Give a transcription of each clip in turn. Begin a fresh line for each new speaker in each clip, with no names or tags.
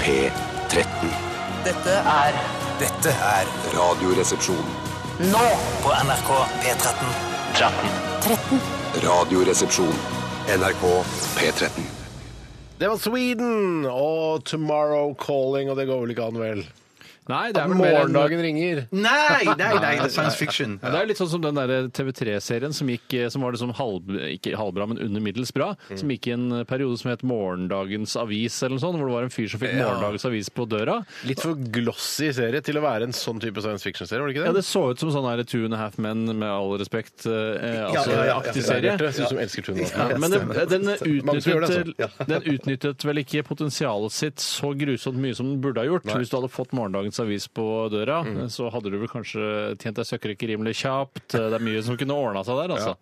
P13.
Dette er
Dette er
Radioresepsjon.
nå
på NRK P13.
Radioresepsjon. NRK P13.
Det var Sweden og Tomorrow Calling, og det går vel ikke an, vel?
Nei, det er vel mer enn
Morgendagen ringer.
Nei, nei, nei, det er science fiction.
Ja, det er jo litt sånn som den der TV3-serien som, gikk, eh, som var liksom halv, ikke halvbra, men under middels bra,
Mm.
som gikk i en eh, periode som het Morgendagens avis, eller noe sånt, hvor det var en fyr som fikk Morgendagens avis på døra.
Litt for glossy serie til å være en sånn type science fiction-serie, var det
Ja,
ikke det?
det så ut som sånn her Two and a Half Men, med all respekt, eh, altså
ja, ja, ja.
aktig
Det er
serie.
Bjarte, du som elsker Tune.
Ja, men den, den,
Mange som gjør det, altså.
utnyttet, den utnyttet vel ikke potensialet sitt så grusomt mye som den burde ha gjort. Hvis du hadde fått morgendagens avis på døra,
Mm.
så hadde du vel kanskje tjent deg søkkrike rimelig kjapt. Det er mye som kunne ordna seg der, altså.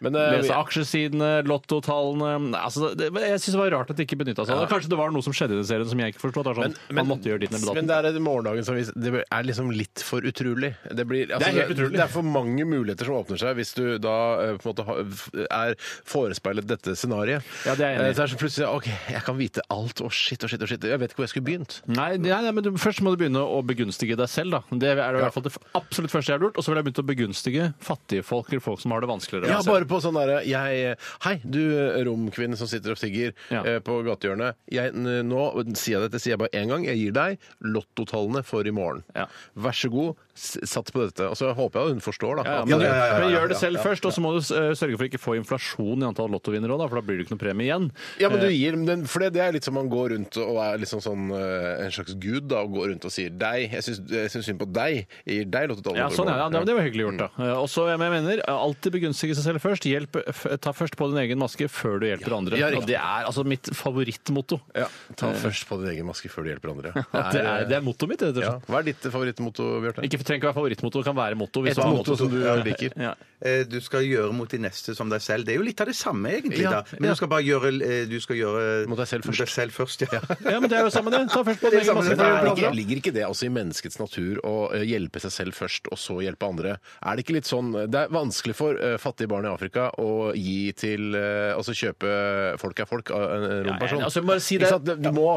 Men, eh,
Lese aksjesidene, lottotallene Nei, altså, det, Jeg syns det var rart at de ikke benytta seg av det. Kanskje det var noe som skjedde i den serien som jeg ikke forsto. at det er Sånn, man måtte gjøre ditt med
men
datten.
det er et morgendagens avis. Det er liksom litt for utrolig. Det, blir, altså,
Det er helt utrolig.
Det er for mange muligheter som åpner seg hvis du da eh, på en måte ha- f- er forespeilet dette scenarioet.
Ja, det er jeg enig i.
Eh, Så er det så plutselig OK, jeg kan vite alt. Å, shit, å, shit, å, shit. Jeg vet ikke hvor jeg skulle begynt.
Nei, det- nei, nei, men du, Først må du begynne å begunstige deg selv. da. Det er i hvert fall det absolutt første jeg har gjort. Og så vil jeg begynne å begunstige fattige folk eller folk som har det vanskeligere. enn
Ja,
seg selv.
bare på sånn derre jeg- Hei, du romkvinne som sitter og tigger
Ja.
eh, på gatehjørnet. Jeg, n- nå sier jeg dette sier jeg bare én gang. Jeg gir deg lottotallene for i morgen.
Ja.
Vær så god, s- sats på dette. Og så håper jeg hun forstår, da.
Ja, ja,
at-
men,
ja, ja, ja,
men
ja,
gjør det
ja,
selv først, og så må du eh, sørge for å ikke få inflasjon i antall lottovinnere òg, for da blir det ikke noe premie igjen.
Ja, men du gir dem den, for det, det er litt som man går rundt og er liksom sånn, eh, en slags gud da, og går rundt og sier deg, jeg syns jeg syns synd på deg, jeg gir deg lottotallene.
Ja,
for i
sånn, ja, ja,
morgen.
det, det var hyggelig gjort, da. Eh, Og så, jeg mener, alltid begunstige seg selv først. Hjelp, f ta først på din egen maske før du hjelper andre.
ja, riktig.
og det er altså mitt favorittmotto.
Ja, ta først på din egen maske før du hjelper andre.
Det er, det er mottoet mitt, rett og
ja.
slett.
Hva er ditt favorittmotto, Bjarte?
Ikke trenger ikke være favorittmotto, det kan være motto. hvis
Et
du har
motto som du liker?
Ja.
Eh, Du skal gjøre mot de neste som deg selv. Det er jo litt av det samme, egentlig.
Ja,
da. Men
ja.
du skal bare gjøre, eh, du skal gjøre
Mot deg selv først.
Deg selv først ja.
ja, men det er jo samme det. Ta først på
Det er
din egen
samme
maske
det.
før du hjelper
Nei,
Er
andre.
det ikke, ligger ikke det også i menneskets natur å eh, hjelpe seg selv først, og så hjelpe andre? Er det ikke litt sånn Det er vanskelig for eh, fattige barn i Afrika å gi til eh, Altså kjøpe folk er folk av en en
Ja,
rom
ja,
person.
altså, bare si
Ikke
det.
sant? Du må,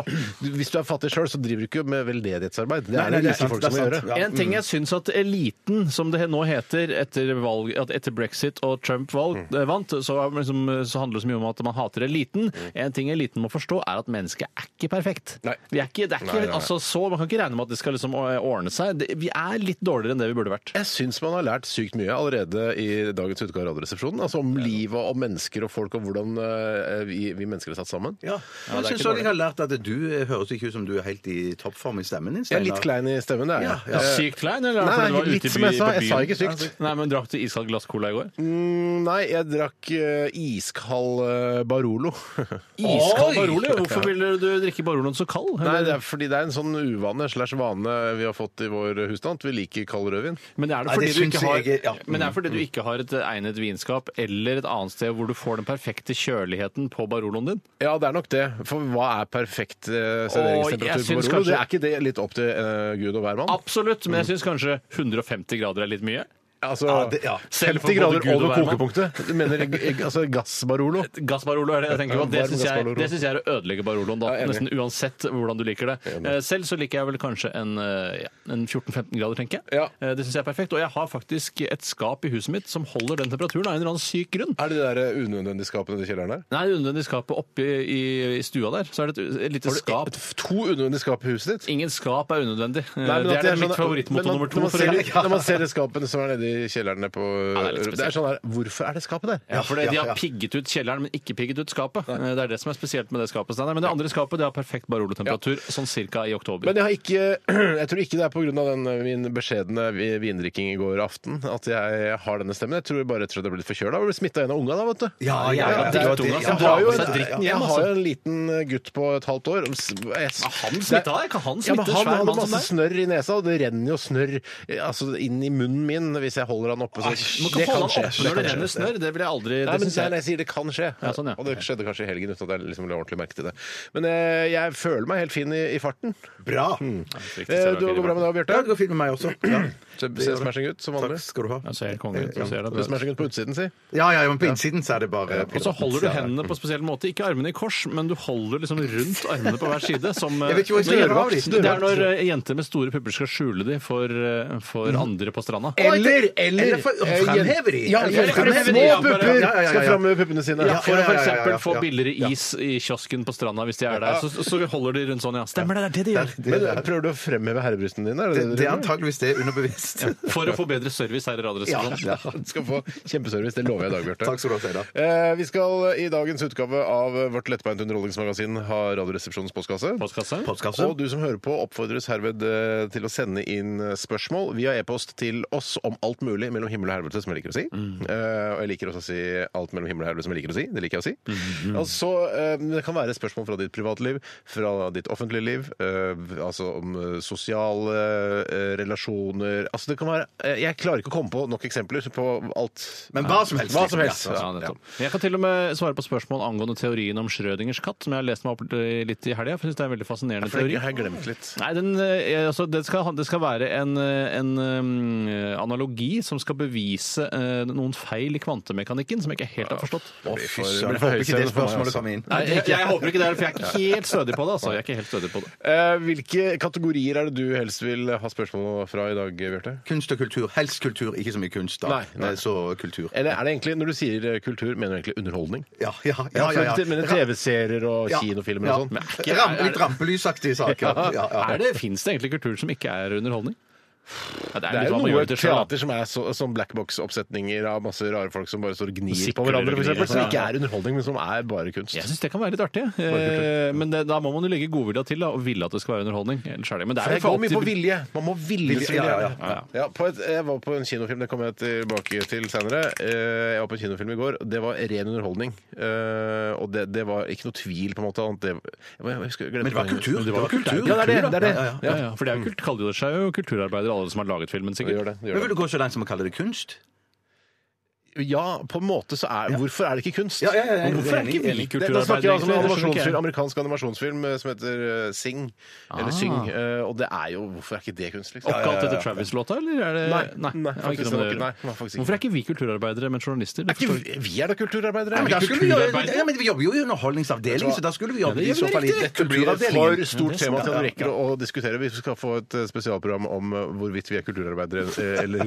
du- hvis du er fattig sjøl, så driver du ikke med veldedighetsarbeid. Det er
nei,
det
det er
rike
sant,
folk
det er
som må
sant.
gjøre.
Ja.
En ting jeg syns at eliten, som det nå heter etter, valg, at etter brexit og Trump valg,
Mm.
eh, vant, så, er det liksom, så handler det så mye om at man hater eliten. En ting eliten må forstå, er at mennesket er ikke perfekt.
Mm. Nei.
Vi er ikke, det er ikke,
Nei, nei, nei.
Altså, så, man kan ikke regne med at det skal liksom eh, ordne seg. Det- Vi er litt dårligere enn det vi burde vært.
Jeg syns man har lært sykt mye allerede i dagens utgave av Radioresepsjonen. Altså om livet og om mennesker og folk og hvordan eh, vi, vi mennesker er satt sammen.
Ja. Men jeg syns også jeg har lært at du eh, høres ikke ut som du er helt i toppform i stemmen din.
Jeg er
Steinar.
litt klein i stemmen, det er jeg.
Ja.
Sykt klein, eller?
Nei,
Fordi du var
litt
ute i
som
by-
jeg sa.
på
Jeg sa
byen.
ikke sykt.
Nei, men drakk du iskaldt glass cola i går?
Mm, Nei, jeg drakk eh, iskald eh, Barolo.
Iskald
Oi!
Barolo? Hvorfor ville du drikke Baroloen så kald?
Nei,
Eller-
det er fordi det er en sånn uvane slash vane vi har fått i vår husstand. Vi liker kald rødvin.
Men er det
Nei,
fordi,
det
du, ikke
syns
har,
jeg er- ja. Mm.
men det er fordi du ikke har et egnet vinskap eller et annet sted hvor du får den perfekte kjøligheten på Baroloen din?
Ja, det er nok det. For hva er perfekt eh, serveringstemperatur
jeg
på
syns
Barolo?
kanskje-
Det er ikke det litt opp til eh, gud og hvermann?
Absolutt, men jeg syns kanskje 150 grader er litt mye.
Altså,
Ja, det- ja.
Selv for
50 grader
både Gud og
over
hvermann.
kokepunktet? Du mener eh, altså, gass-Barolo?
Gass Barolo er det jeg tenker på.
Ja,
Det
varm
syns jeg,
gass Barolo.
det syns jeg er å ødelegge Baroloen, da.
Ja, enig.
Nesten uansett hvordan du liker det. Eh, Selv så liker jeg vel kanskje en, eh, ja, en 14-15 grader, tenker jeg.
Ja.
Eh, Det syns jeg er perfekt. Og jeg har faktisk et skap i huset mitt som holder den temperaturen av en eller annen syk grunn.
Er det de der eh, unødvendige skapene i kjelleren der?
Nei, unødvendig skapet oppe i, i stua der, så er det et, et lite skap.
To unødvendige skap i huset ditt?
Ingen skap er unødvendig.
Nei, men
det
at
er, det
sånn-
mitt favorittmotto
men man-
nummer to.
Når man,
for
ser,
øvrig.
når man ser det skapet som er nede i kjellerne på
Ja, det er litt
det, er
spesielt.
sånn der, Hvorfor er det skapet der?
Ja, for det,
Ja,
De har
ja.
pigget ut kjelleren, men ikke pigget ut skapet. Eh, Det er det som er spesielt med det skapet. Steinar. Men det andre skapet det har perfekt barolotemperatur, sånn cirka i oktober.
Men jeg, har ikke, jeg tror ikke det er pga. eh, min beskjedne vi- vindrikking i går aften at jeg har denne stemmen. Jeg tror bare rett og slett jeg ble litt forkjøla og ble smitta av en av unga da, vet du.
Ja, ja, ja.
det er
ja,
tunga
det-
som
ja,
Jeg har jo en,
Ja, men så er dritten hjem,
jeg har
altså.
jo en liten eh, gutt på et halvt år.
han smittet deg? Kan han smitte en
han
svær
hadde
mann som
masse snørr i nesa, og det renner jo snørr eh, altså, inn i munnen min hvis jeg holder han oppe. Så
Man kan
det
få
kan
den
skje.
opp
Det
når
kan
det
skje.
renner snørr. Det vil jeg aldri
Nei,
det
men
synes jeg-
nei, nei, jeg sier det kan skje.
Ja, sånn, ja.
Og det skjedde kanskje i helgen uten at jeg liksom la ordentlig merke til det. Men eh, jeg føler meg helt fin i, i farten.
Bra!
Eh, du går bra med deg,
Ja,
Bjarte?
det går fint med meg også. Ja.
Se se smashing ut som vanlig.
Takk skal du ha.
Jeg ser helt konge ut. du ser
Se
det.
smashing ut på utsiden, si.
Ja, ja, men på innsiden så er det bare
Og så holder du hendene på spesiell måte. Ikke armene i kors, men du holder liksom rundt armene på hver side. Som eh,
Jeg vet ikke hvor jeg skal gjøre av de.
Det er når eh, jenter med store pupper skal skjule de for, eh, for
Mm.
andre på stranda.
Eller,
eller-
eller for,
eh,
fremhever de!
Ja,
Eller fremhever de,
små
ja, bare-
pupper
Ja, ja, ja, ja.
skal fram med puppene sine.
Ja, for å
ja, ja,
f.eks.
ja, ja,
få
ja.
billigere is i kiosken på stranda hvis de er der. Så, så holder de rundt sånn, ja. Stemmer det, det er det de gjør.
Men eh, prøver du å fremheve herrebrystene dine? Er det,
Det,
det, du
det er
driver med?
antageligvis det underbevisst.
For å få bedre service her i Radioresepsjonen.
Ja, du skal få kjempeservice. Det lover jeg i dag, Bjarte.
Takk skal du ha, Steinar.
Eh, Vi skal i dagens utgave av vårt lettbeint underholdningsmagasin ha Radioresepsjonens postkasse.
Postkasse?
Postkasse.
Og du som hører på, oppfordres herved eh, til å sende inn eh, spørsmål via e-post til oss om alt mulig mellom himmel og helvete, som jeg liker å si. Eh, og jeg liker også å si alt mellom himmel og helvete, som jeg liker å si. Det liker jeg å si. Og så, eh, det kan være spørsmål fra ditt privatliv, fra ditt offentlige liv, eh, altså om eh, sosiale eh, relasjoner Altså det kan være eh, Jeg klarer ikke å komme på nok eksempler på alt.
Men hva som helst.
Hva som helst.
Ja, nettopp. Jeg kan til og med svare på spørsmål angående teorien om Schrødingers katt, som jeg har lest meg opp i litt i helga. for Jeg syns det er en veldig fascinerende
For
teori.
jeg har glemt litt.
Nei, den, eh, altså, det, skal, det skal være en, eh, en eh, analogi som skal bevise eh, noen feil i kvantemekanikken som jeg ikke helt har forstått.
Fy
for-
søren,
det
jeg håper ikke det
blir for høytseende for meg,
spørsmålet
altså.
kommer inn.
Nei, jeg, jeg håper ikke det, er, for jeg er ikke helt stødig på det. altså. Jeg er ikke helt stødig på det.
Eh, Hvilke kategorier er det du helst vil ha spørsmål fra i dag, Bjarte?
Kunst og kultur. Helst kultur, ikke så mye kunst, da.
Nei, nei.
Eh, Så kultur.
Eller er det egentlig, når du sier eh, kultur, mener du egentlig underholdning?
Ja, ja, ja. ja, ja.
for- Men TV-serier og
Ja.
kinofilmer
Ja.
og sånn?
Ram, litt rampelysaktige saker. Ja, ja.
Er det, Fins det egentlig kultur som ikke er underholdning? Ja, det
Det
er, litt
er jo
hva man
noe
gjør til selv, da.
teater som er så, som blackbox-oppsetninger av masse rare folk som bare står og gnir på
Sikler
hverandre,
og
for
gnir,
eksempel, som
ja.
ikke er underholdning, men som er bare kunst.
Jeg syns det kan være litt artig. eh,
kultur.
Men det, da må man jo legge godvilja til da, og ville at det skal være underholdning. Ellers er det. Men det
For
er
det går
ikke
mye på
alltid-
vilje. Man må ville
Vilje,
så gjerne.
ja, ja,
ja.
Ja, på et, jeg var på en kinofilm, det kommer jeg tilbake til senere. Eh, Jeg var på en kinofilm i går, og det var ren underholdning. Eh, Og det, det var ikke noe tvil, på en måte. Annet. Det, jeg, jeg, husker- jeg
Men
glemte
det var
poenget.
kultur.
Men
Det var kultur.
Ja, det er det. det, er det.
Ja, ja,
ja, ja, for det er jo kult, kaller de seg jo kulturarbeidere, alle som har laget filmen,
Det
sikkert.
gjør det. det,
Men
gjør
vil du gå så langt som å kalle det kunst?
det. Ja, på en måte så er Hvorfor er det ikke kunst?
Ja, ja, ja, ja.
Men Hvorfor er ikke vi
Enig, enig.
kulturarbeidere? Da snakker jeg altså om en
Det skjønner ikke jeg.
animasjonsfilm, amerikansk animasjonsfilm eh, som heter eh, Sing. Eller Syng. eh, Og det er jo Hvorfor er ikke det kunst, liksom?
Oppkalt etter Travis-låta, eller er det
Nei, nei,
det var
faktisk
ikke noe
ikke.
med det.
Nei, det var faktisk ikke.
Hvorfor er ikke vi kulturarbeidere, men journalister?
Er ikke vi- vi er da kulturarbeidere?
Ja, men, da
Er vi
skulle vi, gjøre,
kulturarbeid.
ja, men vi jobber jo i underholdningsavdelingen, så da skulle vi jobbe i så fall i
Dette blir et for
kulturavdelingen.
stort tema til at vi
Ja,
rekker å diskutere. Vi skal få et eh, spesialprogram om eh, hvorvidt vi er kulturarbeidere eh, eller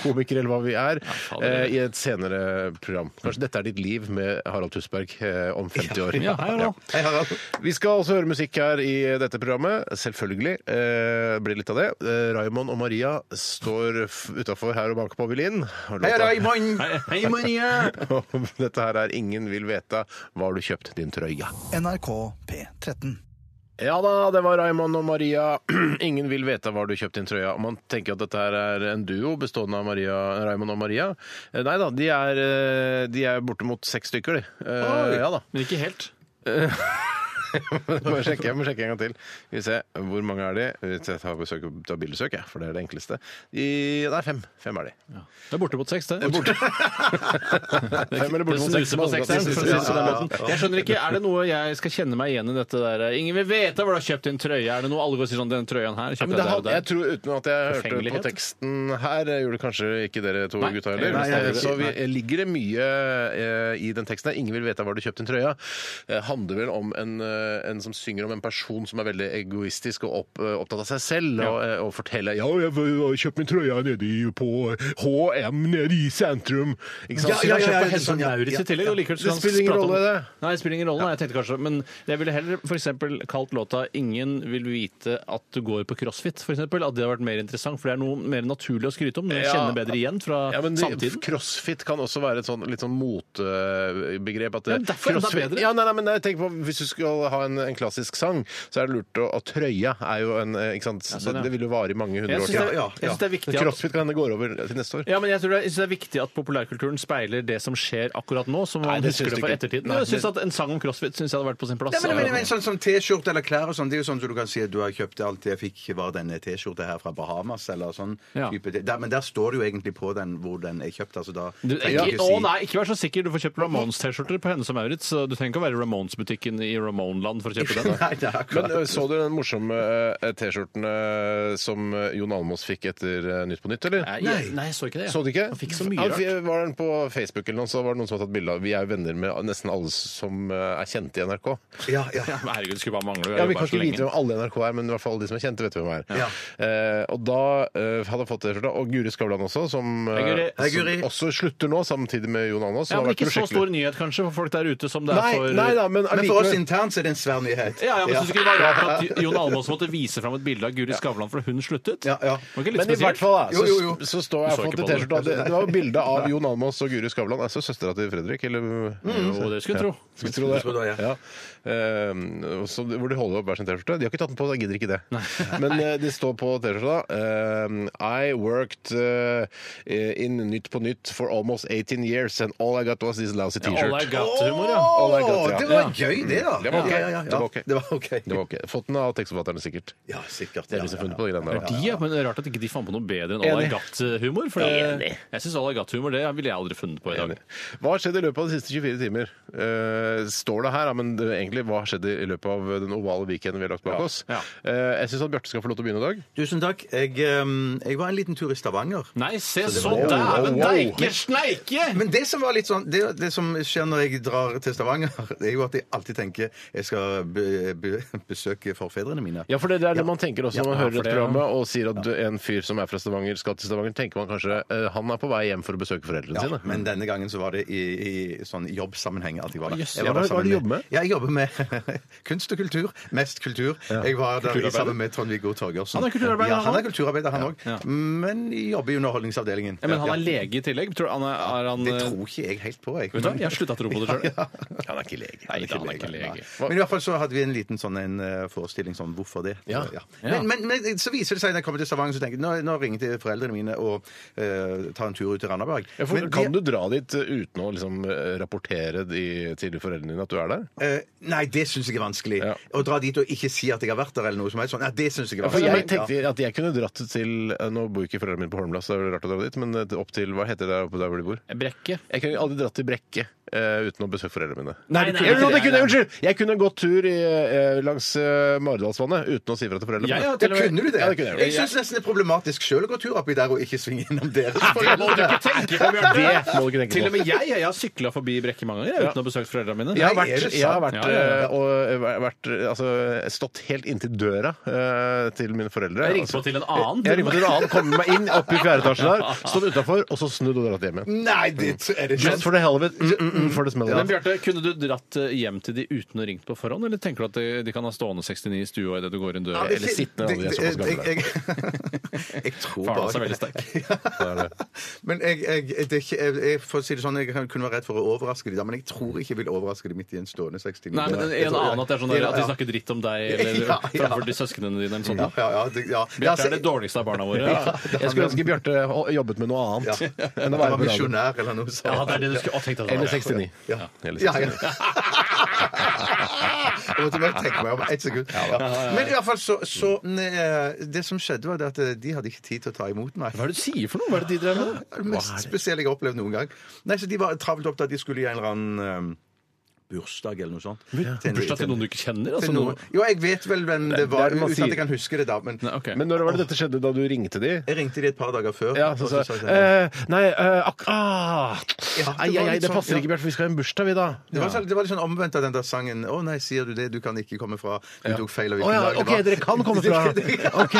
komikere eller hva vi er,
fader,
eh,
det.
i et senere program. Kanskje 'Dette er ditt liv' med Harald Tusberg eh, om 50 år.
Ja, hei, Harald.
Hei, Harald.
Vi skal også høre musikk her i dette programmet. Selvfølgelig eh, blir det litt av det. Eh, Raymond og Maria står utafor her og banker på violin. Har
Hei,
låta-
Raymond.
Hei, Maria!
Dette her er Ingen vil veta hva har du kjøpt din trøya.
NRK P13.
Ja da, det var Raymond og Maria. Ingen vil vite hva du kjøpte din trøya. Og Man tenker at dette her er en duo bestående av Maria, Raymond og Maria. Eh, Nei da, de er, eh, de er bortimot seks stykker, de. Eh, Ja da.
Men ikke helt.
Jeg må sjekke, jeg må sjekke en gang til. Skal vi se, hvor mange er de? Jeg tar, besøk, tar bildesøk, jeg, for det er det enkleste. De, nei, fem. Fem er de.
Det er borte mot seks, det.
Fem eller
Det
bortimot seks.
snuser på sekseren, for å si det på den måten.
Ja, ja, ja.
Jeg skjønner ikke, Er det noe jeg skal kjenne meg igjen i dette der Ingen vil vite hvor du har kjøpt din trøye. Er det noe alle går og sier sånn Den trøyen her
Ja,
kjøpte
men det
jeg
had,
der
jeg
og der.
tror Uten at jeg hørte på
Forfengelighet.
teksten her, eh, gjorde kanskje ikke dere to
Nei.
gutta heller.
Nei,
jeg gjør ikke.
så vi, ligger det mye eh, i den teksten her. Ingen vil vite hvor du kjøpte den trøya. Eh, handler vel om en, eh, en som synger om en person som er veldig egoistisk og opp, eh, opptatt av seg selv, og, eh, og forteller Ja, jeg har kjøpt min trøya nede i- på HM nede i sentrum. Ikke sant?
Ja, ja, ja, ja,
Synger om
det er sånn, ja.
Auris i tillegg, og likevel
Det
skal han
spiller ingen
prate om-
rolle, det.
Nei, det spiller ingen rolle, nei, jeg tenkte kanskje Men jeg ville heller for eksempel kalt låta 'Ingen vil vite at du går på crossfit', for eksempel. At det hadde vært mer interessant, for det er noe mer naturlig å skryte om. Noe jeg
Ja.
kjenner bedre igjen fra
Ja, men det,
samtiden.
crossfit kan også være et sånn, litt sånn motebegrep. at det-
Ja, men derfor er det
crossfit-
bedre.
Ja, nei, nei, men jeg tenker på Hvis du skal skal ha en, en klassisk sang, så er det lurt å at trøya er jo en eh, ikke sant?
sånn, ja.
det, det vil jo vare i mange hundre
Jeg
år
syns det,
til.
er-
ja,
jeg synes det er viktig at
Crossfit kan hende går over til neste år.
ja, men jeg, tror det, jeg synes det er viktig at populærkulturen speiler det som skjer akkurat nå, som man
Nei, det
husker
synes
det for
jeg ikke.
ettertiden.
Nei,
jeg synes at En sang om crossfit synes jeg hadde vært på sin plass.
Nei, men, men, men sånn som T-skjorte eller klær og sånn, det er jo sånn som du kan si at du har kjøpt alt jeg fikk var denne T-skjorta her fra Bahamas eller sånn
Ja.
type der, Men der står det jo egentlig på den hvor den er kjøpt, altså da
Du,
trenger jeg
ikke,
ikke
å
si-
nei, ikke vær så sikker. Du får kjøpt Ramones-T-skjorter på henne som Maurits. så Du trenger ikke å være i Ramones-butikken i Ramone-land for å kjøpe den.
Nei, det er akkurat
Men eh, Så du den morsomme eh, T-skjorten eh, som eh, Jon Almaas fikk etter eh, Nytt på nytt, eller?
Nei, nei, jeg så ikke det. jeg.
Så du ikke?
Han fikk så mye
Han
rart.
fi- var den på Facebook eller noe, så var det noen som har tatt bilde av Vi er jo venner med nesten alle som eh, er kjente i NRK.
Ja, ja.
Ja, men Herregud, skulle bare mangle.
Ja,
jeg
Vi
jobber
kan
her så
ikke vite
lenge.
hvem alle i NRK er, men i hvert fall alle de som er kjente, vet hvem er.
Ja.
Eh, og da eh, hadde jeg fått T-skjorta. Og Guri Skavlan også, som, eh,
Hei, Guri.
Hei, Guri.
som også slutter nå, samtidig med Jon Almaas. så det
Ja, men
har vært
ikke så
noe
stor
skikkelig-
nyhet kanskje for folk der ute som det er
Nei,
for
nei da, men
Men for oss
allikevel-
internt så er det en svær nyhet.
Ja, ja, men så skulle det være rart at Jon Almaas måtte vise fram et bilde av Guri Skavlan for hun sluttet.
Ja, ja.
Var ikke litt
Men i hvert
spesielt?
fall da,
Jo,
så,
jo, jo.
så står jeg
Du så
fått
ikke
en
på det.
T-skjorte. av Det, det var jo bilde av Jon Almaas og Guri Skavlan. Altså søstera til Fredrik, eller
Jo, det skulle jeg tro.
Skulle tro det.
Skulle tro det,
ja. Eh, så, hvor de holder opp hver sin T-skjorte. De har ikke tatt den på, så jeg gidder ikke det. Men eh, det står på T-skjorta eh, I worked eh, in Nytt på Nytt for almost 18 years and all I got was this lousy
All I
T-shirt.
got-humor, ja.
All I got,
Å,
ja.
Det var gøy, det, da.
Det var ok.
Ja, ja, ja, ja.
Det var ok.
Det var ok.
Det var ok. Fått den av tekstforfatterne, sikkert.
Ja, sikkert.
Det er
Ja,
de
ja,
som har funnet
ja.
på de greiene der. da.
De, ja, men det er Rart at ikke de fant på noe bedre enn all I
Enig.
got-humor. For det, jeg syns all I got-humor det ville jeg aldri funnet på i dag.
Enig. Hva har skjedd i løpet av de siste 24 timer? Eh, står det her, da, men det, egentlig hva har skjedd i løpet av den ovale weekenden vi har lagt bak oss?
Ja.
Eh, jeg syns at Bjarte skal få lov til å begynne i dag.
Tusen takk. Jeg, ehm, jeg var en liten tur i Stavanger.
Nei, se så
var- Wow,
wow,
dæven
wow.
deike sneike!
Men det som var litt sånn, det, det som skjer når jeg drar til Stavanger, det er jo at jeg alltid tenker jeg skal be, be, besøke forfedrene mine.
Ja, for det, er det man tenker også når man
Ja,
hører
for
dette
det, ja.
programmet og sier at en fyr som er fra Stavanger, skal til Stavanger, tenker man kanskje eh, han er på vei hjem for å besøke foreldrene
Ja,
sine.
men denne gangen så var det i, i sånn jobbsammenheng at jeg var der.
Jøss,
Jeg
ja,
var der
hva- hva er det
sammen
du jobber med?
Ja, jeg jobber med kunst og kultur. Mest kultur. Jeg var der i sammen med Trond-Viggo Torgersen.
Han er kulturarbeider,
ja,
han
han er kulturarbeider, han òg. Men jeg jobber i Underholdningsavdelingen.
Ja, men han er lege i tillegg. Tror du han er, er han eh,
Det tror ikke jeg helt på, jeg.
Vet du hva, jeg har slutta å tro på det sjøl.
Han er ikke lege.
Nei, da, han er ikke
Nei.
lege.
Hva-
Men i hvert fall så hadde vi en liten sånn en eh, forestilling sånn hvorfor det.
Ja.
Ja.
Men, men, men så viser det seg når jeg kommer til Stavanger, så tenker jeg nå, nå ringte foreldrene mine og eh, tar en tur ut til Randaberg.
Ja, for,
Men
kan
det-
du dra dit eh, uten å liksom, eh, rapportere de, til foreldrene dine at du er der?
eh, nei, det syns jeg er vanskelig.
Ja.
Å dra dit og ikke si at jeg har vært der, eller noe som helst sånn. Nei, det syns jeg er
For jeg
vanskelig.
tenkte Altså, at jeg kunne dratt til eh, Nå bor ikke foreldrene mine på Holmlia, så det er vel rart å dra dit, men eh, opp til Hva heter det der oppe der hvor de bor?
Eh, Brekke.
Jeg kunne aldri dratt til Brekke eh, uten å besøke foreldrene mine.
Nei, nei, nei,
Eller,
nei,
det kunne,
nei.
jeg- unnskyld! Jeg kunne gått tur i, eh, langs eh, Maridalsvannet uten å si fra til foreldrene
Jeg
mine.
har
Ja,
til og
kunne
med
du det?
Ja, det kunne jeg gjort.
jeg syns nesten det er problematisk sjøl å gå tur oppi der og ikke svinge innom deres
Det må du
foreldre.
ikke tenke på, Bjarte!
Det må du ikke tenke
Til og
på.
med jeg jeg har sykla forbi Brekke mange ganger jeg, uten å ha besøkt foreldrene mine.
Jeg har
Nei,
vært,
er det
jeg har
sant?
vært,
Ja, ja,
eh, og, eh, vært eh, altså, stått helt inntil døra eh, til mine foreldre. Altså,
Jeg ringte på til en annen.
Jeg ringte på til en annen, kommet meg inn opp i fjerde etasje der, stått utafor, og så snudd og dratt hjem igjen.
Nei, det er det
Just for the hell of it. Mm, mm, mm, for the smell
Men
of it.
Bjarte, kunne du dratt eh, hjem til de uten å ringt på forhånd, eller tenker du at eh, de, de kan ha stående 69 i stua idet du går inn døra?
Ja, det-
eller sittende,
det-
alle de er såpass
det-
gamle.
Jeg, jeg, jeg tror
Faren
bare
hans er veldig sterk.
Men jeg, jeg, det er ikke, jeg, jeg, for å si det sånn, jeg kan kunne være redd for å overraske de da, men jeg tror ikke jeg vil overraske de midt i en stående 69.
Nei, men
Jeg
en
tror-
annen at det er sånn der, at de
Ja,
snakker dritt om deg eller
Ja, ja.
framfor de søsknene dine. eller sånn.
Ja, ja, ja, det, ja.
Bjarte er det dårligste av barna våre.
Jeg skulle ønske Bjarte jobbet med noe
Ja.
annet enn
Han var
å være på radioen.
misjonær eller noe sånt.
Ja, det er det du skulle å, tenk deg det.
Eller 69.
Ja.
Eller
Ja,
69.
ja. Jeg måtte bare tenke meg om ett sekund. Ja. Men i hvert fall så, så eh, Det som skjedde, var det at eh, de hadde ikke tid til å ta imot meg.
Hva er det du sier for noe? Hva er det de drev med?
Det er det mest spesielle jeg har opplevd noen gang. Nei, så De var travelt opptatt. De skulle i en eller annen eh, bursdag eller noe sånt. en-
Bursdag til noen du ikke kjenner?
til
Altså,
noen-
noen...
Jo, jeg vet vel hvem det var,
det er det man
uten at
sier.
jeg kan huske det da. Men
Nei, ok.
Men når var det dette skjedde? Da du ringte de?
jeg ringte de et par dager før.
Ja,
og
så sa
sa
jeg
jeg, sånn,
eh, Nei, eh, ak
Ja,
ah.
det
Ai,
var
ai, ai,
litt
det
sånn,
passer
ja.
ikke, Bjarte, for vi skal ha en bursdag, vi, da.
det var, sånn- det var litt sånn omvendt av den der sangen 'Å nei, sier du det? Du kan ikke komme fra Du tok feil av
Å
hvilken
ja,
dag det
OK,
var.»
dere kan komme fra OK.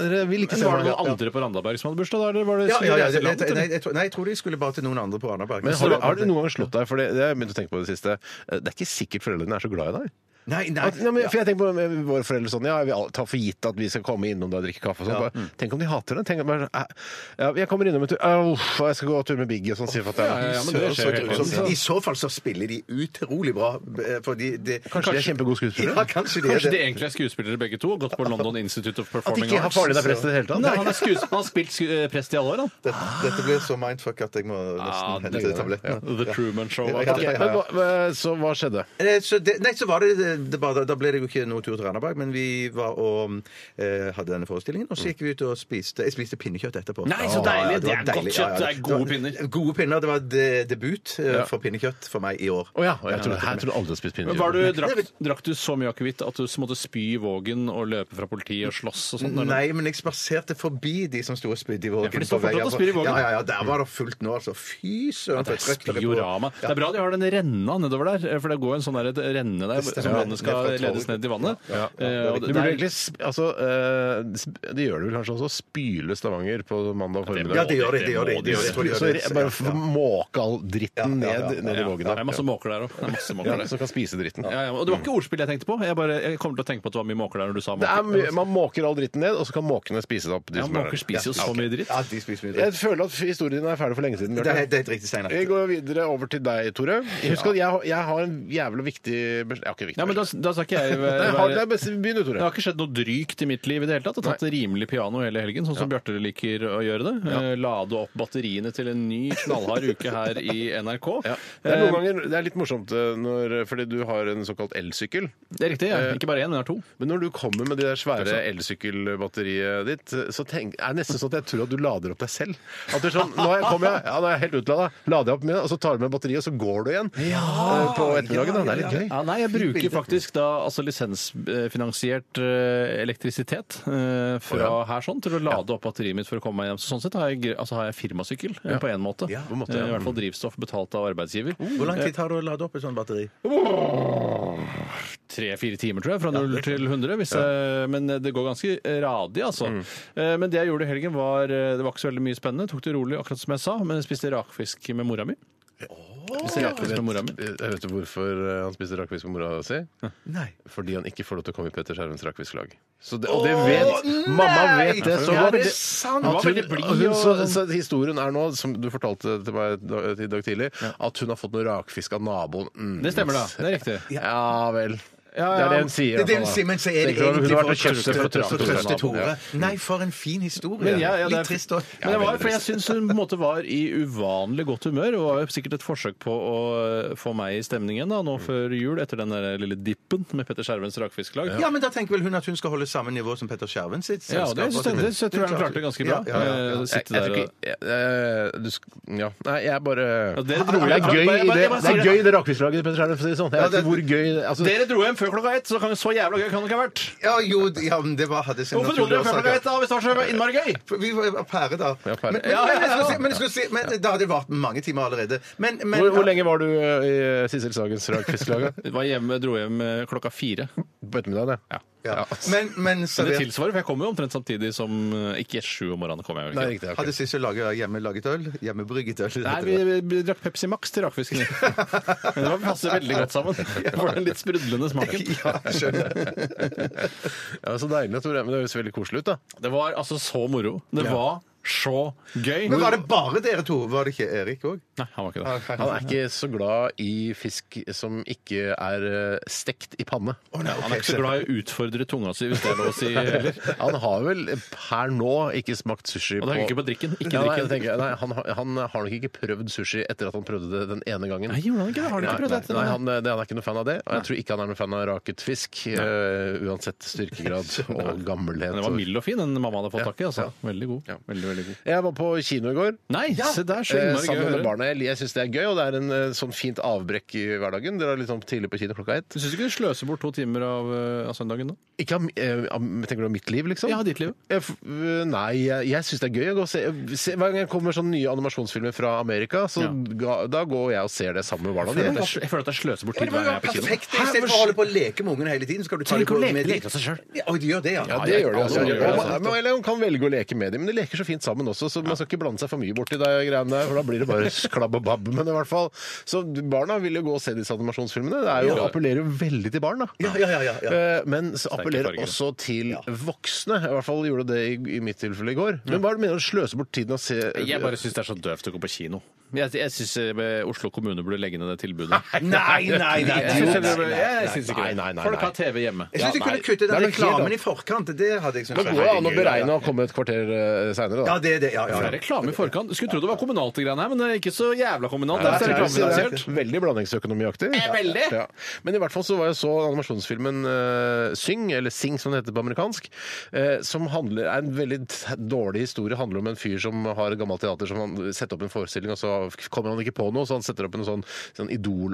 Dere vil ikke
Men
se
var
meg.
det noen andre på Randaberg som hadde bursdag da? Eller var det
Ja, ja, ja,
reiseland,
jeg, jeg,
eller?
nei, jeg, tror- nei, jeg tror de skulle bare til noen andre på Randaberg.
Men har du, har du noen gang slått deg? For det, det har jeg begynt å tenke på i det siste. Eh, Det er ikke sikkert foreldrene er så glad i deg.
Nei, nei.
At, nei, men, for jeg tenker på eh, våre foreldre sånn Ja, vi all- tar for gitt at vi skal komme innom deg og drikke kaffe og sånn.
Ja.
Bare, Tenk om de hater det? Tenk om bare, eh, ja, jeg kommer innom en tur Au, uff, jeg skal gå tur med Biggie og sånn, sier fatter'n.
Ja, ja, ja, men
Søren,
det
så
skjer.
grusomt. I så fall så spiller de utrolig bra. eh, Fordi det,
Kanskje de er kjempegode skuespillere?
Ja, kanskje de er
Kanskje de
det.
egentlig er skuespillere begge to? Gått på London Institute of
At
Performing
ikke har faren din er prest i det hele tatt?
Nei, han, er skuesp- han har spilt sku- eh, prest i alle år, han.
Dette, dette ble så mindfuck at jeg må
Ah,
nesten
det
hente
går.
tablettene.
The Truman Show.
Ja,
var det.
Ok, men hva- hva- Så hva skjedde?
Eh, Så det, nei, så var det, det var, Da ble det jo ikke noe tur til Randaberg, men vi var og eh, hadde denne forestillingen. Og så gikk vi ut og spiste Jeg spiste pinnekjøtt etterpå.
Nei,
Ja,
så
ja,
deilig.
var
Det er godt
deilig. Ja,
kjøtt.
ja.
Det er gode
var-
pinner.
Gode pinner. Det var de, debut eh, for pinnekjøtt for meg i år.
Å ja, og jeg trodde, jeg trodde alle hadde spist
Men var du,
pinnekjøtt.
drakk, drakk du så mye akevitt at du måtte spy i vågen og løpe fra politiet og slåss og sånt? eller?
Nei, men jeg spaserte forbi de som sto og spydde i vågen.
for de står
på vei
fortsatt og
herfra.
spyr i vågen.
Ja, ja, ja, der var det fullt nå, altså. Fy søren, for
Det er
et trøkk det ble på.
Spiorama. Det er bra de har den renna nedover der, for det går en sånn der, et renne der
stemmer.
som vannet skal
Ned fra
ledes ned i vannet.
Ja.
Eh, og
Du
det-
burde
det er-
egentlig, sp- altså, eh, sp- De gjør det vel kanskje også, spyle Stavanger på mandag
Ja,
formiddag.
det gjør de. Det gjør de. Det gjør de. Jeg tror de gjør
Så
det.
re- bare f- måke all dritten
Ja, ja, ja,
ned,
ja,
ned i
ja,
vågen
det er masse
der.
måker der òg. Det er masse måker
Ja,
der.
Som kan spise dritten.
Ja, ja, og det var ikke ordspill jeg tenkte på. Jeg, bare, jeg kommer til å tenke på at det var mye måker der når du sa
Det er, mye-
måker.
man måker all dritten ned, og så kan måkene spise det opp. de
Ja,
som er der.
måker spiser jo så mye dritt.
Ja, de spiser mye dritt.
Jeg føler at historien din er ferdig for lenge siden.
Det er helt-
Bjørte.
det er helt riktig, Steinar.
Vi går videre over til deg, Tore. Husk at jeg, har- jeg har en jævlig viktig beskjed. Jeg har ikke viktig
Ja, men da, da skal ikke jeg
Nei, har, det
være
er best, begynn du,
det
Tore.
har ikke skjedd noe drygt i mitt liv i det hele tatt. Jeg har tatt det rimelig piano hele helgen, sånn som Bjarte liker å gjøre det. Eh, Lade opp batteriene til en ny knallhard uke her i NRK. Eh,
Det er, noen ganger, det er litt morsomt, eh, når, fordi du har en såkalt elsykkel.
Eh, Det er riktig. Jeg. Ikke bare én, men jeg har to.
Men når du kommer med det der svære elsykkelbatteriet ditt, så tenk, er det nesten sånn at jeg tror at du lader opp deg selv. At du er sånn, nå er jeg, kommer jeg, ja, nå er jeg helt utlada, lader jeg opp mine, og så tar du med batteriet, og så går du igjen eh, på ettermiddagen. da. Det er litt gøy.
Ja, nei, jeg bruker faktisk da altså lisensfinansiert eh, elektrisitet eh, fra her sånn til å lade opp batteriet mitt for å komme meg hjem. Så sånn sett har jeg, gre- altså, har jeg firmasykkel eh, på én måte. Oh.
Ja, på en
måte,
Eh,
ja.
I hvert fall drivstoff betalt av arbeidsgiver.
Hvor lang tid tar det å lade opp et sånt batteri?
Tre-fire timer, tror jeg, fra 0 til 100. Hvis jeg, men eh, det går ganske radig, altså.
Mm.
Eh, Men det jeg gjorde i helgen, var eh, Det var ikke så veldig mye spennende. Tok det rolig, akkurat som jeg sa, men jeg spiste rakfisk med mora mi. Spiste rakfisk med mora mi.
Jeg vet du hvorfor eh, han spiser rakfisk med mora si?
Nei.
Fordi han ikke får lov til å komme i Petter Skjervens rakfisklag. Så det, og det vet Mamma vet det så
Ja,
godt!
det er sant.
At
var veldig blid
hun,
og-
så, så historien er nå, som du fortalte til meg da- i dag tidlig, at hun har fått noe rakfisk av naboen. Mm.
Det stemmer, da. Det er riktig.
Ja vel.
ja.
Det er det hun sier. altså.
Det er det
i
hun
hvert fall,
sier,
da.
men så er det
Tenker du at
egentlig
hun har
for
vært og kjøpt seg for å
å
trøste
trøste
naboen?
Tore.
Ja.
Nei, for en fin historie.
Men, ja, ja, det er-
Litt trist òg.
Men jeg var, for jeg syns hun på en måte var i uvanlig godt humør. og var jo sikkert et forsøk på å eh, få meg i stemningen da,
Mm.
nå før jul, etter den der lille dippen med Petter Skjervens rakfisklag.
Ja, men da tenker vel hun at hun skal holde samme nivå som Petter Skjerven sitt
Ja,
selskap. altså.
det, synes jeg, det, synes jeg tror jeg han klarte ganske bra.
Ja, ja, ja.
eh, å
Jeg, jeg
Sitte der
tror
og...
ikke jeg, eh, du, sk- ja. Nei, jeg bare
Ja, dere
Det er
dro hjem.
gøy
Jeg bare- jeg
i
bare-
det,
jeg bare
det,
sier
er
det.
gøy i det rakfisk laget Petter Skjerven, for å si det sånn. Jeg vet ikke hvor gøy altså,
Dere dro hjem før klokka ett, så kan vi så jævla gøy kan det ikke ha vært!
Ja, jo, ja, men det var, hadde sin
Hvorfor dro dere før klokka ett da, hvis det var så innmari gøy?
For Vi var pære da.
Ja, pære.
Men, men,
Ja, ja, ja.
men, jeg skulle si- men, jeg skulle si- men da hadde det vart mange timer allerede. Men, men
hvor, hvor lenge var du eh, i Sissel Sagens rakfisklag? da?
Vi var hjemme, dro hjem eh, klokka fire.
På ettermiddagen, ja.
Ja. Men, men
Men det
servert
tilsvarer, for jeg kom jo omtrent samtidig som eh, Ikke sju om morgenen kom jeg jo
Nei,
ikke.
riktig. ok.
hadde Sissel laget hjemmelaget øl? Hjemmebrygget øl?
Nei, vi, vi, vi drakk Pepsi Max til rakfisken. Men Det var- passer veldig godt sammen. For den litt sprudlende smaken.
Ja, jeg skjønner.
Ja, så deilig, Tore. Men det høres veldig koselig ut, da.
Det var altså så moro. Det var så gøy.
Men var det bare dere to? Var det ikke Erik òg?
Nei, han var ikke det.
Han er ikke så glad i fisk som ikke er eh, stekt i panne.
Han er ikke så glad i å utfordre tunga si, hvis det er lov å si heller.
Han har vel per nå ikke smakt sushi
Og det er ikke på drikken. Ikke
Ja, nei,
drikken.
jeg tenker, nei, han, har- han har nok ikke prøvd sushi etter at han prøvde det den ene gangen.
Nei, gjorde han ikke det? Har han ikke prøvd
Nei,
dette?
Nei, han, eh, det- han er ikke noe fan av det. Og jeg tror ikke han er noe fan av raket fisk, eh, uansett styrkegrad og gammelhet.
Men den var
og-
mild og fin, den mamma hadde fått
Ja,
tak i. altså. Veldig god.
Ja.
Veldig, veldig god.
Jeg var på kino i går.
Nei, se der, så
Eh,
innmari gøy
sammen
å
med
høre.
barna. Jeg, jeg syns det er gøy, og det er en eh, sånn fint avbrekk i hverdagen. Dere er litt sånn tidlig på kino klokka ett.
Du syns ikke du sløser bort to timer av, eh, av søndagen nå?
Ikke av, eh, av- tenker du om mitt liv, liksom?
Ja, ditt liv.
Jeg f- øh, nei, jeg, jeg syns det er gøy å gå og se, se Hver gang jeg kommer sånne nye animasjonsfilmer fra Amerika, så
Ja.
ga, da går jeg og ser det sammen med barna.
Jeg
Det er-
føler- jeg føler at jeg sløser bort tid hver gang jeg er på kino.
Perfekt! I stedet for å holde på å leke med ungene hele tiden, så skal du ta
Tenk
dem
å
på
leke-
med
leke seg selv.
Ja, og de gjør det, ja.
Ja, det gjør de.
alle
Altså.
gjør det,
Og man- men- Eller man kan velge å leke med dem, men de leker så fint sammen også, så man skal ikke blande seg for mye borti de greiene der, for da blir det bare klabb og babb. Men i hvert fall Så barna vil jo gå og se disse animasjonsfilmene. Det er jo,
Ja.
appellerer jo veldig til barn, da.
Ja, ja, ja, ja, ja.
Eh, Men så appellerer
farger.
også til voksne. I hvert fall gjorde det i, i mitt tilfelle i går. Men hva er det du mener å sløse bort tiden og se
Jeg bare syns det er så døvt å gå på kino. Jeg, jeg syns eh, Oslo kommune burde legge ned det tilbudet.
Nei, nei, nei, nei,
Jeg syns ikke
nei,
det. Jeg syns ikke
nei,
det.
nei, nei,
Folk
nei.
har TV hjemme.
Jeg syns de kunne
nei.
kutte
Det er
den
nok helt
reklamen
annet.
i forkant. Det hadde jeg syntes
Det går jo an å beregne og komme et kvarter seinere, da.
Ja, det er det. Ja, ja,
Det
ja.
er reklame i forkant. Skulle tro det var kommunalt, det greiene her, men det er ikke så jævla kommunalt.
Nei,
det er
jeg tror
reklamebasert.
det er Veldig blandingsøkonomiaktig.
veldig.
Ja. Men i hvert fall så var jeg så animasjonsfilmen eh, Syng, eller Sing som det heter på amerikansk, eh, som handler, er en veldig t- dårlig historie. handler om en fyr som har et gammelt teater som han setter opp en forestilling, og så kommer han ikke på noe, så han setter opp en sånn, sånn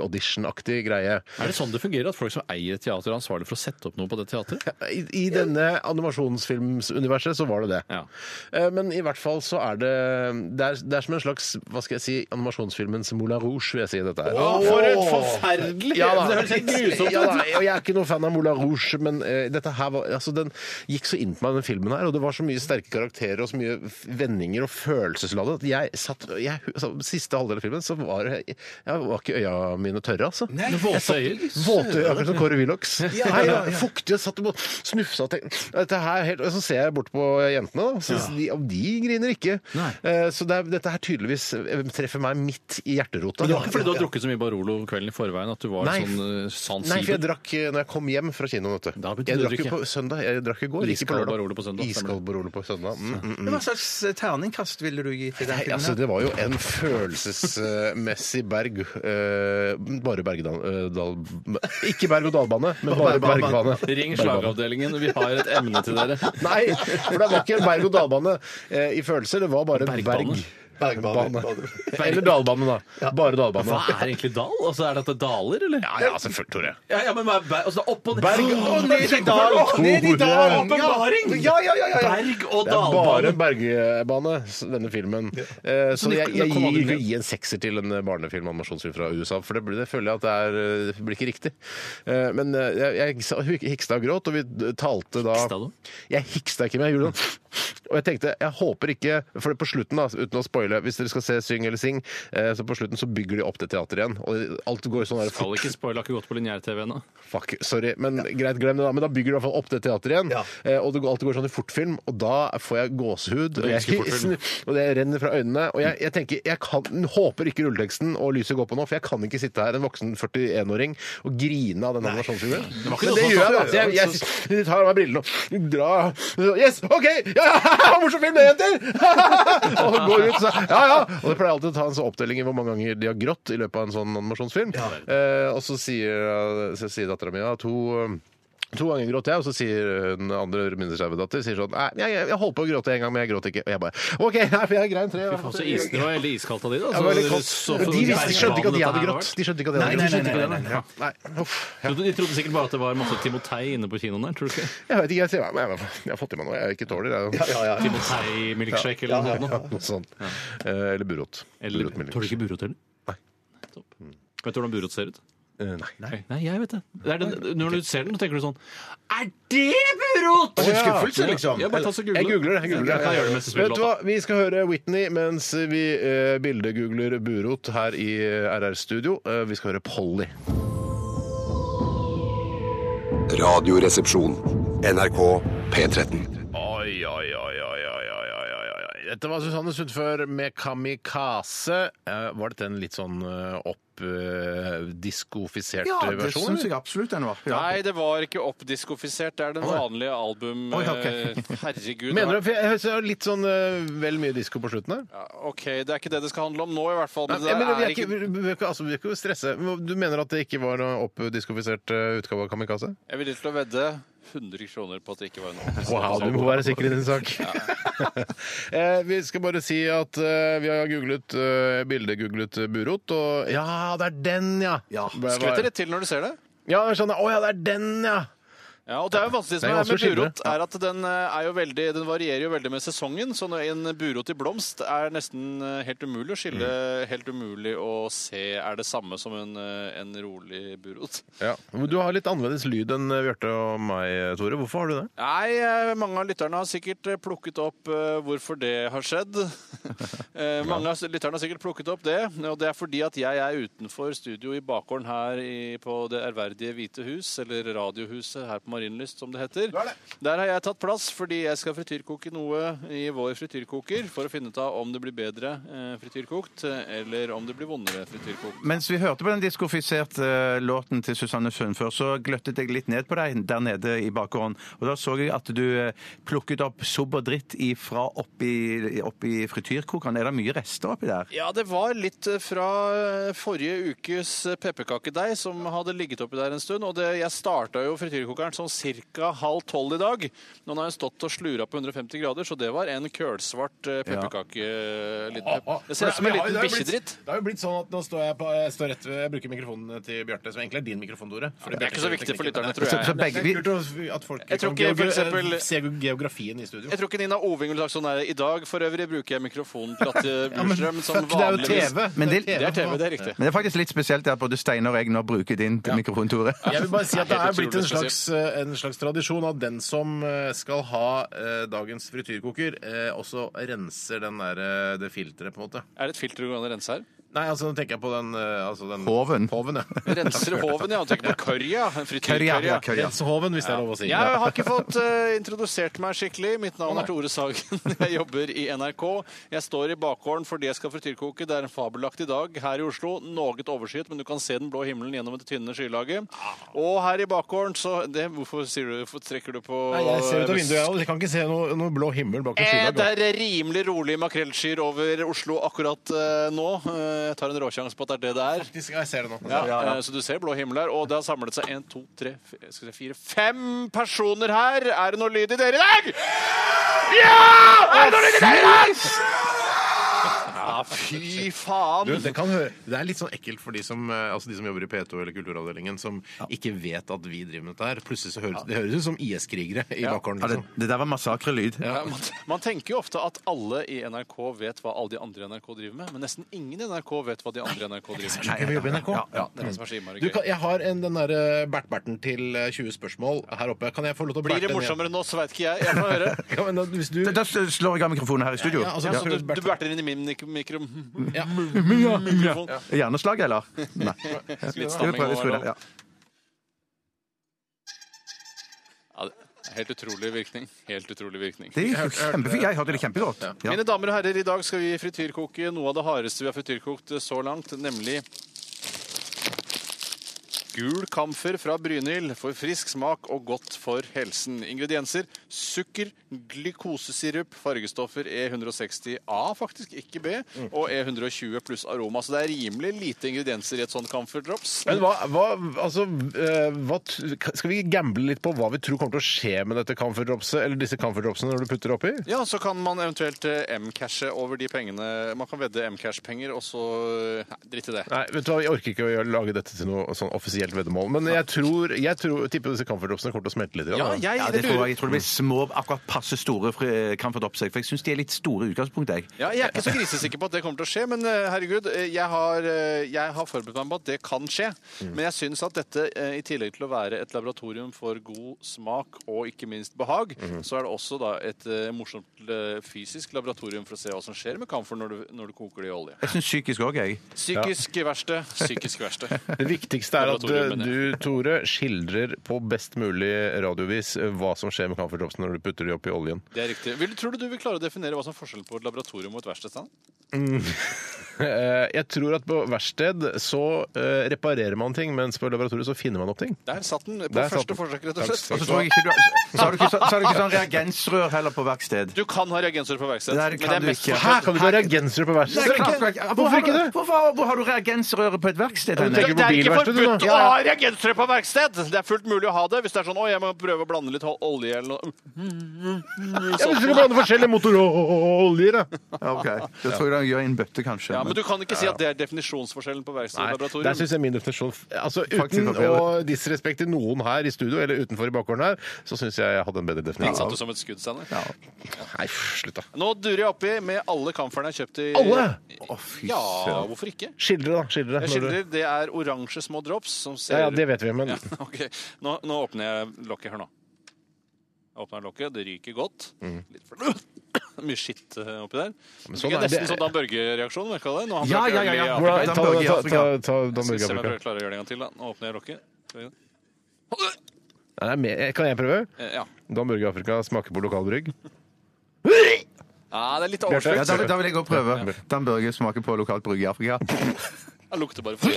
Idol-audition-aktig greie.
Er det sånn det fungerer, at folk som eier et teater, er ansvarlig for å sette opp noe på det teatret?
I, I denne animasjonsfilmsuniverset så var det det.
Ja.
Eh, Men i hvert fall så er det Det er, det er som en slags hva skal jeg si, animasjonsfilmens Moulin Rouge, vil jeg si dette her.
for et forferdelig
Ja da.
Det høres helt grusomt
Ja,
ut!
da. Og jeg er ikke noen fan av Moulin Rouge, men eh, dette her var, altså, den gikk så inn på meg, den filmen her. Og det var så mye sterke karakterer og så mye f- vendinger og følelsesladet at jeg satt jeg, altså, Siste halvdel av filmen så var det- jeg, jeg var ikke øya mine tørre, altså.
Med Våte øyer.
Våte øyne, akkurat som Kåre Willochs.
Ja,
Nei,
ja, ja.
Fuktige, satt og snufsa og tenkte dette her er helt, Og så ser jeg bort på jentene, da. Så de, og de griner ikke. Eh, Så det er, dette her tydeligvis eh, treffer meg midt i hjerterota.
Men det var ikke fordi du har drukket så mye Barolo kvelden i forveien at du var
Nei.
sånn eh, San
Nei, for jeg
Sibel?
drakk eh, når jeg kom hjem fra kinoen. vet du.
Da betyr
Jeg
det
drakk
drikke.
jo på søndag. Jeg drakk i går, ikke på
Iskald
lørdag.
Barolo på søndag, stemmer det.
Iskald Barolo på søndag. Mm, mm, mm.
Men Hva slags terningkast ville du gi til den
Nei,
filmen?
altså, det var jo en følelsesmessig berg eh, Bare berg-dal... Ikke berg-og-dal-bane, men bare bergbane.
Ring
Bergbane.
slagavdelingen, vi har et emne til dere.
Nei, for det var ikke en berg-og-dal-bane eh, i følelse. Det var bare en berg.
Bergbane.
Bergbane.
Bane. Eller dalbane, da. Bare dalbane.
Hva er egentlig dal? Altså, Er dette daler, eller?
Ja, ja, selvfølgelig, Tore.
Ja, ja, men hva er berg? Altså, opp og ned.
Berg-
Åh,
Å,
ned i dal!
Åh, ned i dal!
Åpenbaring!
Ja, ja, ja, ja, ja.
Berg- og
Det er bare
dalbane.
en bergbane, s- denne filmen. Eh, så
det-
jeg,
det
jeg
kom
gir
aldri
ikke
ned.
gi en sekser til en barnefilm animasjonsfilm fra USA, for det, blir- det føler jeg at det, er, eh, det blir ikke riktig. Eh, men eh, jeg, jeg sa- hik- hiksta og gråt, og vi d- talte da
Hiksta du?
Jeg hiksta ikke, men jeg gjorde sånn og jeg tenkte, jeg håper ikke, for på slutten da, uten å spoile, hvis dere skal se Syng eller Sing, eh, så på slutten så bygger de opp det teateret igjen, og alt går sånn der
Skal
fort
ikke spoile, har ikke gått på lineær-TV ennå.
Fuck, sorry, men greit, glem det da. Men da bygger du i hvert fall opp det teateret igjen.
Ja.
Eh, og det går, alt går sånn i fortfilm, og da får jeg gåsehud. Og jeg,
elsker fortfilm.
sn- og det renner fra øynene. Og jeg, jeg tenker, jeg kan, håper ikke rulleteksten og lyset går på nå, for jeg kan ikke sitte her, en voksen 41-åring, og grine av den animasjonsfilmen. Men det gjør jeg, da. Så Jeg, jeg, jeg tar av meg brillene og drar Yes, OK! Ja, morsom film, det, jenter! og går ut, så Ja, ja. Og det pleier alltid å ta en sånn opptelling i hvor mange ganger de har grått i løpet av en sånn animasjonsfilm. Eh, og så sier, så sier dattera mi ja, to To ganger gråt jeg, og så sier den andre mindre skeive datter sier sånn Nei, jeg, jeg, jeg holdt på å gråte en gang, men jeg gråt ikke. Og jeg bare OK, nei, for jeg grein tre.
Faen, så is- Det var veldig iskaldt av de, da.
Ja,
Så-
det var litt kaldt.
så-
Men de visste, skjønte ikke at jeg hadde
Dette her
grått. De skjønte ikke at jeg
Nei,
hadde
nei,
grått.
nei, nei, nei, nei.
Ja, nei. Uff.
har vært. De trodde sikkert bare at det var masse Timotei inne på kinoen der. tror du ikke?
Jeg vet ikke, jeg sier nei, men jeg har fått i meg noe. Jeg er ikke dårlig. Jeg,
Ja, ja, ja.
Timotei-milkshake eller noe sånt.
Ja,
nå.
noe sånt. Eh, Eller burot.
Eller
Burot med
tåler du
lys.
ikke burot heller?
Nei.
Nettopp. Vet du hvordan burot ser ut?
Eh, Nei.
Nei, jeg vet det. det er den, når du ser den, tenker du sånn Er det burot?!
Det er Skuffelse, liksom.
Ja, bare ta så
Jeg
google.
googler det. jeg googler det.
Jeg kan gjøre det mens du spiller
Vet du hva, Vi skal høre Whitney mens vi eh, bildegoogler burot her i RR-studio. Eh, vi skal høre Polly.
Radioresepsjon. NRK P13.
Oi, oi, oi, oi, oi, oi, oi, oi, oi. Dette var Susanne Sundfør med 'Kamikaze'. Eh, var dette en litt sånn eh, opp eh, diskofisert
Ja,
eh,
det
versjon?
syns
eller?
jeg absolutt den var.
Nei, det var ikke oppdiskofisert. Det er den vanlige album...
Oi, ok.
eh, Herregud.
Mener
det
du, for jeg hører litt sånn eh, vel mye disko på slutten her?
var- Ja, OK, det er ikke det det skal handle om nå, i hvert fall.
Nei,
Men
jeg
det
mener,
der
vi, Altså,
er
er ikke,
ikke...
vi, vi, er ikke- altså, vi er ikke stresse. Du mener at det ikke var noe oppdiskofisert eh, utgave av Kamikaze?
Jeg er villig til å vedde 100 kroner på at det ikke var en oppdiskofisert
Wow, du må være sikker i din sak. Eh, vi skal bare si at eh, vi har googlet eh, bildegooglet Burot, og ja, det er den, ja!
Skvetter litt til når du ser det.
Ja, jeg skjønner. Å ja, det er den, ja!
Ja, og det er jo vanskelig
Det
som
er
er med
vanskelig å skille.
burot, er at den, eh, er jo veldig, den varierer jo veldig med sesongen. Så når en burot i blomst er nesten eh, helt umulig å skille.
Mm.
Helt umulig å se er det samme som en, eh, en rolig burot.
Ja. Men Du har litt annerledes lyd enn eh, Bjarte og meg, Tore. Hvorfor har du det?
Nei, eh, mange av lytterne har sikkert eh, plukket opp eh, hvorfor det har skjedd. Eh, mange av lytterne har sikkert plukket opp det, og det er fordi at jeg er utenfor studio i bakgården her i, på det ærverdige Hvite hus, eller Radiohuset her på Marienlyst, som det heter. Der har jeg tatt plass fordi jeg skal frityrkoke noe i vår frityrkoker for å finne ut av om det blir bedre eh, frityrkokt, eh, eller om det blir vondere frityrkokt.
Mens vi hørte på den diskofiserte eh, låten til Susanne Sund før, så gløttet jeg litt ned på deg der nede i bakgården. Og da så jeg at du eh, plukket opp sobb og dritt ifra oppi, oppi frityrkokeren. Er det mye rester oppi der?
Ja, det var litt eh, fra forrige ukes eh, pepperkakedeig som hadde ligget oppi der en stund. Og det, jeg starta jo frityrkokeren sånn ca. halv tolv i dag. Nå har jeg stått og slura på 150 grader, så det var en kølsvart eh, pepperkake... liten pep- Det ser ut som en liten bikkjedritt.
Det har jo blitt sånn at nå står jeg, på, jeg, står rett, ved- jeg bruker mikrofonen til Bjarte, som egentlig er din mikrofon, Tore. Fordi
det er ikke
Bjarte
så viktig for
teknikken.
lytterne, tror jeg.
Så, så
Det er
begge, vi... Det er kult at folk liksom
Jeg tror ikke, for eksempel-
se geografien i studio.
Jeg tror ikke Nina Oving ville sagt sånn her. I dag for øvrig bruker jeg mikrofonen til Atte Bjurstrøm som
det er jo
vanligvis.
TV!
Men det-
Det er TV, det er riktig.
Men det er faktisk litt spesielt at både Steinar og jeg nå bruker din mikrofon, Tore.
Jeg vil bare si at det
Helt
er blitt en
utrolig
slags, eh, en slags tradisjon at den som eh, skal ha eh, dagens frityrkoker, eh, også renser den der, eh, det filteret, på en måte.
Er det et filter du kan rense her?
Nei, altså nå tenker jeg på den, eh, altså, den
Hoven.
ja.
Renser hoven, ja. Du tenker på curry, ja.
Curry, ja, ja,
Frityrcurry.
curry, ja.
Rensehoven, hvis det er lov å si.
Jeg har ikke fått eh, introdusert meg skikkelig. Mitt navn er Tore Sagen. Jeg jobber i NRK. Jeg står i bakgården fordi jeg skal frityrkoke. Det er en fabelaktig dag her i Oslo. Noe overskyet, men du kan se den blå himmelen gjennom det tynne skylaget.
Ah.
Og her i bakgården så det, Hvorfor sier du, hvorfor trekker du på
Nei, jeg ser ut av vinduet, jeg, og jeg kan ikke se noe, noe blå himmel bak en
Eh,
skylag.
det
da.
er rimelig rolig makrellskyer over Oslo akkurat eh, nå. Eh, Jeg tar en råsjanse på at det er det det er.
Faktisk, Jeg ser det nå.
Ja, eh, Så du ser blå himmel her, og det har samlet seg en, to, tre, f- skal vi se, fire, fem personer her. Er det noe lyd i dere i dag? Ja! Er det noe lyd i dere i dag? Ja, fy
Du,
faen.
det, kan høre. det er litt sånn ekkelt for de som, eh, altså de som jobber i P2 eller Kulturavdelingen, som ikke vet at vi driver med dette her. Plutselig så høres det høres ut som IS-krigere i bakgården.
Ja, det,
Liksom.
det der var massakrelyd.
Ja, Man, man tenker jo ofte at alle i NRK vet hva alle de andre i NRK driver med, men nesten ingen i NRK vet hva de andre i NRK driver med.
Skal vi jobbe i NRK? Mm.
Ja, det er det som er så innmari
Du,
gøy.
kan, jeg har en, den derre Bert-Berten til eh, 20 spørsmål her oppe. Kan jeg få lov til å
Blir det
berte den
morsommere nå, så veit ikke jeg. Jeg får høre.
igjen? Ja, men da, hvis du...
Da, da slår jeg av mikrofonen her i studio.
Ja, altså,
Ja,
ja.
så du, du berter inn i min mik mikro...
Ja.
Mikrofon.
Hjerneslag, eller? Nei.
Litt
Skal vi
stamming
prøve å
var
skru
lov.
det? Ja.
Ja, det er helt utrolig virkning. Helt utrolig virkning.
Det er kjempefint. Jeg hørte det kjempegodt. Ja.
Mine damer og herrer, i dag skal vi frityrkoke noe av det hardeste vi har frityrkokt så langt, nemlig gul kamfer fra Brynhild for frisk smak og godt for helsen. Ingredienser sukker, glykosesirup, fargestoffer E E160A, faktisk, ikke B, og E120 pluss aroma. Så det er rimelig lite ingredienser i et sånt kamferdrops.
Men hva, hva, altså, eh, hva, t- skal vi gamble litt på hva vi tror kommer til å skje med dette camferdropset, eller disse camferdropsene når du putter det oppi?
Ja, så kan man eventuelt eh, M-cashe over de pengene. Man kan vedde M-cash-penger, og så Nei, dritt i det.
Nei, vet du hva, Jeg orker ikke å gjøre- lage dette til noe sånn offisielt veddemål, men jeg tror, jeg tror tipper disse camferdropsene kommer til å smelte litt.
Ja, jeg,
Ja, det tror jeg. Jeg tror det blir små, akkurat passe store fri- kamferdropser. For jeg syns de er litt store i utgangspunktet, jeg.
Ja, jeg er ikke så grisesikker på at det kommer til å skje, men eh, herregud, eh, jeg har, eh, jeg har forberedt meg på at det kan skje.
Mm.
Men jeg syns at dette, eh, i tillegg til å være et laboratorium for god smak og ikke minst behag,
Mm.
så er det også da et eh, morsomt eh, fysisk laboratorium for å se hva som skjer med kamfer når du, når du koker det i olje.
Jeg syns psykisk òg, jeg.
Psykisk verksted, psykisk verksted.
Det viktigste er at eh,
Laboratorium, mener
du, Tore, skildrer på best mulig radiovis eh, hva som skjer med camferdropsene når du putter de oppi oljen.
Det er riktig. Vil, tror du du vil klare å definere hva som er forskjellen på et laboratorium og et verksted? Stan?
Eh, Jeg tror at på verksted så eh, reparerer man ting, mens på laboratoriet så finner man opp ting.
Der satt den eh, på
Der satt
første
den.
forsøk, rett og slett.
Og så tror jeg ikke du Så har du ikke, så, så har du ikke sånn reagensrør heller på verksted.
Du kan ha reagensrør på verksted.
Der
men
kan
det er
du
mest
ikke.
forskjell-
Hæ, kan du ha reagensrør på verksted?
Hvorfor ikke det? Hvorfor, hvorfor har du reagensrøret på et verksted? Henrik?
tenker på
Det er
bilverksted,
ikke
du, da.
forbudt å
Ja,
har reagensere på verksted! Det er fullt mulig å ha det hvis det er sånn å, jeg må prøve å blande litt olje eller noe.
Ja, hvis du kan blande forskjellige motoroljer, da.
Ja, ok. Da tror jeg han gjør i en bøtte, kanskje.
Ja, men du kan ikke si at det er definisjonsforskjellen på verksted og
Nei, der
laboratorium.
syns jeg min definisjon Altså
Faktisk
Uten
var
å
bedre.
disrespekte noen her i studio eller utenfor i bakgården her, så syns jeg jeg hadde en bedre
Den
definisjon.
satt du som et skudd, Steinar.
Nei, pff, slutt, da.
Nå durer jeg oppi med alle kamferne jeg har kjøpt i
Alle?
Å, fy
Ja,
søren.
hvorfor ikke?
Skildre, da. Skildre. når
Jeg
du-
skildrer, det er oransje små drops som ser
Ja, ja, det vet vi, men
Ja, ok. Nå, nå åpner jeg lokket. Hør nå. Jeg åpner lokket, det ryker godt. Litt for... Mye skitt eh, oppi der.
Mm. Men
det
sånn
er
er det-
nesten sånn Dan Børge-reaksjon. merker jeg det? Nå har han
Ja,
prøvd
ja,
å
ja,
gjøre
ja.
det i
Hvordan-
Afrika.
ta, ta, ta, ta, ta Dan
Skal vi
Børge
se om
Afrika.
jeg klarer- klarer å gjøre det en gang til. Da. Nå åpner jeg lokket. Skal vi-
Nei, det er mer- Kan jeg prøve?
Eh, Ja.
Dan Børge Afrika smaker på lokalbrygg.
ja, det er litt
Ja,
overskudd.
da, da vil jeg òg prøve. Dan Børge smaker på lokalt brygg i Afrika.
Jeg lukter bare for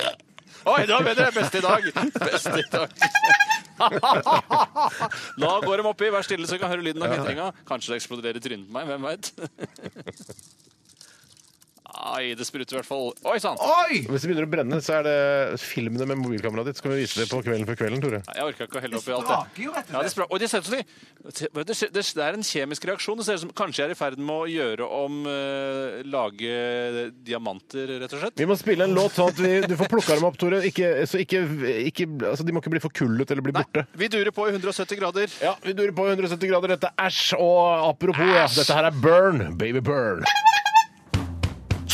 Oi, det var bedre! Beste i dag! Beste i dag. Da går de oppi. Vær stille, så jeg kan høre lyden av kvitringa. Kanskje det eksploderer i trynet på meg. Hvem veit? Ai, det spruter i hvert fall. Oi sann!
Oi!
Hvis det begynner å brenne, så er det filmene med mobilkameraet ditt. Så kan vi vise det på Kvelden før kvelden, Tore.
Nei, Jeg orka ikke å helle oppi alt det.
jo, rett
Ja, det, sprak. Og det, ser ut som de- det, ser- det, det er en kjemisk reaksjon. Det ser ut som kanskje jeg er i ferd med å gjøre om eh, lage eh, diamanter, rett og slett.
Vi må spille en låt sånn at vi, du får plukka dem opp, Tore. Ikke, så ikke, ikke, altså, de må ikke bli forkullet eller bli borte.
Vi durer på i 170 grader.
Ja, vi durer på 170 grader. Dette er æsj. Og apropos, ja, dette her er burn. Baby burn.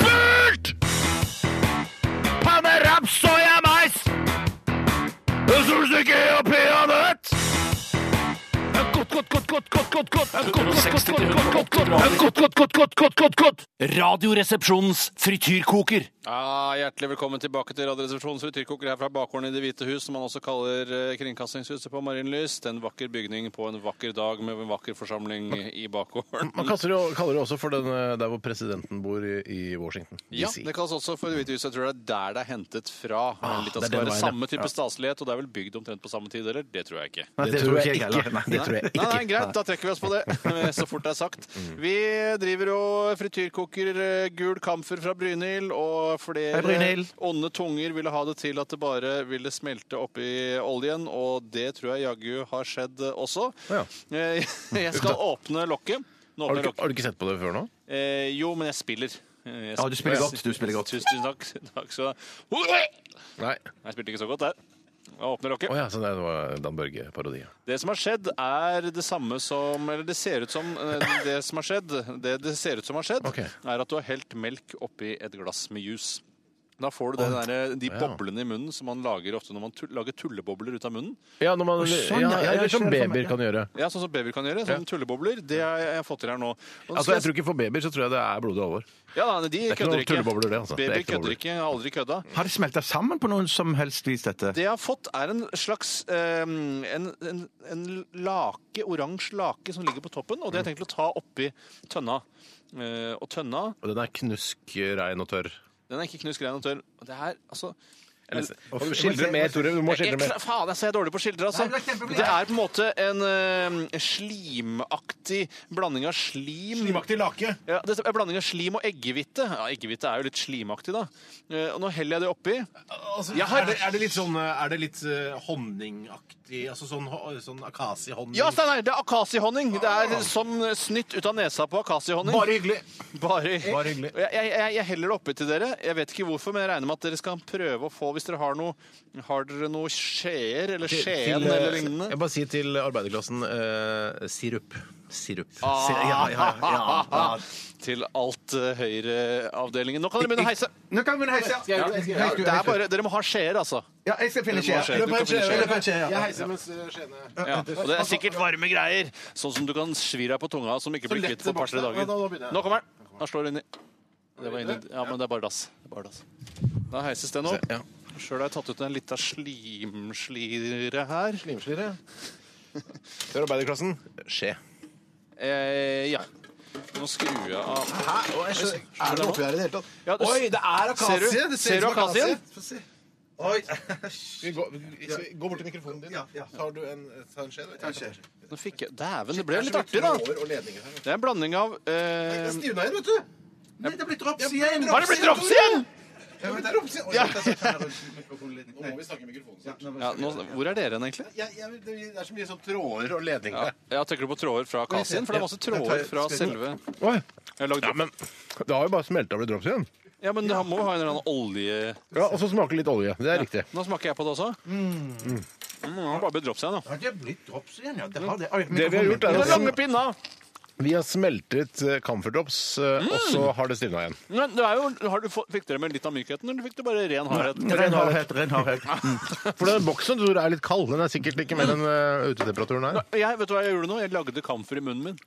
Smurt! Panne, raps, soya, mais! Solstykke og peanøtt! Godt, godt, godt, godt, godt, godt, godt. Godt, godt, godt, godt, godt, godt, godt, godt, godt, godt, godt, godt.
Radioresepsjonens frityrkoker.
Ja, Ah, hjertelig velkommen tilbake til Radioresepsjonens frityrkoker her fra bakgården i Det hvite hus, som man også kaller eh, Kringkastingshuset på Marienlyst. En vakker bygning på en vakker dag med en vakker forsamling i bakgården.
Man kaller det, jo- kaller det også for den eh, der hvor presidenten bor i, i Washington.
Ja,
DC.
det kalles også for Det hvite hus. Jeg tror det er der det er hentet fra. Men litt
det er
at det skal
den
være
veien,
samme type staselighet, og det er vel bygd omtrent på samme tid, eller? Det tror jeg ikke.
Det tror ikke jeg heller.
Nei, det tror jeg
Nei, nei,
ikke.
greit, da trekker vi oss på det, så fort det er sagt. Vi driver og frityrkoker eh, gul kamfer fra Brynhild, og flere
Hei, Brynhild.
onde tunger ville ha det til at det bare ville smelte oppi oljen, og det tror jeg jaggu har skjedd eh, også.
Ja.
Eh, Jeg skal åpne lokket. Nå
Har du,
åpner jeg
ikke,
lokket.
har du ikke sett på det før nå?
Eh, Jo, men jeg spiller. Eh, jeg
Ja, du spiller godt, du spiller godt.
Tusen, tusen takk. takk skal du ha.
Nei.
Jeg spilte ikke så godt der. Jeg åpner lokket.
Å ja, så det var Dan Børge-parodi.
Det som har skjedd, er det samme som Eller det ser ut som eh, det som har skjedd, det det ser ut som har skjedd,
Ok.
er at du har helt melk oppi et glass med jus. Da får du det der, eh, de boblene i munnen som man lager ofte når man tu lager tullebobler ut av munnen.
Ja, når man,
sånn, ja,
ja, ja,
ja,
eller som
skjønner for meg,
babyer
ja.
kan gjøre.
Ja, Sånn som babyer kan gjøre. Sånn tullebobler. Det har jeg jeg fått til her nå. Og
Altså,
skal
jeg tror ikke For babyer så tror jeg det er blodig alvor.
Ja, da, de
er ikke noe
kødder ikke.
tullebobler, det, altså. Det er
Babyer
ekte bobler.
kødder ikke. Jeg har aldri kødda.
Har det smelta sammen på noen som helst vis, dette?
Det jeg har fått, er en slags eh, en, en, en lake, oransje lake, som ligger på toppen. Og det
Mm.
har jeg tenkt å ta oppi tønna. Eh, og tønna
Og den er knusk eh, rein og tørr.
Den er ikke knust grein og tør. Og Det her, altså
Skildre mer, Tore. Du må skildre
jeg,
mer.
faen, jeg er dårlig på å skildre, altså.
Nei, det er kjempebra.
Det er på en måte en eh, slimaktig blanding av slim
lake.
ja, det er en blanding av slim og eggehvite. Ja, eggehvite er jo litt slimaktig, da. Eh, Og nå heller jeg det oppi. Jeg har- er det-
litt sånn Altså, Er det litt honningaktig? Altså sånn, sånn akasiehonning?
Ja, Steinar! Det er akasihonning! Det
Ah.
er som snytt ut av nesa på akasihonning.
hyggelig!
Bare,
Bare hyggelig.
Jeg, jeg, jeg- jeg heller det oppi til dere. Jeg vet ikke hvorfor, men jeg regner med at dere skal prøve å få Hvis dere har noe Har dere noe skjeer eller
eh,
skjeen eller lignende?
eh, jeg bare sier til arbeiderklassen eh, sirup. Sirup.
Ja, ja, ja, ja.
til alt eh, høyreavdelingen. Nå kan dere begynne å heise.
Nå kan vi begynne å heise. Ja,
Det er bare, dere må ha skjeer, altså.
ja, jeg skal finne
Dere må
skje.
ha skjeer. Du kan finne skjeer.
Jeg heiser mens skjeene
Ja. Og det er
altså-
sikkert varme greier, sånn som du kan svi deg på tunga, som ikke blir kvitt på et par-tre dager. Nå kommer den. Han slår inni. Det var inni. Ja, men det er bare dass. Det er bare dass. Da heises den opp.
Ja.
Sjøl har jeg tatt ut en lita slimslire her.
Slimslire. Til arbeiderklassen skje.
Eh, ja. Nå skrur jeg av
Er det oppi her i det hele tatt?
ja, du,
Oi, det er akasie!
Ser du- ser
Det ser ut
du
som akasie.
akasien?
Få se. Oi.
Gå, bort til mikrofonen din.
Ja, ja.
Tar du en, skje?
Kanskje.
Nå fikk jeg Dæven, det ble litt artig, da.
Tråder og ledninger her.
Det er en blanding av
Det
eh,
stivna igjen, vet du. Nei, det er blitt drops igjen.
Har det blitt drops igjen?!
Ja, men der oppe, se. Oi,
Ja.
der satt jeg rundt mikrofonen litt. Nei. Ja, nå må vi
Ja,
snakke i
nå,
mikrofonen.
hvor er dere hen, egentlig?
Ja, ja, men det det er så mye sånn tråder og
Ja,
ledninger.
ja tenker du på tråder fra Kasien? For det er masse tråder fra selve
Oi.
Jeg har lagd-
Ja, men det har jo bare smelta og blitt drops igjen.
Ja, men det må jo ha en eller annen olje
Ja, Og så smaker litt olje. Det er riktig.
Nå smaker jeg på det også. Mm. det har bare bedroppet seg nå.
Har det blitt drops igjen? Ja, det har det. Oi,
Det vi har gjort,
mikrofonen.
er
Den lange
at
pinna!
vi har smeltet eh, camphor drops, eh, og så har det stivna igjen.
Men det er jo, har du fått, fikk dere med litt av mykheten, eller fikk du bare ren hardhet?
Ren hardhet, ren hardhet.
For den boksen du tror er litt kald. Den er sikkert ikke mer enn eh, utetemperaturen her.
Jeg, vet du hva jeg gjorde nå? Jeg lagde kamfer i munnen min.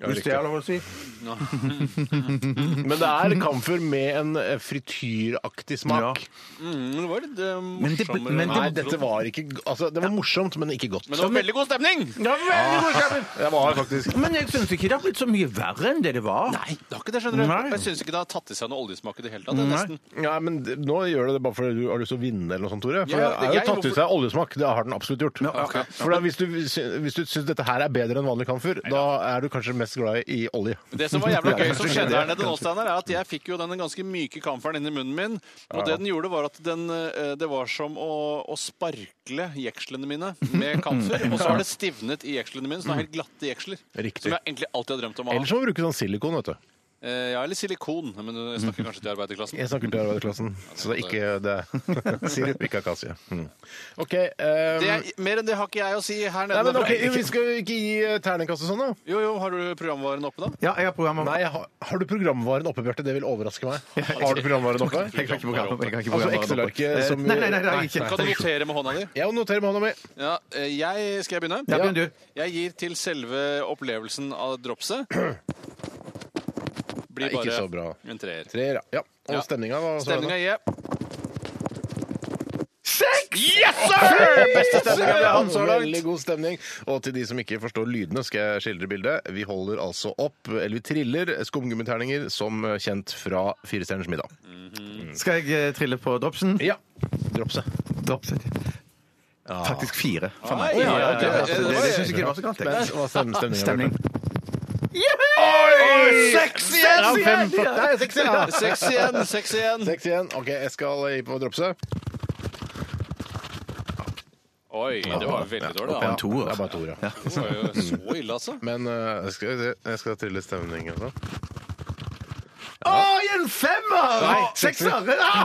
Ja,
Hvis det
riktig.
er lov å si.
Men det er camphor med en eh, frityraktig smak.
Mm, men det var litt eh,
Men det-
morsommere.
men
enn
Nei,
jeg
dette
trodde.
var ikke Altså, det var morsomt, men ikke godt.
Men det var veldig god stemning!
Det var faktisk
Men jeg syns ikke det har blitt så mye verre enn det det var.
Nei, det har ikke det, skjønner du.
Nei.
Jeg syns ikke det har tatt i seg noe oljesmak i det hele tatt. Det er
Nei.
nesten.
Ja, men d- nå gjør du det bare fordi du har lyst til å vinne, eller noe sånt, Tore. For
Ja,
det er jo
jeg-
tatt i
hvorfor-
seg oljesmak. Det har den absolutt gjort.
Ja, ok.
For da, hvis du, sy- hvis du syns dette her er bedre enn vanlig kamfer, da er du kanskje mest glad i olje.
Det som var jævla gøy som skjedde her nede nå, Steinar, er at jeg fikk jo den ganske myke kamferen inn i munnen min. Og det den gjorde, var at den, eh, det var som å, å sparkle jekslene mine med kamfer. Og så har det stivnet i jekslene mine, så nå er det helt glatte jeksler.
Riktig.
Som jeg egentlig alltid har drømt om å
Ellers
ha.
må du bruke sånn silikon, vet du.
Eh, Ja, eller silikon, men jeg snakker kanskje til arbeiderklassen.
Jeg snakker til arbeiderklassen, så det er ikke det. Sirup, ikke akasie. Mm. OK. Um,
Det er, mer enn det har ikke jeg å si her
Nei,
nede.
men ok, Vi skal jo ikke gi eh, terningkast og sånn, da.
Jo, jo, har du programvaren oppe, da?
Ja, jeg har programmet.
Nei, har, har du programvaren oppe, Bjarte? Det vil overraske meg. Har du programvaren oppe?
Jeg har ikke programmet. Jeg har ikke
Altså
programmet
Excel-arket
oppe.
som-
Nei, nei, nei, nei, ikke.
Kan du notere med hånda di?
Jeg noterer med hånda mi.
Ja, eh, jeg, skal jeg begynne?
Ja, begynn du.
Jeg gir til selve opplevelsen av dropset. Blir
Nei, ikke
bare
så bra.
en treer.
Treer, ja. ja. Og
Ja.
stemninga? hva-
Stemninga gir jeg.
Seks!
Beste stemninga vi har hatt så
Veldig
langt.
god stemning. Og til de som ikke forstår lydene, skal jeg skildre bildet. Vi holder altså opp, eller vi triller, skumgummiterninger som kjent fra Firestjerners middag.
Skal jeg eh, trille på dropsen?
Ja. Dropse.
Dropset. Faktisk fire. for meg.
Oi, Eh, ja, ja,
Det,
ja,
det, det, det syns jeg ikke var så galt.
Men
jeg.
hva stem, stemninga?
Stemning.
Seks
Ja,
igjen!
fem, for- nei, seks igjen! ja.
eh, Seks igjen! Seks igjen!
Seks igjen. OK, jeg skal gi på dropse.
Oi, det var veldig dårlig,
Ja,
da.
en toer.
Det er bare to, Mm. ja.
Det var jo så ille, altså.
Men eh, jeg skal, jeg skal trille altså. stemninga, da.
Å, en femmer!
Nei,
Sekser!
Kjempebra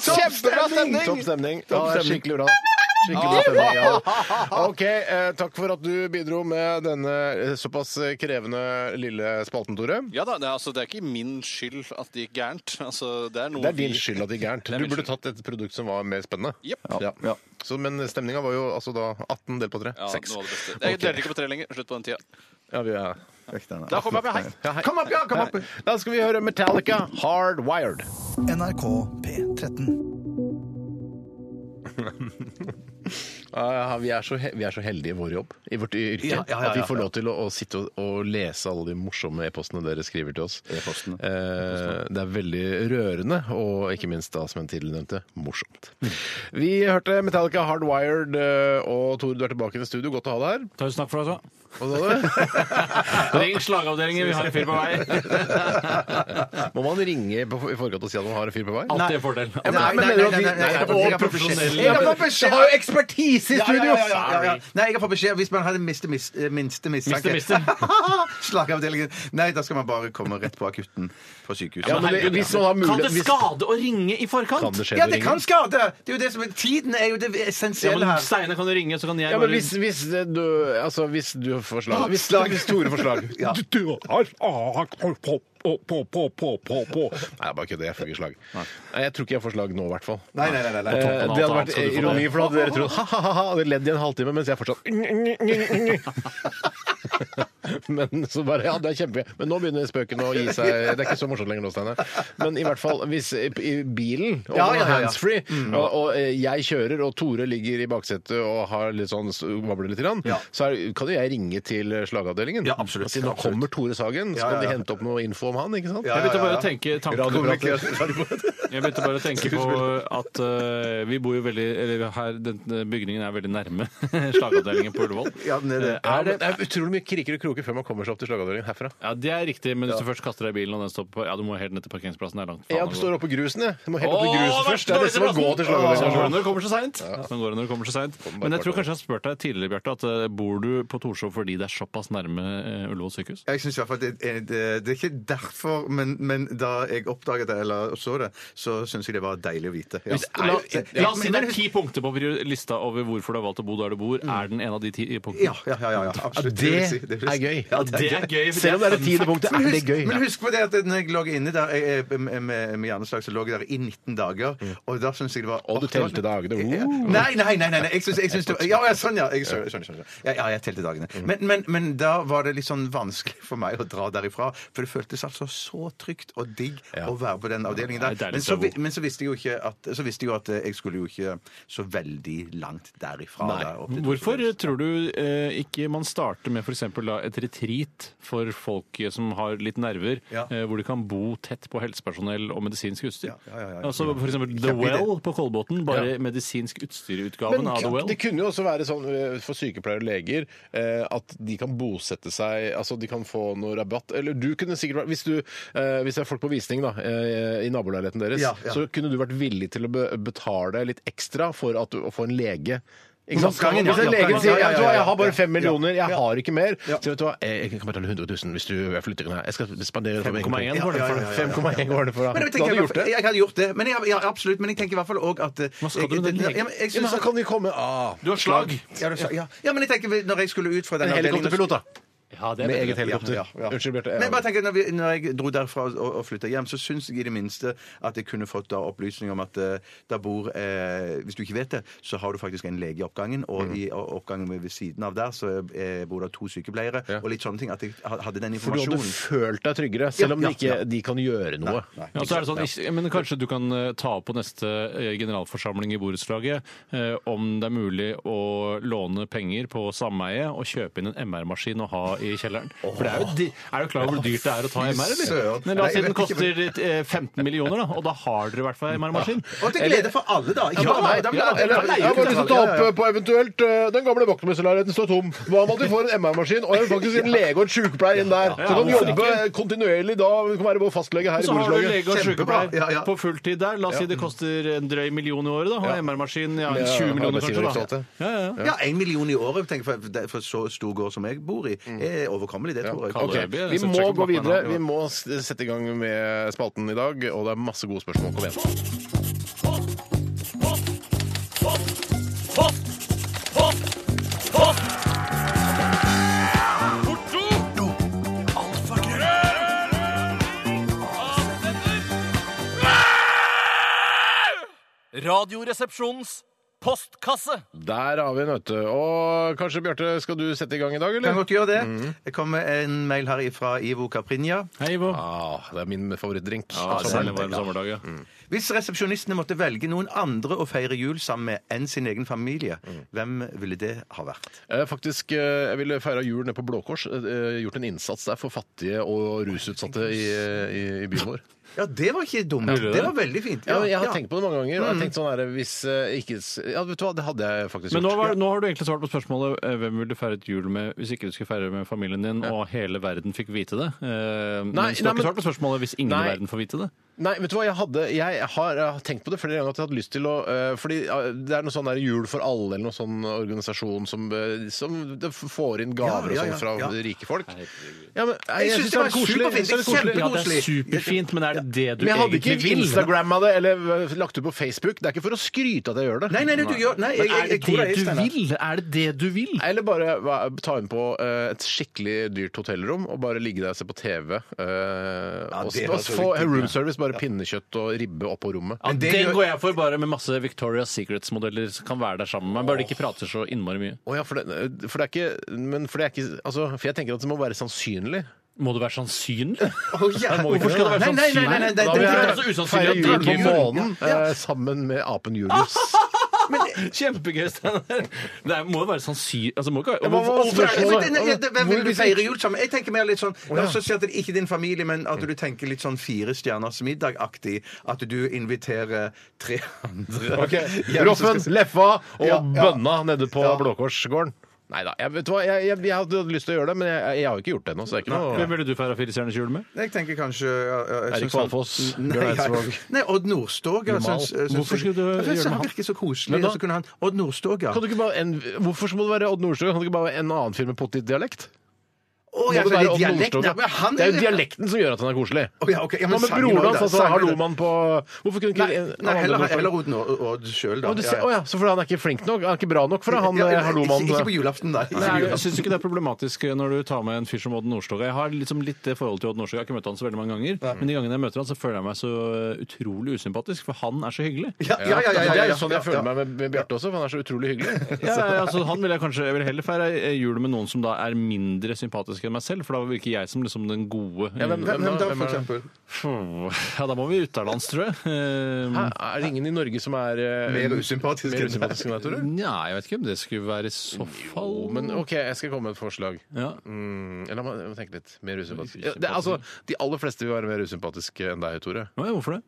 Topp
stemning!
stemning.
Topp
Ja, det er
stemning.
skikkelig bra. Skikkelig bra stemning, ja. OK, eh, takk for at du bidro med denne eh, såpass krevende lille spalten, Tore.
Ja da, det er, altså, det er ikke min skyld at det gikk gærent. Altså, det er noe
Det er din
vi-
skyld at det gikk gærent.
er
Du
min
burde
skyld.
tatt et produkt som var mer spennende.
Jepp.
Ja. Så, men stemninga var jo altså da 18 delt på 3.
Ja,
Seks.
noe av det beste. Jeg
Ok.
deler ikke på tre lenger. Slutt på den tida.
Ja, vi er-
Da kommer jeg med hei.
Ja, hei.
Kom opp, ja! Kom opp!
Da skal vi høre Metallica, 'Hardwired'.
NRK P13.
Ja, ja, vi, er så, he- vi er så heldige i vår jobb, i vårt yrke,
Ja, ja, ja, ja.
at vi får lov til å, å sitte og, og lese alle de morsomme e-postene dere skriver til oss.
E-postene.
Eh, det er veldig rørende, og ikke minst da, som jeg tidligere nevnte, morsomt. Vi hørte Metallica Hardwired, eh, og Tore, du er tilbake i studio. Godt å ha deg her.
Tusen takk for det, altså.
Hva sa du?
Ring slagavdelingen, vi har en fyr på vei.
Må man ringe på, i forkant og si at man har en fyr på vei?
Alltid en fordel.
Ja, men-
Nei, nei,
men
nei,
mener du at
nei,
vi-
nei, nei, jeg har fått beskjed. Jeg har fått beskjed.
Det har jo ekspertise
Ja, ja,
i
ja,
studio!
ja, ja, ja. Nei, jeg har fått beskjed hvis man hadde minste, mis, eh, minste mistanke.
Minste,
Slagavdelingen. Nei, da skal man bare komme rett på akutten på sykehuset.
Ja, men det- hvis man har
Kan det
mulighet hvis-
skade å ringe i
Kan
forkant?
det skje
Ja,
når du
det
ringer?
kan skade! Det er jo det som er, tiden er jo det
Ja,
essensielle
men
her.
Steinar kan ringe, så kan jeg
Ja, men
bare
hvis, hvis det- du Altså, hvis du får slag Hvis,
Slag.
hvis Tore får slag
Ja.
Du- du har slag på, på, på, på, på, på, på. Nei, jeg bare kødder. Jeg får ikke slag. Nei, jeg tror ikke jeg får slag nå, i hvert fall.
Nei, nei, nei. nei, nei.
Eh, Det hadde
alt
vært
skal du få
ironi, for da hadde dere trodd ha-ha-ha, hadde ledd i en halvtime, mens jeg fortsatt Men så bare Ja, det er kjempegøy. Men nå begynner spøken å gi seg. Det er ikke så morsomt lenger nå, Steinar. Men i hvert fall hvis i i bilen, og
Ja, ja, ja, ja.
handsfree, og, og eh, jeg kjører, og Tore ligger i baksetet og har litt sånn s- vabler litt, grann,
Ja.
så er, kan jo jeg ringe til eh, slagavdelingen.
Ja, absolutt.
Og si nå kommer Tore Sagen, så
Ja, ja,
kan de
ja.
hente opp noe info om han, ikke sant?
Jeg begynte bare å tenke tanken
Radioprater.
Jeg begynte bare å tenke på at eh, vi bor jo veldig Eller her, den bygningen er veldig nærme slagavdelingen på Ullevål.
Ja, den er det.
Eh,
Ja,
er
men
det
det er utrolig mye kriker og kroker før man man kommer seg opp til Slagavdelingen herfra.
Ja, Det er riktig, men hvis du først kaster deg i bilen og den står på Ja, du må helt ned til parkeringsplassen. Det er langt.
Jeg står oppå grusen, jeg. Du må helt opp til grusen først. Det er nesten å gå til
liksom.
Sånn går det
Slagavdelingen.
når det kommer så seint. Sånn går det når det kommer så sent. Men jeg tror kanskje jeg har spurt deg tidligere, Bjarte, at eh, bor du på Torshov fordi det er såpass nærme eh, Ullevål sykehus?
Jeg synes i hvert fall det, er- det, det er ikke derfor, men, men da jeg oppdaget det eller så det, så syns jeg det var deilig å vite. Ja.
La, la oss si det er Mm. ti punkter på prior- lista over hvorfor du har valgt å bo der du bor. Er den en av de ti punktene?
Ja, ja, ja, ja, ja absolutt.
Det
vil jeg si, vil jeg
er
si.
gøy.
Ja, det er
gøy.
Selv om det er det tiende punktet,
Men
er det
husk,
gøy.
men husk på det at når jeg lå inne der jeg, jeg, med, med, med hjerneslag, så lå jeg der i 19 dager. Og da syns jeg det var
Og
åh,
du
det var-
telte dagene, oh.
Ja. Nei, nei, nei. nei, nei. Jeg syns, jeg syns det var, ja, ja, sånn, ja. Jeg skjønner, skjønner, skjønner. Ja, ja, jeg telte dagene.
Mm.
Men, men, men da var det litt sånn vanskelig for meg å dra derifra. For det føltes altså så trygt og digg å være på den avdelingen
Det er
der.
deilig
Men
sted
så,
å
vi-
bo.
men så visste jeg jo ikke at, så visste jeg jo at eh, jeg skulle jo ikke så veldig langt derifra. Da, opp til
Hvorfor
Torshov.
tror du eh, ikke man starter med f.eks. et retreat for folk eh, som har litt nerver,
Ja.
eh, hvor de kan bo tett på helsepersonell og medisinsk utstyr?
Ja, ja, ja, ja.
Altså f.eks. The
Kjempeidé.
Well på Kolbotn, bare medisinsk utstyrutgaven
Men
av The Well.
det kunne jo også være sånn eh, for sykepleiere og leger eh, at de kan bosette seg Altså de kan få noe rabatt. Eller du kunne sikkert vært Hvis, du, eh, hvis det er folk på visning da, eh, i nabolailigheten deres,
Ja, ja.
så kunne du vært villig til å be betale litt ekstra for at du, å få en lege. Ikke sant?
Oppgangen, ja.
Hvis en lege
Oppgangen,
sier
ja, ja,
«Vet du
ja,
hva,
ja,
jeg har bare
ja.
fem millioner, jeg har ikke mer.
Ja.
Så vet du hva, eh, jeg kan betale 100 000 hvis du jeg flytter inn her. Jeg skal spandere 5,1
5,1 var det for det.
5,1 var det for
Men jeg, tenker,
deg. Da hadde du
jeg,
gjort det.
jeg, hadde gjort det. Men jeg, ja, absolutt, men jeg tenker i hvert fall òg at eh,
skal du
jeg-
med den legen?
ja, men jeg
Ja, men
synes
da kan de komme ah,
Du har slag!
Ja, du sa, ja. ja, men jeg tenker vel, når jeg skulle ut fra den
En helikopterpilot, da.
Ja, det
Med
er
eget
bedre.
helikopter.
Ja, ja, ja.
Unnskyld, Bjarte.
Men jeg bare tenker, når, vi, når jeg dro derfra og, og flytta hjem, så syns jeg i det minste at jeg kunne fått da opplysning om at eh, der bor eh, Hvis du ikke vet det, så har du faktisk en lege i oppgangen, og
Mm.
i og oppgangen ved siden av der så eh, bor det to sykepleiere og litt sånne ting. At jeg ha- hadde den
For du hadde
informasjonen.
følt deg tryggere, selv om
Ja,
de ikke
ja.
de kan gjøre noe.
Ja, så er det sånn, ikke- men Kanskje du kan eh, ta opp på neste eh, generalforsamling i borettslaget eh, om det er mulig å låne penger på sameie og kjøpe inn en MR-maskin og ha i kjelleren. For det Er jo, di- er du klar over hvor dyrt det er å ta MR, eller?
søren.
Men
Nei,
La oss si
jeg vet
den
ikke, men-
koster eh, 15 millioner, da, og da har dere i hvert fall MR-maskin.
Og til glede for alle, da. Ikke
Ja,
bare
nei,
meg, da, men
ja,
alle.
eller,
Alle.
jeg har bare lyst til å
Ja,
ta opp
ja,
eh,
ja.
på eventuelt eh, Den gamle vaktmesterleiligheten står tom. Hva med at vi får en MR-maskin og en faktisk en lege og en sykepleier inn der? Så kan jobbe kontinuerlig da. Vi kan være vår fastlege her i
Så har du
borettslaget.
lege og
Kjempebra.
sykepleier
Ja, ja.
på fulltid der. La oss si det koster en drøy million i året, da. Og MR-maskin ja,
Ja,
20 millioner, kanskje. da.
arbeidsgiverbetalt, eh, ja.
Ja, ja, ja.
Ja, én million i året tenker jeg, for, for så stor gård som jeg bor i,
Mm.
er overkommelig. Det tror jeg.
Kalle
Ok,
det Øyby,
Vi
så
må
sjekker
gå
mappen her.
videre. Vi må s- sette i gang med spalten i dag, og det er masse gode spørsmål. Kom igjen.
Radioresepsjonens postkasse.
Der har vi en, vet du. Og kanskje, Bjarte, skal du sette i gang i dag,
Kan
eller?
godt gjøre det.
Mm.
Jeg kom med en mail her ifra Ivo Caprinja.
Hei, Ivo.
Ah, det er min favorittdrink.
Ja,
Altså,
særlig varm sommerdag, ja.
Hvis resepsjonistene måtte velge noen andre å feire jul sammen med enn sin egen familie, hvem ville det ha vært?
Eh, Faktisk, eh, Jeg ville feira jul nede på Blå Kors. eh, eh, Gjort en innsats der for fattige og rusutsatte i, i, i byen vår.
Ja, det var ikke dumt.
Ville du det?
Det var veldig fint.
Ja, jeg har tenkt på det mange ganger. og
Mm.
jeg har tenkt sånn her, hvis eh, ikke, s- ja, vet du hva, Det hadde jeg faktisk
Men nå,
gjort.
var, nå har du egentlig svart på spørsmålet eh, hvem ville du feiret jul med hvis ikke du skulle feire med familien din og hele verden fikk vite det. Eh, men
Nei,
så
nei,
du har ikke
men-
svart på spørsmålet hvis ingen
Nei.
i verden får vite det.
Nei, vet du hva, jeg, hadde, jeg, har, eh, tenkt på det flere ganger at jeg hadde lyst til å eh, Fordi eh, det er noe sånn der Jul for alle eller noen sånn organisasjon som, eh, som det f- får inn gaver
Ja, ja,
og
ja,
sånn fra
ja.
rike folk. Ja, men, nei,
Jeg synes det
jeg syns det
var
er koselig.
superfint.
Jeg synes det er
Ja, det
kjempekoselig.
er
superfint, men er det det du
Men jeg hadde ikke Instagramma det eller eh, lagt det på Facebook. Det er ikke for å skryte at jeg gjør det.
Nei, nei, nei, du gjør Nei, jeg, jeg,
Er det
jeg tror det
det
er
du
Steinar.
vil? Er det det du vil?
Eller bare hva- ta inn på eh, et skikkelig dyrt hotellrom og bare ligge der og se på TV. eh, og
det
s-
var
og
så
få room service, bare pinnekjøtt og ribbe opp på rommet.
Ja,
Men det
den
gjør-
går jeg for, bare med masse Victoria's Secrets-modeller som kan være der sammen med meg. Bare de ikke prater så innmari mye.
Å ja, for det, øh, for det er ikke Men for det er ikke altså, For jeg tenker at det må være sannsynlig.
Må det være sannsynlig?
Å, ja.
må ikke- Hvorfor skal det være
Nei, nei, nei, nei, nei,
Da
nei,
vil
det-
jeg-
det-
altså usannsynlig
Feire
at
jul
det
på
ikke-
månen eh, sammen med apen Julius.
Kjempegøy, Steinar. Det er- må jo være sannsynlig altså, må ikke være-
Ja, hva var
Hvorfor er det-
Nei,
spørsmålet?
men det- det- Hvem vil
Hvor-
du
hvis
feire
ikke-
jul sammen med? Jeg tenker mer litt sånn La oss si at det ikke er din familie, men at du tenker litt sånn Fire stjerners middag-aktig. At du inviterer tre andre.
Ok,
hjem som skal-
Roffen, Leffa og
Ja, ja.
Bønna nede på Blåkorsgården. Nei da. Jeg, vet du hva? Jeg, jeg, jeg hadde lyst til å gjøre det, men jeg, jeg har jo ikke gjort det ennå. Så det er ikke noe
Hvem ville du parafire stjerners jul med?
Jeg tenker kanskje ja, ja, jeg
Erik
synes han-
Valfoss,
Nei,
Bjørn
ja.
Eidsvåg.
Nei, Odd Norstoga.
Normal.
synes- synes-
Hvorfor
Jeg
skulle du
synes
gjøre det med
Han
han?
virker så
Men
koselig.
da-
og Så kunne han Odd Norstoga.
Kan du ikke bare en, hvorfor må det være Odd Nordstoga? Kan det ikke bare være en annen fyr med pottit-dialekt?
Å,
Må
ja,
det
for
være
det er
Odd
dialekt,
Nordstoga?
ja, men han
Det er jo
jo-
dialekten som gjør at han er koselig.
Å, ja, ok, ja,
Hva
men
med
sangen
broren
var jo
hans?
da- sangen var
Altså,
jo da-
Hallomann på Hvorfor kunne ikke en, en
Nei,
annen
heller,
Nordstoga?
heller Odd Nor- Odd sjøl, da.
Å, du
Ja,
ser-
ja.
Å ja, så fordi han er ikke flink nok? Han er ikke bra nok for det, han
Ja,
eh,
ja,
Hallomann?
Ikke, ikke på julaften, nei. Ikke på
Jeg
julaften.
syns ikke det er problematisk når du tar med en fyr som Odd Nordstoga. Jeg har liksom litt det forholdet til Odd Nordstoga. Jeg har ikke møtt han så veldig mange ganger. Men de gangene jeg møter han, så føler jeg meg så eh, utrolig usympatisk, for han er så hyggelig.
Ja, ja, ja, ja, ja,
Det
ja,
er
ja.
jo sånn jeg føler meg med, med Bjarte også, for han er så utrolig hyggelig.
Ja, ja, altså, han vil jeg kanskje Jeg vil heller feire eh, jul med noen som da er mindre sympatisk enn meg selv, for da virker jeg som liksom den gode.
Ja, hvem-
Hvem, hvem da, for
er det?
eksempel?
Ja, da må vi utenlands, tror jeg. Eh,
Hæ? Er det ingen i Norge som er eh,
Mer usympatisk
mer
enn deg.
usympatisk enn deg, tror du?
Nja, jeg vet ikke om det skulle være i så fall
Jo, men OK, jeg skal komme med et forslag.
ja.
Mm, la meg jeg må tenke litt. Mer usympatisk. Ja, Det, er altså, de aller fleste vil være mer usympatiske enn deg, Tore.
Å, ja, Hvorfor det?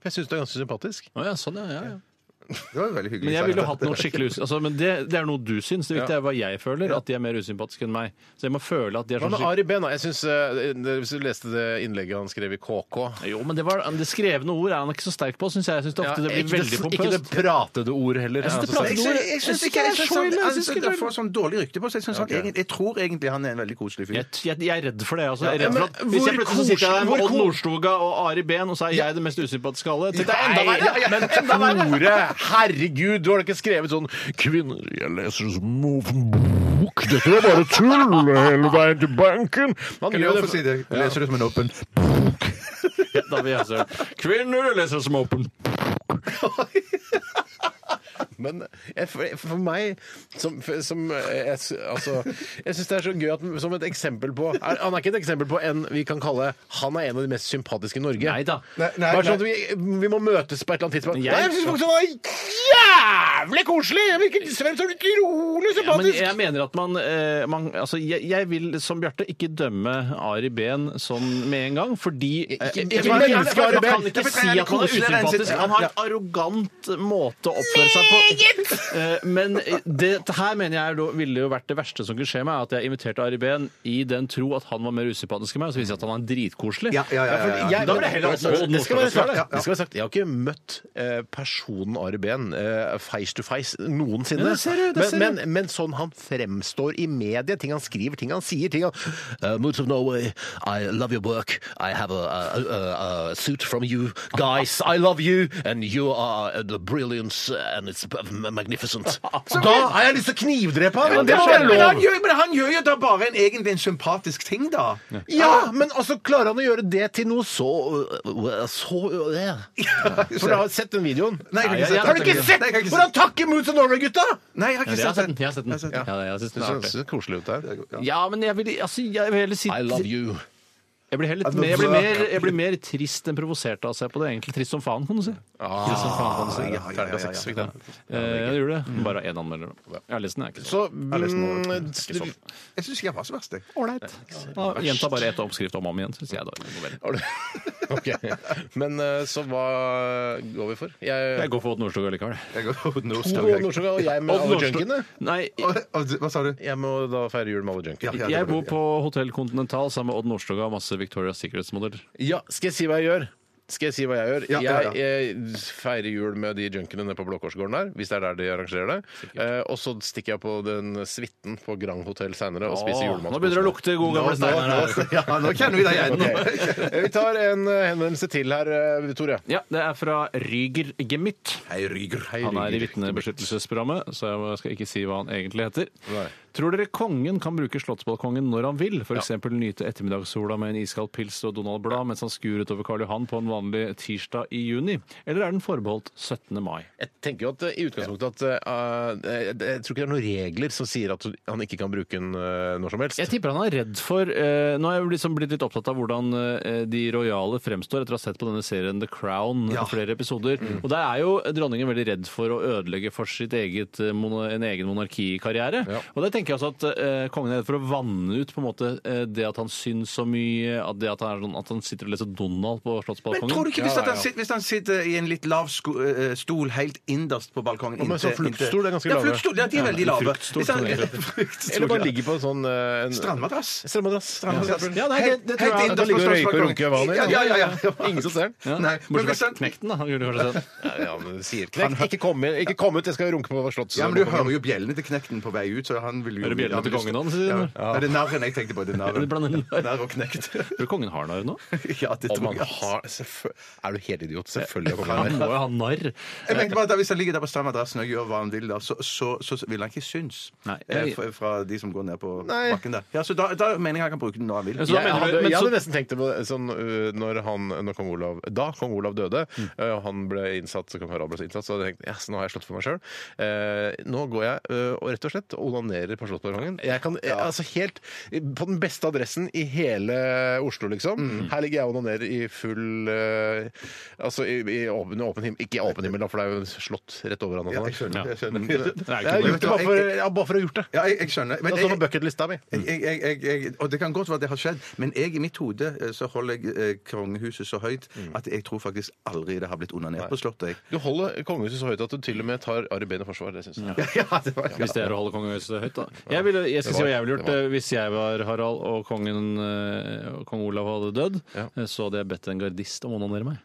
For jeg syns du er ganske sympatisk.
Å ja, sånn, ja, ja, ja.
Det var jo veldig hyggelig.
Men jeg ville
sagt.
hatt noe skikkelig usy- altså, Men det, det er noe du syns. Det viktige er hva jeg føler, at de er mer usympatiske enn meg. Så jeg må føle at de er
Hva
sånn
med Ari Behn? da? Jeg synes, eh, det- Hvis du leste det innlegget han skrev i KK
skikkelig- Jo, men det, var, det skrevne ord er han ikke så sterk på, syns jeg. Jeg synes det ofte det blir
ikke
veldig
det, ikke det
pompøst.
pratede ord heller.
Jeg synes det
er så
pratede
Jeg
sterkt.
synes- jeg synes ikke jeg synes
så
han-
ille, jeg
han-
synes ikke
han
det er-
får sånn dårlig rykte på seg. Jeg, synes han, egentlig- jeg tror egentlig han er en veldig koselig fyr.
Jeg, jeg, jeg er redd for det. Altså. Jeg
Ja,
er redd
men
for at, hvis
hvor
jeg plutselig sitter jeg der med
kos- hvor
Odd
ko-
Nordstoga og Ari Behn, og så er jeg det mest usympatiske av alle Tenk,
Det er enda verre! Men Tore, herregud, du har da ikke skrevet sånn 'Kvinner, jeg leser som en bok'. Dette var bare tull hele veien til banken. Man
Kan jeg
gjør
også si det? Leser du som en åpen
Da vil jeg se Kvinner leser som åpen.
Men jeg, for, for meg som, for, som eh, jeg, s- altså, jeg syns det er så gøy at, som et eksempel på er, Han er ikke et eksempel på en vi kan kalle Han er en av de mest sympatiske i Norge.
Neida.
Nei, nei,
Bare sånn at vi, vi må møtes på et eller annet tidspunkt.
Jeg-
Nei, Jeg, synes faktisk han var jævlig koselig! Jeg virker Sven så utrolig
Ja, men
sympatisk!
jeg mener at man, eh, man altså, jeg, jeg vil som Bjarte ikke dømme Ari Behn sånn med en gang, fordi eh,
Ikke- ikke
jeg tror
menneske
man-
Ari Behn.
Man kan
Det
ikke
er
si at han er
koseligere enn sitt-
usympatisk. Han har en arrogant måte å oppføre seg på. Eh, Men eh, det, det her mener jeg er da, ville jo vært det verste som kunne skje meg, at jeg inviterte Ari Behn i den tro at han var mer usympatisk enn meg, og så viser det seg at han er dritkoselig.
Ja, ja, ja, ja, ja.
Eh, Jeg-
Da vil jeg heller ha Odd
Det skal være
Nordstoga.
sagt, det skal være sagt. Jeg har ikke møtt eh, personen Ari Behn eh, face to face noensinne.
Ja, det ser du, det ser du.
men, men, men sånn han fremstår i media, ting han skriver, ting han sier ting han, uh, Moods of Norway, I love your work, I have a, a, a, a suit from you, guys, I love you, and you are the brilliance, and it's magnificent. Da har jeg lyst til å knivdrepe han! men det må
men,
være
men, han
lov!
gjør, men han gjør jo da bare en, egentlig en sympatisk ting, da.
Ja, men altså, klarer han å gjøre det til noe så øh, Så øh, For du har sett den videoen?
Nei, jeg har ikke
Nei,
sett den.
Har du ikke sett
Nei, jeg har ikke
hvor han takker Moods of Norway-gutta?!
Nei, jeg har ikke
Jeg har sett
sett
den.
den.
Jeg har sett den.
Jeg har sett den.
Ja, jeg synes det er artig.
koselig ut der.
Ja, men jeg vil, altså, jeg vil heller si
I love you.
Jeg blir, heller litt mer, jeg, blir mer, jeg blir mer trist enn provosert av å se på det. Egentlig trist som faen, kan du si. Trist som faen, kan du si.
Ah, Ja, ja, ja,
altså,
ja, ja.
Eh, jeg gjorde det. Bare én anmelder. da. Jeg har lest den, jeg er ikke så
Så mm,
ikke sånn.
Jeg syns ikke jeg var så verst, jeg.
ålreit. Da Gjenta bare ett oppskrift om og om igjen, syns jeg da. i novellen.
har du- OK. Men eh, så hva går vi for? Jeg
Jeg går for Odd Nordstoga likevel.
Jeg går Odd
To
Nordstoga.
og Nordstoga, og jeg med
Odd
alle
Nordstoga-
junkiene.
Nei,
Å, å, Hva sa du?
Jeg må da feire jul med alle junkiene.
Ja, det
jeg
var
bor
det, ja.
på Hotell Continental sammen med Odd Nordstoga og masse Victoria's Secrets-modeller.
Ja, skal jeg si hva jeg gjør? Skal jeg si hva jeg gjør?
Ja, ja, ja.
Jeg, eh, feirer jul med de junkiene nede på Blåkorsgården der, hvis det er der de arrangerer det. Eh, og så stikker jeg på den suiten på Grand Hotell seinere og spiser
Åh,
julemat.
Nå begynner det å lukte gode gamle steiner her.
Ja, nå kjenner vi deg igjen.
Eh, Vi tar en eh, henvendelse til her, eh, Tore.
Ja, det er fra Ryger Gemytt.
Hei, Ryger.
Han er i vitnebeskyttelsesprogrammet, så jeg skal ikke si hva han egentlig heter.
Nei.
Tror dere kongen kan bruke slottsbalkongen når han vil? F.eks. eksempel nyte ettermiddagssola med en iskald pils og Donald Blad mens han skuer utover Karl Johan på en vanlig tirsdag i juni? Eller er den forbeholdt 17. mai?
Jeg tenker jo at eh, i utgangspunktet at eh, eh, Jeg tror ikke det er noen regler som sier at han ikke kan bruke den eh, når som helst.
Jeg tipper han er redd for eh, Nå har jeg liksom blitt litt opptatt av hvordan eh, de rojale fremstår etter å ha sett på denne serien The Crown i flere episoder. Og der er jo dronningen veldig redd for å ødelegge for sitt eget eh, mono, en egen monarkikarriere. Og der
tenker jeg også at eh, kongen er redd for å vanne ut på en måte eh, det at han syns så mye, at, det at, han er sånn, at han sitter og leser Donald på
Men
Slottsbalkongen.
tror du ikke hvis,
Ja,
at
ja,
han,
ja.
sitter, hvis han sitter i en litt lav sko, eh, stol helt innerst på balkongen
men
inntil-
sånn fluktstol, det er ganske
ja,
lave.
fluktstol, ja, de er veldig lave.
fruktstol,
Hvis han-
som det heter.
Fruktstol,
Eller bare
ja.
ligger på en sånn eh, en-
Strandmadrass.
Strandmadrass.
Strandmadrass.
Ja, nei, det- det tror jeg-
Helt innerst
Da
på
ligger du og røyker og
strandbalkongen.
runker vanlig.
Ja, ja, ja, ja.
Ingen som ser den.
Ja.
Nei, men
Bortsett
hvis
fra
han-
knekten, da. Han kunne kanskje sett.
Ja, ja, men sier knekt. Ikke kom, inn, ikke kom ut, jeg skal runke på Slottsbalkongen.
Ja, men Du hører jo bjellene til knekten på vei ut. så han vil jo...
Hører bjellene til kongen også, sier
Ja.
du?
Nei, det er narren jeg tenkte på. det er
Du
narren.
blander narr.
Narr og knekt.
Tror du kongen har narr nå?
Ja, det
Om
tror
han
jeg.
har selvfø- Er du helt idiot? Selvfølgelig har
Han
kongen
må
det.
jo ha narr.
Jeg tenkte bare at Hvis han ligger der på strandmadrassen og gjør hva han vil, da, så, så, så, vil han ikke synes
Nei.
eh, fra, fra de som går ned på
Nei.
bakken der. Ja, så da, da mener jeg han kan bruke den når han vil.
Så da
jeg
mener du-
hadde,
men
jeg
så-
hadde nesten tenkt det på det, sånn, øh, når, han, når kong Olav, da kong Olav døde, øh, og han ble innsatt, så kong Harald ble innsatt, så hadde jeg tenkt yes, nå har jeg slått for meg sjøl. nå går jeg øh, og rett og slett onanerer på Slottsparkongen. Jeg kan jeg, altså helt på den beste adressen i hele Oslo, liksom. Her ligger jeg og onanerer i full øh, Altså i, i åpen, åpen himmel Ikke i åpen himmel, da, for det er jo et slott rett over han. og
Ja, jeg
sånn.
skjønner. Jeg skjønner.
Det er
Jeg har
ikke
gjort det bare for, ja, bare for å ha gjort det.
Ja, jeg, jeg skjønner. Men
Det
jeg,
står på bucketlista mi.
jeg, jeg, jeg, jeg, og det kan godt være det har skjedd, men jeg i mitt hode eh, så holder jeg eh, kongehuset så høyt at jeg tror faktisk aldri det har blitt onanert på Slottet. jeg.
Du holder kongehuset så høyt at du til og med tar Ari Behn i forsvar. Det syns jeg.
Ja, det var,
Hvis det er å holde kongehuset høyt, da. Jeg, ville, jeg skal
Det
si
var-
hva jeg ville gjort
det var-
eh, hvis jeg var Harald og kongen, eh, og kong Olav hadde dødd. eh, Så hadde jeg bedt en gardist om å onanere meg.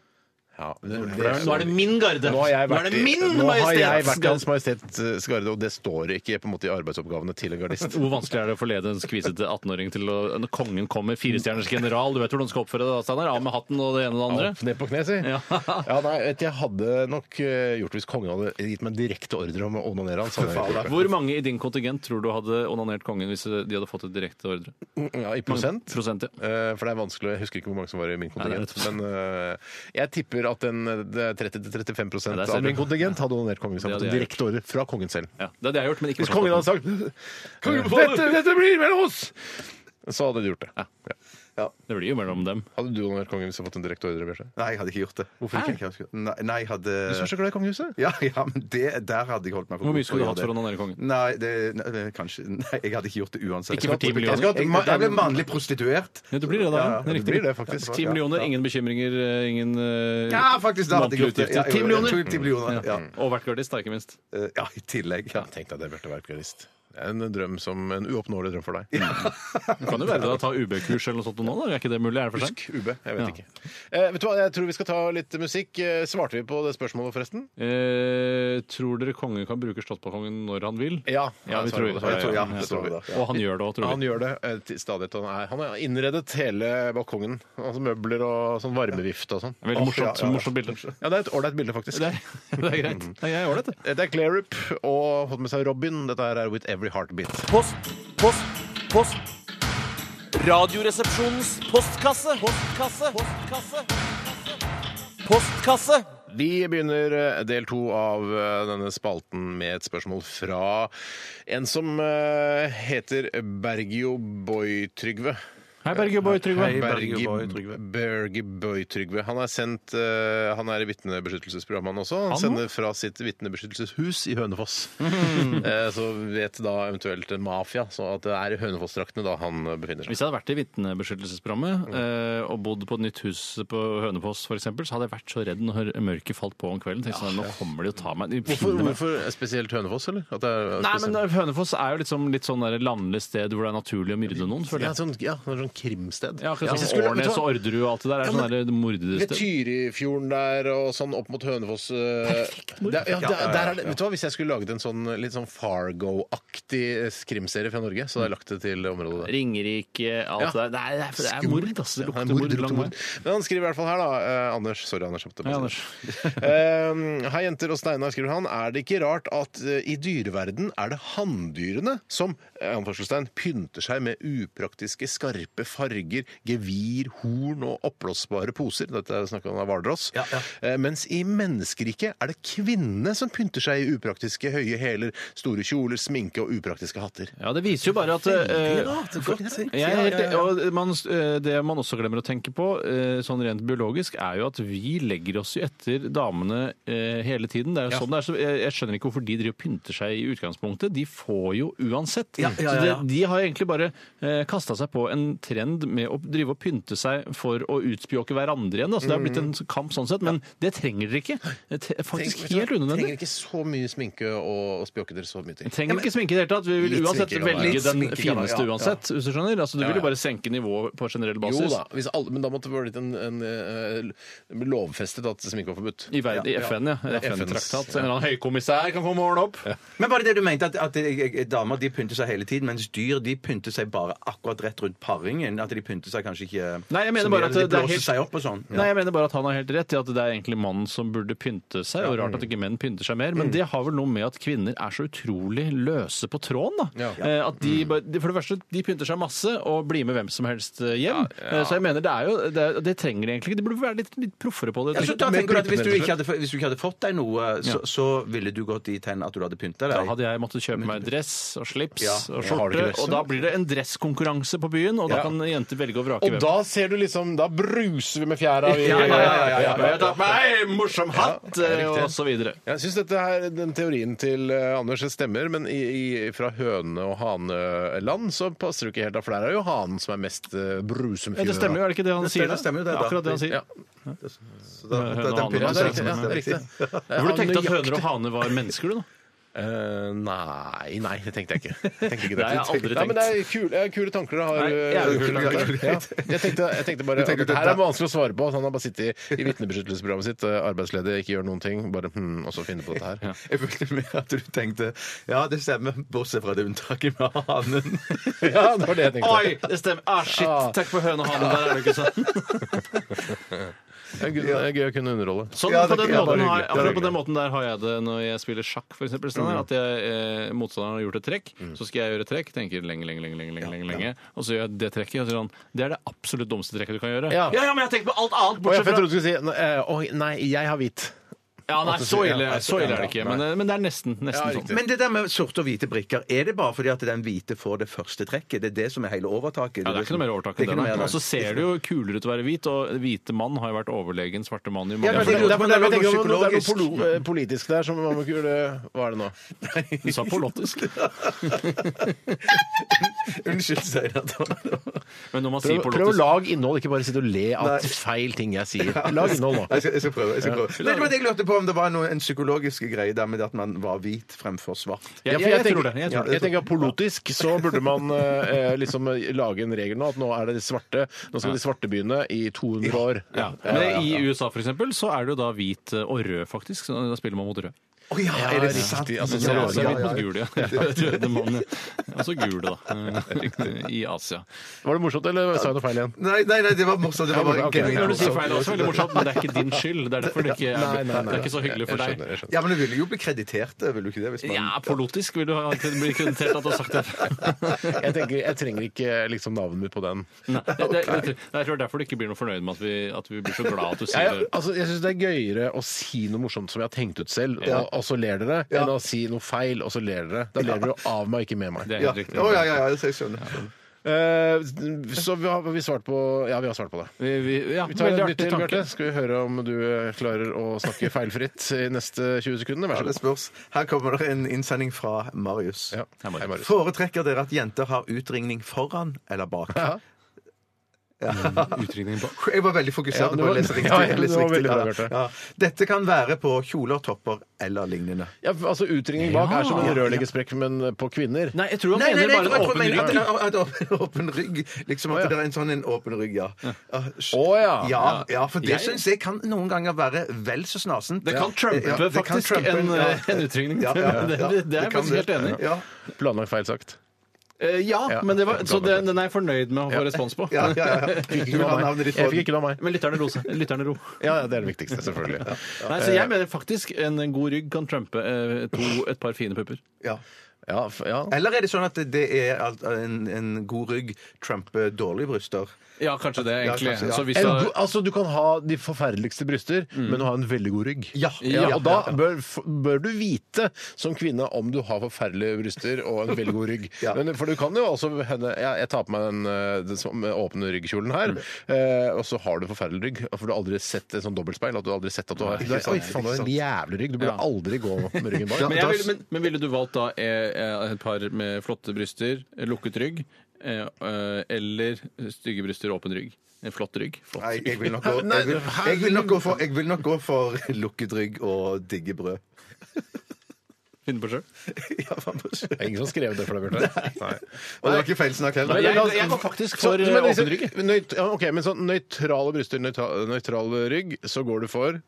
Ja, det,
Nå er det min garde!
Nå har jeg vært,
er det min
i, nå har jeg vært i Hans
majestetsgarde!
Majestets garde, eh, og det står ikke på en måte i arbeidsoppgavene til en gardist.
Hvor vanskelig er det å forlede en skvisete 18-åring til å Når kongen kommer, firestjerners general, du vet hvordan du skal oppføre deg da, Steinar? Av med hatten og det ene og det
Opp
andre.
ned på kne, si.
Ja.
Ja. nei, vet, du, jeg hadde nok eh, gjort det hvis kongen hadde gitt meg direkte ordre om å onanere han. så hadde jeg gjort
Hvor mange i din kontingent tror du hadde onanert kongen hvis de hadde fått et direkte ordre?
det. Ja, I prosent.
Prosent, ja.
Eh, For det er vanskelig, jeg husker ikke hvor mange som var i min
Nei,
kontingent.
det er
Men eh, jeg tipper at en, eh, det er 30-35
Ja, der ser
av min
du.
kontingent hadde onanert kongen. Hvis han
Det
hadde
hadde jeg
direkte ordre fra kongen selv.
ja. Det hadde jeg gjort, men ikke
Hvis kongen hadde sagt dette, 'Dette blir mellom oss!' Så hadde du gjort det.
Ja.
Ja.
Det blir jo mellom dem.
Hadde du onanert kongen hvis du hadde fått en direkte ordre? Bjørte?
nei, jeg hadde ikke gjort det. Hvorfor ikke? Nei, nei, jeg hadde
Du er så glad i kongehuset.
ja, ja, men det, der hadde jeg holdt meg for
Hvor
god
mye skulle
til
du
å
hatt
gjøre
for å
det.
onanere kongen?
Nei, det, nei, det, kanskje Nei, jeg hadde ikke gjort det uansett.
Ikke for 10 millioner.
Jeg skulle hatt- Jeg, jeg ble mannlig prostituert.
Ja, du blir det da.
Ja, ja,
det er
Det
riktig.
blir det, faktisk.
10 millioner, ingen bekymringer, eh, ingen eh,
Ja, faktisk. Da hadde jeg gjort det. Ja, jeg-
månedlige utgifter. 10
jeg tror
millioner!
10 millioner. Ja.
Og vært gardist, da, ikke minst.
Eh, ja, i tillegg. Ja.
Ja, tenk deg det, Bjarte Werp-gardist. Det er En drøm som, en uoppnåelig drøm for deg.
Du kan jo være det å ta UB-kurs eller noe sånt nå, da. Er ikke det mulig? Er det for sent?
Husk UB. Jeg vet
Ja.
ikke. Eh, vet du hva, Jeg tror vi skal ta litt musikk. Eh, Svarte vi på det spørsmålet, forresten?
Eh, tror dere kongen kan bruke Slottsbalkongen når han vil?
Ja.
Ja, vi
svarer
tror,
på det.
svarer,
tror- ja,
ja,
jeg tror det, ja.
Og han gjør det òg, tror
Han
vi.
gjør det eh, til stadighet. Han, er, han har innredet hele balkongen. Altså møbler og sånn varmevifte og sånn.
Veldig morsomt, morsomt bilde. Mhm.
Ja, det er et ålreit bilde, faktisk.
Det er, det er greit. Nei, jeg er ålreit, det.
Eh, Det er Clairup og fått med seg Robin. Dette her er With Every Heartbeat.
Post, post, post. Radioresepsjonens postkasse. Postkasse. Postkasse. Postkasse.
Vi begynner eh, del to av eh, denne spalten med et spørsmål fra en som eh, heter Bergio Boy Trygve.
Hei, Berge Boy Trygve.
Bergi- Bergi Boy Trygve. Han er, sendt, eh, han er i vitnebeskyttelsesprogrammet han også. Han,
Han
sender fra sitt vitnebeskyttelseshus i Hønefoss. Eh, så vet da eventuelt en mafia så at det er i Hønefoss-draktene da han befinner seg.
Hvis jeg hadde vært i vitnebeskyttelsesprogrammet eh, og bodd på et nytt hus på Hønefoss f.eks., så hadde jeg vært så redd når mørket falt på om kvelden. Tenkte sånn, nå kommer de og tar meg. De
Hvorfor,
finner meg.
hvorfor spesielt Hønefoss, eller? At det er
Nei, men
spesielt-
eh, Hønefoss er jo liksom litt sånn der landlig sted hvor det er naturlig å myrde noen, føler
ja,
jeg.
sånn, ja, det er sånn krimsted.
Ja, akkurat
Hvis jeg
som
skulle- vet
Årnes
du
og
hva?
Orderud og alt det der er
Ja,
sånn der
Ved
mordested.
Tyrifjorden der og sånn opp mot Hønefoss eh, der, ja, der, der er det, Vet du hva, Hvis jeg skulle laget en sånn litt sånn Fargo-aktig eh, krimserie fra Norge, så hadde jeg lagt det til det området der.
Ringerike, alt
Ja.
det der. Det er, det er, det er mord, altså.
Ja,
Det
det
lukter
er
mord,
det lukter
lang vei.
mord. Men han skriver i hvert fall her, da. eh, Anders. Sorry, Anders. jeg måtte bare
Hei,
si det. Eh, Hei, jenter og Steinar, skriver han. Er det ikke rart at eh, i dyreverden er det hanndyrene som eh, anførselstegn, pynter seg med upraktiske, skarpe type farger, gevir, horn og oppblåsbare poser. Dette er snakk om av Vardrås. Eh, Mens i menneskeriket er det kvinnene som pynter seg i upraktiske høye hæler, store kjoler, sminke og upraktiske hatter.
Ja, det viser jo bare at eh, jeg er helt, og man, eh, det man også glemmer å tenke på, eh, sånn rent biologisk, er jo at vi legger oss jo etter damene eh, hele tiden. Det er jo sånn det er, så jeg, jeg skjønner ikke hvorfor de driver og pynter seg i utgangspunktet. De får jo uansett. Så det, de har egentlig bare eh, kasta seg på en trend med å drive og pynte seg for å utspjåke hverandre igjen. Da. Så det har blitt en kamp sånn sett, men det trenger dere ikke. Det er faktisk helt unødvendig.
Trenger ikke så mye sminke og, og spjåke dere så mye til.
Trenger ikke sminke i det hele tatt. Vi vil
Litt
uansett
sminke, da, ja.
velge
Litt
den
sminke, da, ja.
fineste uansett, hvis du skjønner. Altså, du vil jo bare senke nivået på generell
Jo
basis.
da, hvis alle, men da måtte det blitt en, en, eh, lovfestet at sminke var forbudt.
I, verden, I FN, ja.
Det er FNs,
FN-traktat. En eller annen høykommissær kan komme og ordne opp.
Men var det det du mente, at, at eh, damer de pynter seg hele tiden, mens dyr de pynter seg bare akkurat rett rundt paringen? At de pynter seg kanskje ikke
Nei, jeg mener
så
bare
mye,
at det
eller De
er
blåser
helt-
seg opp og sånn.
Nei, jeg mener bare at han har helt rett i at det er egentlig mannen som burde pynte seg. Og rart at ikke menn pynter seg mer, men det har vel noe med at kvinner er så utrolig løse på tråden, da. Eh, At de, bare- de- for det første, de pynter seg masse og blir med hvem som helst eh, hjem. Eh, Så jeg mener det er jo Det, er, det trenger de egentlig ikke. De burde være litt, litt proffere på det.
Ja, så da
Men-
tenker du at hvis du, ikke hadde, hvis du ikke hadde fått deg noe, så, så ville du gått dit hen at du hadde pynta
Da
deg?
hadde jeg måttet kjøpe meg dress og slips
Ja.
og
Har du
skjorte.
ikke dress,
Og da blir det en dresskonkurranse på byen, og da kan jenter velge og vrake
Og da ser du liksom Da bruser vi med fjæra. i-
Ja, ja, ja, ja, ja,
Ja,
ja. Jeg tar på meg morsom hatt,
Ja,
eh,
riktig.
og så videre.
Jeg syns den teorien til eh, Anders stemmer, men i, i, fra høne- og haneland så passer det ikke helt. da, For der er jo hanen som er mest uh, brusumfjør.
Det stemmer jo, er det ikke det han sier?
det stemmer jo, det er da.
Akkurat det han sier.
Ja,
Så da-
Høne
da-
og
den
hane,
pynter
ja, det er
seg
riktig. Ja,
som-
det er riktig.
Du burde tenkt at høner og hane var mennesker, du, da.
Eh, nei, nei, det tenkte jeg ikke. Jeg tenkte ikke det.
Nei, jeg har aldri
Nei, men det er kule, eh, kule tanker du har.
Nei,
eh,
jævlig kule
Bjarte.
tanker.
Ja. Jeg, tenkte, jeg tenkte bare at det her er vanskelig å svare på. at Han har bare sittet i vitnebeskyttelsesprogrammet sitt, eh, arbeidsledig, ikke gjør noen ting. Bare hm, og så finne på dette her.
Jeg følte mer at du tenkte Ja, det stemmer, bortsett fra det unntaket med hanen.
Ja, det var det jeg tenkte.
Oi, det stemmer. Ah, shit.
Ah.
Takk for høne og hane. Der er det ikke sant.
Det er gøy- det er gøy å kunne underholde.
Sånn,
Ja,
på
det-
den
ja, det var
måten har,
hyggelig. Det var
akkurat på den måten der har jeg det når jeg spiller sjakk, for eksempel. Steinar, At jeg, eh, motstanderen har gjort et trekk, så skal jeg gjøre et trekk. Tenker lenge, lenge, lenge, lenge, lenge, lenge. Og så gjør jeg det trekket. Og så sier han det er det absolutt dummeste trekket du kan gjøre.
Ja.
ja, men jeg tenker på alt annet
Oi, jeg
bortsett fra
trodde du skulle si eh, Oi, nei, jeg har hvit.
Ja, nei, så ille,
Ja,
så ille er det ikke. Men, eh, men det er nesten, nesten
Ja, riktig.
sånn.
Men det der med sorte og hvite brikker, er det bare fordi at den hvite får det første trekket? Det er det som er hele overtaket?
Ja, det er ikke noe mer overtak
Det er
enn det.
ikke noe
nei.
mer,
Og så ser det jo kulere ut å være hvit, og hvite mann har jo vært overlegen svarte mann i mange
men
Det er
år.
derfor- det
det-
er derfor jeg tenker om- det er noe
psykologisk.
polo- eh, politisk der som man må kunne Hva er det nå?
Du sa polotisk.
Unnskyld, Steinar.
Men når man
Prøv,
sier
prøv å
polotisk
lage innhold, ikke bare sitte og le av feil ting jeg sier. Lag innhold nå.
Jeg skal, jeg skal prøve. Jeg skal prøve. Nei, det var det jeg lurte på om det var noe, en psykologisk greie der med at man var hvit fremfor svart.
Ja,
Ja, for
jeg,
tenker-
tror det.
ja,
Jeg tror det.
jeg tenker at politisk så burde man eh, liksom lage en regel nå at nå er det de svarte Nå skal de svarte begynne i 200 år.
Ja. Men i USA for eksempel, så er det jo da hvit eh, og rød, faktisk. Så da spiller man mot rød.
Å ja,
Ja,
er det sant?
riktig. Altså,
Så
ja,
rosa er
ja,
hvit
ja.
mot gul, ja. ja. Tredje mann, ja. Og så gul, da. Eh, I Asia.
Var det morsomt, eller sa jeg noe feil igjen?
Nei, nei, nei, det var morsomt. Det var bare
ok.
genuint
Når du sier
morsomt.
feil, det er også veldig morsomt, men det er ikke din skyld. Det er derfor det ikke
Nei,
er,
nei, nei.
det er ikke så hyggelig for
Jeg
deg.
skjønner, jeg skjønner.
Ja, men du ville jo bli kreditert, ville du ikke det? Hvis man...
Ja, politisk vil du ha bli kreditert at du har sagt det.
Jeg, tenker, jeg trenger ikke liksom navnet mitt på den.
Nei, det, det, det, det, jeg tror derfor du ikke blir noe fornøyd med at vi, at vi blir så glad at du sier
Jeg,
det.
altså, jeg syns det er gøyere å si noe morsomt som jeg har tenkt ut selv, og, og så ler dere, enn å si noe feil, og så ler dere. Da ler dere av meg, ikke med meg.
Det er
Ja.
helt riktig.
Å, ja, ja, ja, det- jeg skjønner.
Eh, så vi har, vi svart på Ja, vi har svart på det.
Vi, vi, ja,
Vi tar en
veldig
bit
artig
til,
tanke.
Bjarte. Skal vi høre om du eh, klarer å snakke feilfritt i neste 20 sekundene?
Ja,
Vær
det
så god.
spørs. Her kommer det en innsending fra Marius.
Ja. Hei, Marius.
Foretrekker dere at jenter har utringning foran eller bak?
Ja.
Utringning på-
Jeg var veldig fokusert
Ja, det
på å
var-
lese riktig.
Ja, ja,
lese
det var
riktig.
veldig bra, Bjarte.
ja. Dette kan være på kjoler, topper eller lignende.
Ja, altså Utringning bak er som en rørleggersprekk, men eh, på kvinner.
Nei, jeg tror han
Nei, nei,
mener
nei, jeg
bare
tror-
en
jeg
åpen
mener at
rygg.
det er- at det er åpen rygg. Liksom at
Å, ja.
det er en sånn en åpen rygg, ja. Ah, sh-
Å, ja.
ja. Ja, for det
Jeg-
syns jeg kan noen ganger være vel så snasen.
Det kan trumpe
Ja, det kan
faktisk
trumpe,
en, eh,
ja.
en utringning.
Ja, ja, ja.
Det, det, det er jeg
kan
faktisk helt enig i.
Ja.
Planlagt feil sagt.
Eh, Ja,
Ja.
men det var, så den, den er jeg fornøyd med å få respons på.
Ja, ja, ja. Fikk
Ikke noe av meg. Jeg fikk ikke noe av meg.
Men lytterne ro seg. Lytterne ro.
Ja, ja, det er det viktigste, selvfølgelig.
Nei, så jeg mener faktisk en god rygg kan trumpe eh, to, et par fine pupper.
Ja.
Ja, f- ja.
Eller er det sånn at det er alt, en, en god rygg trumper dårlige bryster?
Ja, kanskje det,
Ja,
egentlig.
kanskje, ja.
Så hvis
En
da-
go- altså, du kan ha de forferdeligste bryster, men du har en veldig god rygg.
Mm. Ja,
Ja,
ja,
og da
ja, ja.
bør, f- bør du vite som kvinne om du har forferdelige bryster og en veldig god rygg.
Ja.
Men, for du kan jo også hende Jeg, jeg tar på meg den, eh, den som- med åpne ryggkjolen her,
Mm.
eh, og så har du forferdelig rygg. For du har aldri sett en sånn dobbeltspeil. At du har aldri sett at du har du har- Oi, faen, du har en jævlig rygg. Du burde
Ja.
aldri gå med ryggen bak.
Men, jeg ville, men, men ville du valgt da eh, eh, et par med flotte bryster, eh, lukket rygg, eh, eh, eller stygge bryster, åpen rygg? En flott rygg. Flott.
Nei, jeg vil nok gå, jeg vil, jeg vil nok gå, for, jeg vil nok gå for lukket rygg og digge brød.
Finne på sjøl.
Ja, faen, på søren.
Det er ingen som skrev det for deg, Bjarte. Nei.
og det var ikke feilsnakk heller.
Nei, jeg-
jeg går
faktisk
Så-
for,
men
eh, åpen
liksom,
rygg.
nøyt- ja, ok, men sånn nøytrale bryster, nøytral, nøytral rygg, så går du for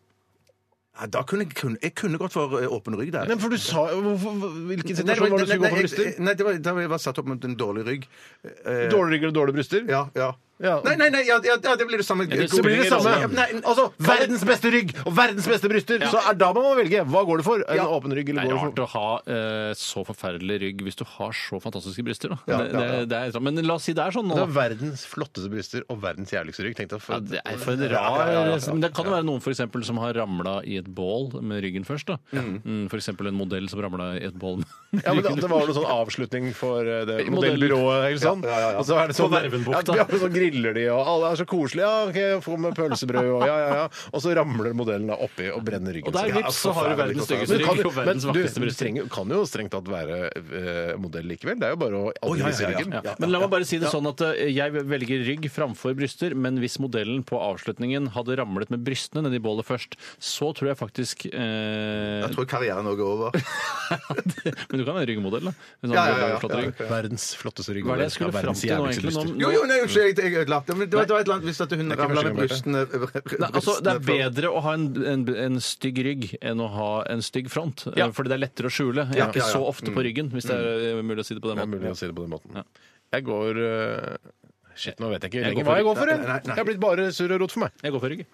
Ja, da kunne jeg, kunne, jeg kunne gått for eh, åpen rygg der.
Nei, for du sa jo- hvorfor- Hvilken
Nei, det var-
situasjon var det du skulle gå for
nei,
bryster?
jeg- Nei, det var, da jeg var satt opp mot en dårlig rygg. Eh,
Dårlige rygger og dårlige bryster?
Ja, ja.
Ja.
Nei, nei, nei, ja, ja, ja, det blir det samme.
det
Så blir det
Spiller
samme.
ingen
Nei, altså,
Verdens beste rygg og verdens beste bryster! Så er da man må velge. Hva går det for? En
Ja.
åpen rygg
Det
eller
er
går
rart
det for
å ha eh, så forferdelig rygg hvis du har så fantastiske bryster. Da.
Ja,
det,
ja, ja.
Det, det er, sånn. men la oss si det er sånn nå.
Det er
da.
verdens flotteste bryster og verdens jævligste rygg. Tenk deg for,
Ja, det er for en rar Men det kan jo være noen for eksempel, som har ramla i et bål med ryggen først. Da. Mm, for eksempel en modell som ramla i et bål med
Ja, men det, det var jo noen sånn avslutning for eh, det
I modell-
modellbyrået. Ikke sant? Og så er det
På
sånn,
Vervenbukta.
Ja, ja, så griller de, og alle er så koselige. Ja, ok, jeg får med pølsebrød og ja, ja, ja. Og så ramler modellen da oppi og brenner ryggen
Og der,
sin.
vips, så har du verdens styggeste
Men, kan,
rygg og
men
verdens
du
vakreste
du
bryster.
trenger, kan jo strengt tatt være eh, modell likevel. Det er jo bare å aldri vise ryggen.
Ja. Men la meg bare si det sånn at eh, jeg velger rygg framfor bryster, men hvis modellen på avslutningen hadde ramlet med brystene nedi bålet først, så tror jeg faktisk eh,
Jeg tror karrieren òg er over.
Men du kan være ryggmodell, da. Med sånn
Ja, ja, ja,
veldig flott
ja,
rygg.
Verdens flotteste rygg.
Hva er det
og
jeg skulle
verdens
fram til nå,
jævligste
egentlig?
bryster.
Nå,
Jo, jo, nei, unnskyld, jeg, jeg ødela det. Men det var, det var et eller annet hvis at hun
er ikke
ramla
første
med
gang,
brystene
Nei, altså, det er
brystene for-
bedre å ha en, en, en stygg rygg enn å ha en stygg front. eh, Fordi det er lettere å skjule. Jeg
Ja,
er ikke
ja, ja.
så ofte på ryggen, hvis det er eh, mulig å si det på den
Det er mulig
måten.
å si det på den måten. Jeg går eh, Shit, nå vet jeg ikke
Jeg
lenger
går for
hva jeg går for.
Nei,
jeg.
nei, nei.
Jeg har blitt bare surr og rot for meg.
Jeg går for rygg.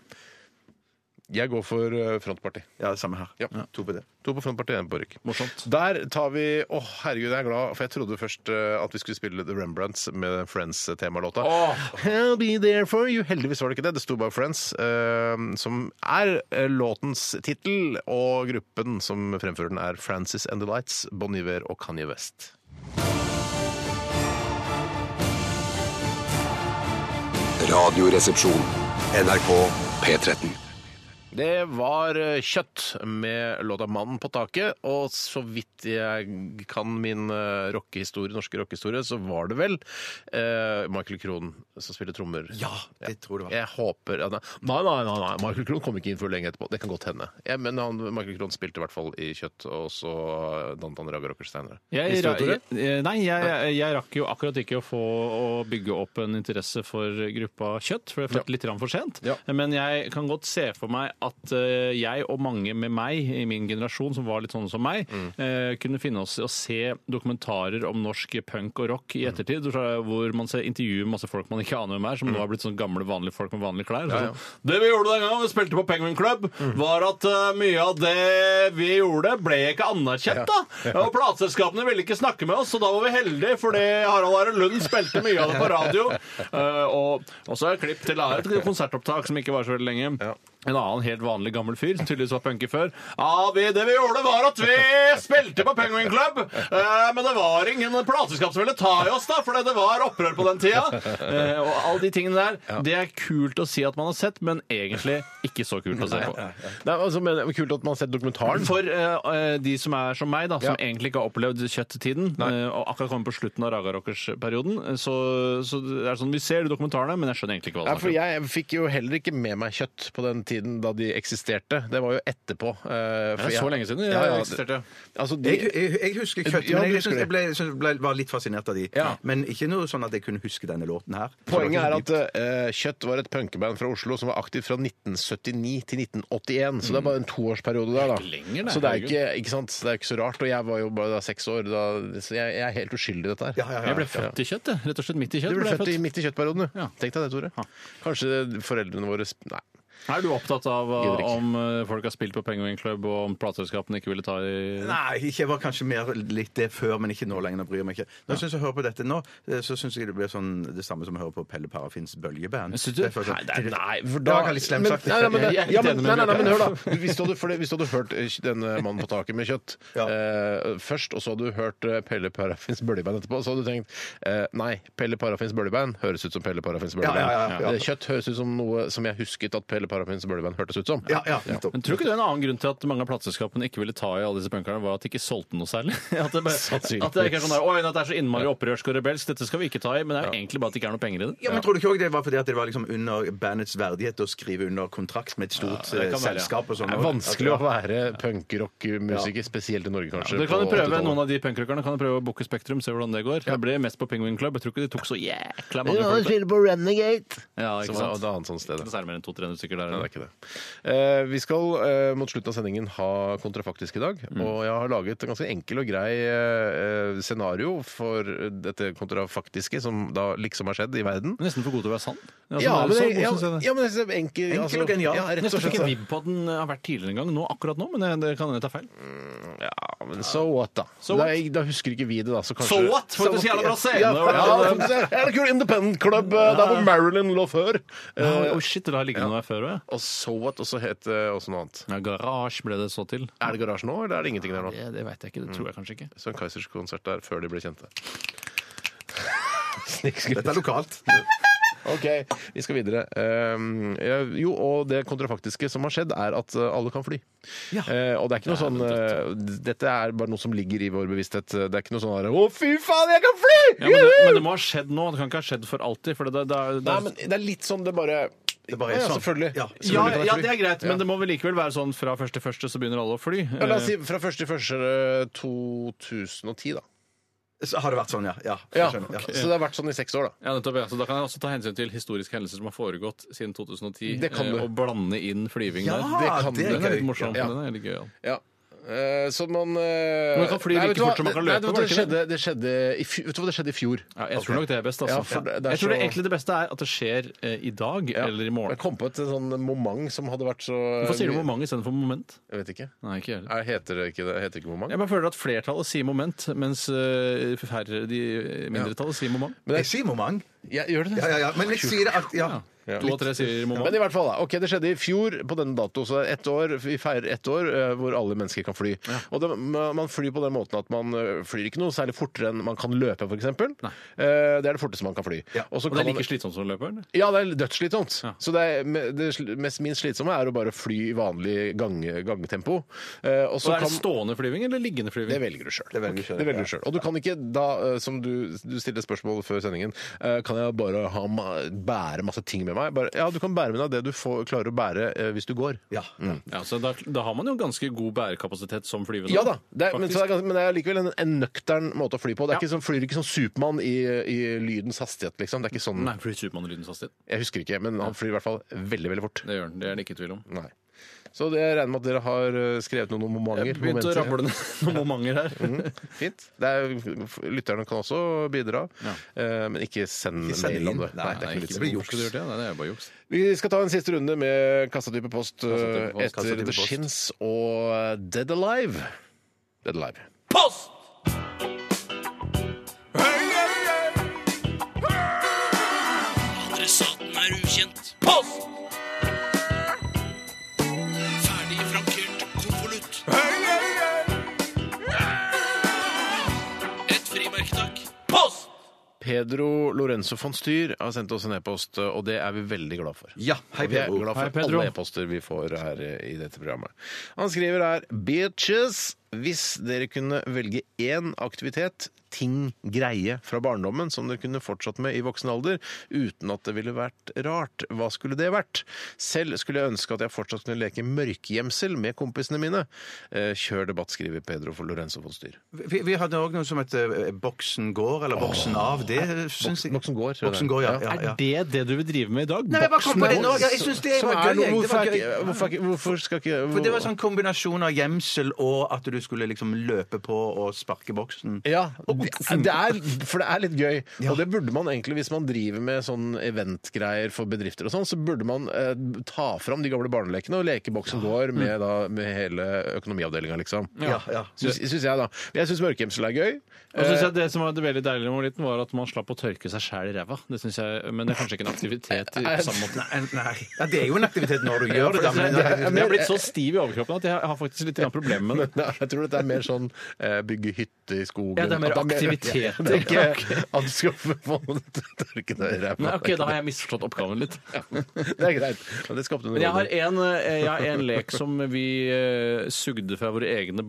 Jeg går for eh, frontparti.
Ja, samme her.
Ja.
To på det.
To på frontparti, én på rygg.
Morsomt.
Der tar vi Å, herregud, jeg er glad, for jeg trodde først eh, at vi skulle spille The Rembrandts med den Friends-temalåta. I'll be there for you. Heldigvis var det ikke det. Det sto bare Friends, eh, som er eh, låtens tittel. Og gruppen som fremfører den, er Francis and the Lights, Bon Iver og Kanye West.
Radioresepsjon. NRK P13.
Det var eh, Kjøtt med låta 'Mannen på taket'. Og så vidt jeg kan min eh, rockehistorie, norske rockehistorie, så var det vel eh, Michael Krohn som spiller trommer.
Ja, det tror jeg det var.
Jeg håper at- Nei, nei, nei, nei. Michael Krohn kom ikke inn før lenge etterpå. Det kan godt hende. Ja, men han, Michael Krohn spilte i hvert fall i Kjøtt, og så dannet han Raga Rockers senere.
Jeg,
Visste du det, Tore?
eh, nei, jeg, jeg rakk jo akkurat ikke å få å bygge opp en interesse for gruppa kjøtt, for jeg fødte litt grann for sent.
Ja.
Men jeg kan godt se for meg at eh, jeg og mange med meg i min generasjon, som var litt sånne som meg, eh, kunne finne oss i å se dokumentarer om norsk punk og rock i ettertid, hvor man ser intervjuer med masse folk man ikke aner hvem er, som nå har blitt sånn gamle, vanlige folk med vanlige klær. Sånn, Det vi gjorde den gangen vi spilte på Penguin Club, var at eh, mye av det vi gjorde, ble ikke anerkjent, da. Og plateselskapene ville ikke snakke med oss, så da var vi heldige, fordi Harald Are Lund spilte mye av det på radio. Eh, og og så er det klipp til da, et konsertopptak som ikke var så veldig lenge. En annen helt vanlig gammel fyr som tydeligvis var punker før. Ja, vi, Det vi gjorde, var at vi spilte på Penguin Club, eh, men det var ingen plateselskap som ville ta i oss, da, fordi det var opprør på den tida. Eh, og alle de tingene der. Det er kult å si at man har sett, men egentlig ikke så kult å se på.
Nei, altså, men, det var kult at man har sett dokumentaren.
For eh, eh, de som er som meg, da, som egentlig ikke har opplevd kjøttetiden, eh, og akkurat kommer på slutten av Raga Rockers-perioden, eh, så, så det er sånn, vi ser de dokumentarene, men jeg skjønner egentlig ikke
Ja,
hva det
for
snakker om.
jeg fikk jo heller ikke med meg kjøtt på den tiden da de eksisterte. Det var jo etterpå. eh, for
Det er
jeg-
så lenge siden de
Ja, ja,
eksisterte.
Altså, de,
Jeg, jeg, jeg husker kjøtt,
Ja,
men
du
jeg,
husker
synes
det.
jeg ble, synes jeg ble, var litt fascinert av de.
Ja.
Men ikke noe sånn at jeg kunne huske denne låten her.
Poenget er at eh, Kjøtt var et punkeband fra Oslo som var aktivt fra 1979 til 1981. Så det er bare en toårsperiode der, da.
Det er ikke lenger, det,
så det er
herregud.
ikke, ikke sant? Det er ikke så rart. Og jeg var jo bare da seks år, da, så jeg, jeg er helt uskyldig i dette her.
Ja, ja, ja.
Jeg ble født i kjøtt, jeg. rett og slett midt i kjøtt.
Du ble
jeg
født i midt i kjøttperioden, du.
Ja.
Tenk deg det, Tore. Kanskje foreldrene våre sp- Nei.
Er du opptatt av uh,
Gidder ikke.
om uh, folk har spilt på Penguin Club, og om plateselskapene ikke ville ta i
Nei, ikke, jeg var kanskje mer litt det før, men ikke nå lenger. Nå bryr jeg meg ikke. Når jeg synes jeg hører på dette nå, eh, så syns jeg det blir sånn det samme som å høre på Pelle Parafins bølgeband.
Synes du?
Det er sånn- for-
Nei, det er- nei, for
Ja,
da
jeg har litt slemt
men-
sagt.
Nei, nei, men, det-
Jeg er helt
ja, men,
enig
nei,
med
nei, nei, men
Bjørte.
hør, da. Hvis du hadde, for det, hvis du hadde hørt eh, denne mannen på taket med kjøtt
Ja.
eh, først, og så hadde du hørt eh, Pelle Parafins bøljeband etterpå, så hadde du tenkt eh, nei, Pelle Parafins bøljeband høres ut som Pelle Parafins bøljeband.
Ja, ja, ja, ja.
Eh, Kjøtt høres ut som noe som jeg husket at Pelle Parafins bøljeband hørtes ut som.
Ja, ja, nettopp.
Men tror du ikke det er en annen grunn til at mange av plateselskapene ikke ville ta i alle disse punkerne, var at de ikke solgte noe særlig? At det, bare, at
Sannsynligvis.
det ikke er sånn der, Oi, dette er så innmari opprørsk og rebelsk, dette skal vi ikke ta i. Men det er jo egentlig bare at det ikke er noe penger i det.
Ja, men Tror du ikke også det var fordi at det var liksom under bandets verdighet å skrive under kontrakt med et
Ja,
stort
det
eh,
kan være, ja.
selskap? og sånn?
Det er vanskelig å være punkrockmusiker, spesielt i Norge, kanskje.
Dere kan jo
på
prøve,
80-tallet.
Noen av de punkrockerne kan jo prøve å booke Spektrum, se hvordan det går. Det ble mest på Penguin Club. Jeg tror ikke de tok så jækla mange folk. der.
på Renegade.
Ja,
Som
ikke
var
sant?
et annet sånt sted. da.
Så er det mer enn 200-300 stykker der.
Nei, det er ikke det. Eh, vi skal eh, mot slutten av sendingen ha kontrafaktisk i dag. Og jeg har laget en ganske enkel og grei eh, scenario for dette kontrafaktiske som da liksom har skjedd i verden.
Men Nesten for god til å være sann.
Ja, men sånn jeg-
det,
ja, ja, men det er enkel, altså,
og genial.
Ja, rett og
fikk
slett.
en vibb på at den har vært tidligere en gang, nå, akkurat nå, men det, det kan hende jeg tar feil.
Ja, men so what, da?
So
da,
what?
da husker ikke vi det, da. Så kanskje
So what? Faktisk jævla bra scene.
Ja, ja, det er en kul independent club eh, der hvor Marilyn lå før.
Å
Eh,
shit, det har ligget noe her før òg,
og so what, og så het det også noe annet.
ja. Garasje ble det så til.
Er det garasje nå, eller er det ingenting der nå?
Det, det veit jeg ikke. Det tror jeg kanskje ikke.
Søren Kaizers konsert der før de ble kjente.
Dette er lokalt.
OK, vi skal videre. Um, eh, jo, og det kontrafaktiske som har skjedd, er at eh, alle kan fly. Eh, og det er ikke noe sånn eh, Dette er bare noe som ligger i vår bevissthet. Det er ikke noe sånn her, 'Å, fy faen, jeg kan fly!'
Ja, men, det,
Juhu!»
men det må ha skjedd nå. Det kan ikke ha skjedd for alltid. For det, det, det, det,
Nei, men det er litt sånn det bare
Det bare er
ja,
sånn.
Selvfølgelig.
Ja.
selvfølgelig
ja,
kan jeg
ja,
fly.
det er greit,
Ja.
men det må vel likevel være sånn fra første til første så begynner alle å fly. Eh,
Ja, La oss
Eh.
si fra eh, 1.1.2010, da.
Så har det vært sånn, ja. ja,
Ja,
jeg skjønner,
Så det har vært sånn i seks år, da.
Ja, nettopp, ja. Så da kan jeg også ta hensyn til historiske hendelser som har foregått siden 2010,
Det kan
eh,
du.
og blande inn flyving
Ja,
der.
det kan
det
Den
er
er litt
gøy.
morsom.
Ja.
Den er litt gøy, ja.
Ja. Eh, så man eh,
Man kan fly
nei,
like
vet du hva?
fort som man kan
Nei,
løpe,
vet du hva,
var det
det,
ikke
skjedde, det skjedde i fjor. Vet du hva det skjedde i fjor?
Ja, jeg tror nok det er best. Altså.
Ja, for det- det er
jeg tror det
så-
egentlig det beste er at det skjer eh, i dag
Ja.
eller i morgen.
Jeg kom på et sånn moment som hadde vært så
Hvorfor sier du moment istedenfor moment?
Jeg vet ikke.
Nei, ikke jeg heller.
Er, heter det ikke det? Heter det ikke moment?
Jeg bare føler at flertallet sier moment, mens eh, færre, de mindretallet sier moment.
ja. Jeg sier moment.
Ja, gjør det det?
Ja, ja, ja. Men jeg sier det at ja.
Ja.
To av tre sier
Men
moment.
i hvert fall, da. Ok, det skjedde i fjor på denne dato, så det er ett år. Vi feirer ett år eh, hvor alle mennesker kan fly. Og det, ma- man flyr på den måten at man eh, flyr ikke noe særlig fortere enn man kan løpe, f.eks. Eh, det er det forteste man kan fly.
Ja,
Og så
Og det
kan
er
man-
like slitsomt som løperen.
Ja, det er dødsslitsomt.
Ja.
Så det, er, me- det sl- mest minst slitsomme er å bare fly i vanlig gang, gangtempo. Eh, og så
Så er det
kan-
stående flyving eller liggende flyving?
Det velger du sjøl.
Det velger du selv,
Det velger du selv. Og du kan ikke da, eh, som du, du stiller spørsmål før sendingen, eh, kan jeg bare ha, ma- bære masse ting med meg? Bare, ja, du kan bære med deg det du får, klarer å bære eh, hvis du går.
ja.
Ja, så da, da har man jo ganske god bærekapasitet som flyvende.
Ja da, det er, men, så
Faktisk.
er det, ganske- men det er likevel en, en nøktern måte å fly på. Det er
Ja.
ikke sånn, flyr ikke som Supermann i, i lydens hastighet, liksom. Det er ikke sånn,
Nei, flyr Supermann i lydens hastighet?
Jeg husker ikke, men han flyr i hvert fall veldig, veldig fort.
Det gjør den. Det er det ikke i tvil om.
Nei. Så det jeg regner med at dere har eh, skrevet noen momenter.
Jeg begynte å
momenter. Mhm.
rable ned noen momenter her.
Fint. Det er, lytterne kan også bidra, eh, men ikke send
Ikke send
mail om
inn.
det.
Nei,
det er
Nei,
ikke
ikke
vits.
blir
hvorfor
juks.
skulle du gjort det? Nei, det er bare juks.
Vi skal ta en siste runde med kassatype post eh,
Kassatype post,
etter
kassatype
The
post.
Shins og eh, Dead Alive. Dead Alive.
Post! Adressaten er ukjent. Post! Ferdig frankert konvolutt. Et frimerke, takk. Post!
Pedro Lorenzo von Styr har sendt oss en e-post, eh, og det er vi veldig glad for.
Ja, hei,
Og vi er
Pedro.
glad for
Hei, Pedro.
alle e-poster vi får her eh, i dette programmet. Han skriver her Bitches, hvis dere kunne velge én aktivitet, ting, greie fra barndommen som dere kunne fortsatt med i voksen alder, uten at det ville vært rart, hva skulle det vært? Selv skulle jeg ønske at jeg fortsatt kunne leke mørkegjemsel med kompisene mine. Eh, Kjør debatt, skriver Pedro for Lorenzo von Styr.
Vi, vi hadde òg noe som het eh, Boksen går, eller Boksen av. Det syns jeg
Boksen går, tror jeg
Boksen
det.
går, ja,
Ja.
ja, ja.
Er det det du vil drive med i dag?
Nei, jeg bare kom på det nå. Ja, jeg synes det
Som
var
er noe-
gøy, jeg. Det var
hvorfor er
gøy.
ikke- Hvorfor, er ikke- hvorfor skal ikke
For det var en sånn kombinasjon av gjemsel og at du skulle liksom løpe på og sparke boksen.
Ja,
og
Det er, for det er litt gøy. Og det burde man egentlig, hvis man driver med sånn eventgreier for bedrifter og sånn, så burde man eh, ta fram de gamle barnelekene og lekeboksen går
Mm.
med, da, med hele økonomiavdelinga, liksom.
Ja, ja.
Syns, syns jeg, da. Men Jeg syns mørkgjemsel er gøy.
Og så synes jeg Det som var det veldig deilig når man var liten, var at man slapp å tørke seg sjæl i ræva. Det synes jeg, Men det er kanskje ikke en aktivitet i på samme måte.
Nei, Eh, nei. Ja, det er jo en aktivitet når du gjør det. sånn da, men-
Jeg har blitt så stiv i overkroppen at jeg har faktisk litt grann problemer med det.
Eh, Nei, jeg tror dette er mer sånn eh, bygge hytte i skogen.
Ja, det er mer
At
aktivitet.
Det er ikke at du skal få noen til å tørke deg i ræva.
Nei, ok, Da har jeg misforstått oppgaven litt.
Det er greit. Men det skapte noe.
Men jeg har, en, eh, jeg har en lek som vi eh, sugde fra våre egne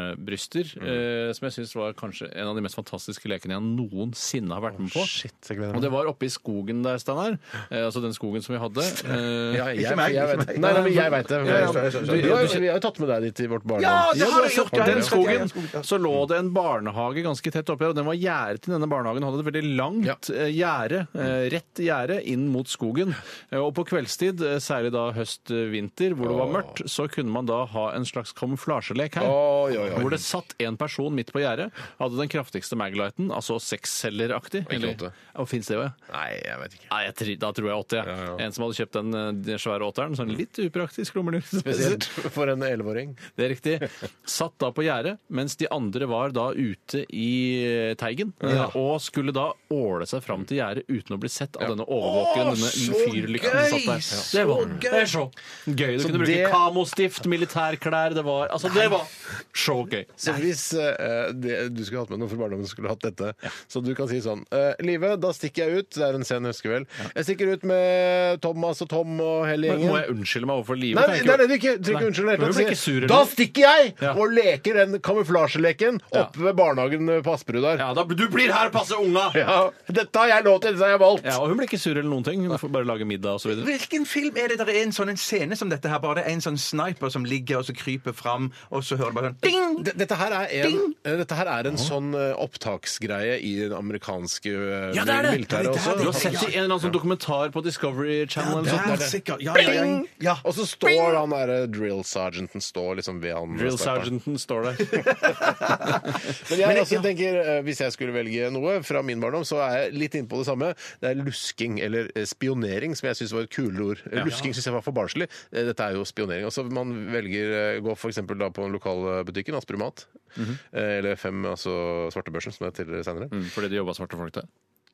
barnebryster, eh, som jeg syns var kanskje en av de mest fantastiske lekene jeg noensinne har vært med på.
Shit, jeg gleder meg.
Og det var oppe i skogen der, Steinar. Eh, altså den skogen som vi hadde. Eh,
Ja, jeg,
Ikke meg,
jeg
ikke
vet-
meg.
Nei, nei, men jeg veit det.
ja, ja, ja, ja.
Du, du, har jo- vi har jo tatt med deg dit i vårt barndom.
Ja, det har
du
jeg gjort!
har
ja,
den
ja, ja, ja,
skogen. Så lå det en barnehage ganske tett oppi her, og den var gjerdet til denne barnehagen. og Hadde et veldig langt eh, gjerde, eh, rett gjerde, inn mot skogen. Eh, Og på kveldstid, eh, særlig da høst-vinter, hvor det var mørkt, så kunne man da ha en slags kamuflasjelek her.
Oi, oi, oi.
Hvor det satt en person midt på gjerdet, hadde den kraftigste Magliten, altså sexselgeraktig.
ikke åtte.
Fins det òg, ja?
Nei, jeg vet ikke.
Nei, jeg, tri- da tror jeg åtte. Ja.
Ja, Mm. ja.
En som hadde kjøpt den, eh, den svære åtteren. Sånn litt upraktisk lommelus.
Spesielt for en elleveåring.
Det er riktig. Satt da på gjerdet, mens de andre var da ute i eh, teigen. eh, Og skulle da åle seg fram til gjerdet uten å bli sett av denne overvåkeren. denne fyrlykten som satt der. Ja. Det var gøy! Det er så gøy. Du kunne
det-
bruke kamostift, militærklær Det var Altså, det var så gøy.
Så hvis eh, det, du skulle hatt med noen fra barndommen, så skulle du hatt dette. Så du kan si sånn eh, Live, da stikker jeg ut. Det er en sen høstkveld. Jeg stikker ut med Thomas og Tom og hele
Men Må
gjengen.
jeg unnskylde meg overfor livet?
Nei, nei,
Kan jeg
nei,
ikke-
nei, du ikke, du
Nei.
ikke unnskyld.
Men
Nei,
jeg blir ikke sur eller
da
noe.
stikker jeg
Ja.
og leker den kamuflasjeleken oppe ved barnehagen på Asperud der.
Ja, da, du blir her og passer unga! Ja.
Ja, dette har jeg lov til, dette har jeg valgt.
og hun blir ikke sur eller noen ting. Hun får bare lage middag og så videre.
Hvilken film er det der er en sånn en scene som dette her? Bare det er en sånn sniper som ligger og så kryper fram, og så hører du bare sånn ding!
D- Dette her er en, eh, dette her er en sånn eh, opptaksgreie i den amerikanske eh,
Ja, det er det!
militæret også.
Du har sett det i en eller annen sånn dokumentar på Discovery Channel. eller sånt.
Ja, sikkert. Ja, ja, ja. ja.
Og så står han der eh, drill sergeanten står liksom ved han.
Drill
sniperen.
sergeanten står der.
Men jeg også tenker, eh, hvis jeg skulle velge noe fra min barndom, så er jeg litt inne på det samme. Det er lusking, eller eh, spionering, som jeg syns var et kulere ord. Lusking syns jeg var for barnslig. Eh, Dette er jo spionering. Altså, man velger eh, gå for eksempel da på den lokale butikken, Asperud Mat, eh, eller Fem, altså Svartebørsen, som det er tidligere senere.
Fordi det jobba svarte folk der.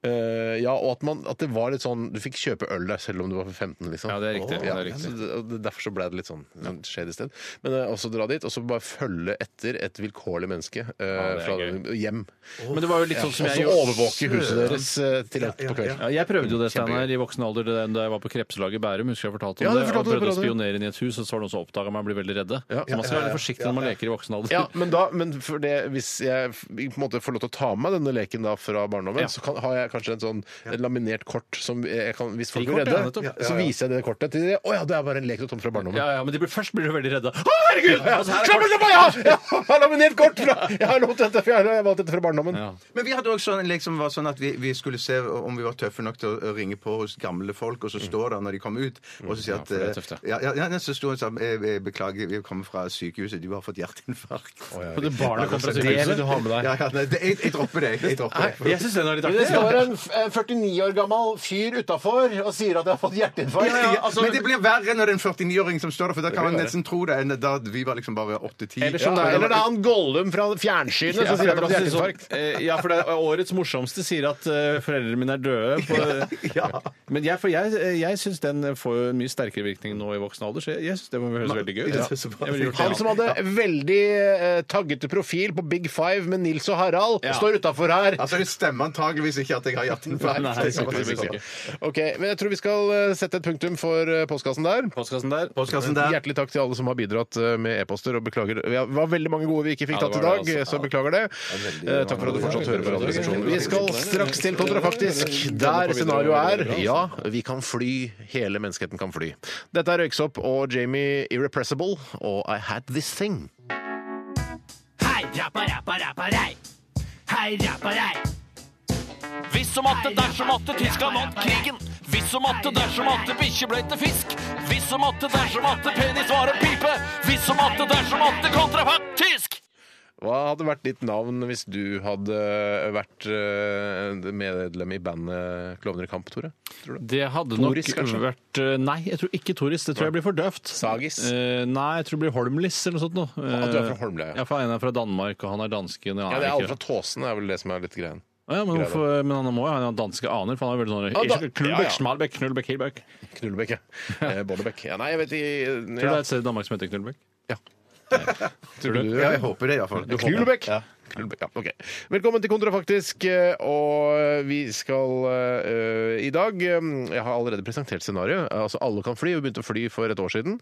Eh, ja, og at, man, at det var litt sånn Du fikk kjøpe øl der selv om du var 15, liksom.
Ja, det er riktig,
Ja,
det er riktig.
så det- og det- derfor så ble det litt sånn sånn shady sted. Men eh, også dra dit, og så bare følge etter et vilkårlig menneske eh,
det er
fra hjem.
Men det var jo litt sånn som
Og
jeg
så
gjorde.
overvåke huset deres eh, til langt på kvelden.
Ja, jeg prøvde jo det Steinar, i voksen alder det der- da jeg var på krepselaget i Bærum. husker jeg fortalte om
Ja, du
det, og
fortalte det
prøvde
på
å
radioen.
spionere inn i et hus, og så var det noen som oppdaga meg og ble veldig redde.
Ja.
Så man skal være litt forsiktig når man leker i voksen alder.
Ja, men, da, men for det, hvis jeg f- på en måte får lov til å ta med meg denne leken da fra barndommen,
Ja.
så kan, har jeg kanskje et sånn et laminert kort som jeg kan, Hvis folk blir
Frikort,
redde,
ja, nettopp.
så viser jeg det kortet til dem. Å ja, det er bare en lek du har tatt med fra barndommen.
Ja, ja, men de blir, først blir du veldig redde.
Å, herregud! Slapp av, slapp av! ja! Jeg har laminert kort! Fra. Jeg har lovt dette, for jeg har- jeg har valgt dette fra barndommen.
Ja.
Men vi hadde også en lek som var sånn at vi, vi skulle se om vi var tøffe nok til å ringe på hos gamle folk, og så står der når de kom ut, og så sier
Mm. Ja,
at
for det er
eh,
tøft, ja.
ja, ja, ja, så sto hun sånn eh, eh, Beklager, vi kommer fra sykehuset, du har fått hjerteinfarkt.
Og det barnet kom fra
Det vil du
sykehuset.
ha med deg.
Ja, ja, nei, det, jeg, jeg dropper det. Jeg dropper det.
Jeg syns den er litt
Det
artig.
står en f- eh, 49 år gammel fyr utafor og sier at jeg har fått hjerteinfarkt.
Altså,
Men det blir verre når det er en 49-åring som står der, for da kan man nesten tro det enn da vi var liksom bare 8-10.
Eller, som det er, eller det er han Gollum fra fjernsynet som sier at han har fått hjerteinfarkt.
sånn, eh, Ja, for det er årets morsomste sier at eh, foreldrene mine er døde. På, Men jeg, for jeg, eh, jeg syns den får jo en mye sterkere virkning nå i voksen alder, så jeg, jeg syns det må høres veldig gøy ut.
Ja, det er så bra.
Jeg ville gjort det,
Han
ja.
som hadde veldig eh, taggete profil på Big Five med Nils og Harald,
Ja.
står utafor her.
Altså, det stemmer antageligvis ikke at jeg har hjerteinfarkt.
Nei,
Det kan man
sikkert,
si sånn.
sikkert.
Ok, men Jeg tror vi skal eh, sette et punktum for eh, postkassen der.
Postkassen der.
Postkassen sånn der.
Hjertelig takk til alle som har bidratt eh, med e-poster. og beklager. Vi har- Det var veldig mange gode vi ikke fikk
Ja,
tatt
det
i
var
dag,
det, altså.
så beklager det. Eh, Takk for at du fortsatt hører på Radioresepsjonen. Vi skal straks til Kontra faktisk, der scenarioet er ja, vi kan fly. Hele menneskeheten kan fly. Dette er Røyksopp og Jamie Irrepressible og I Had This Thing.
Hei, rappa, rappa, rappa, rei. Hei, rappa, rei. Hvis som atte, dersom atte, tyskerne vant krigen. Hvis som atte, dersom atte, bikkje ble til fisk. Hvis som atte, dersom atte, penis var en pipe. Hvis som atte, dersom atte, kontrafaktisk.
Hva hadde vært ditt navn hvis du hadde vært eh, medlem i bandet Klovner i kamp, Tore? Tror du?
Det hadde
Toris,
nok
kanskje?
vært eh, Nei, jeg tror ikke Toris. Det tror jeg blir for døvt.
Sagis?
Eh, nei, jeg tror det blir Holmlis eller noe sånt. Noe.
At du er fra Holmlia, ja.
Eh, ja. for en er fra Danmark, og han er danske. og jeg
Ja, det er
ikke
alle fra Tåsen, det er vel det som er litt greien.
Ja, men,
Greia
hvorfor, men han må jo ha en danske aner, for han er veldig sånn
Ja, da- ja,
Knullbæk,
ja.
Schmalbæk, Knullbæk, Hilbæk.
Knullebekk, ja. Eh, Bollebekk. Ja, nei, jeg vet ikke
Tror du
ja.
det er et sted i Danmark som heter Knullbæk?
Tror du?
Ja, jeg håper det, iallfall.
Knulebekk. Knulebekk, ja, ok. Velkommen til Kontrafaktisk. eh, Og vi skal eh, i dag eh, Jeg har allerede presentert scenarioet. Altså, alle kan fly. Vi begynte å fly for et år siden.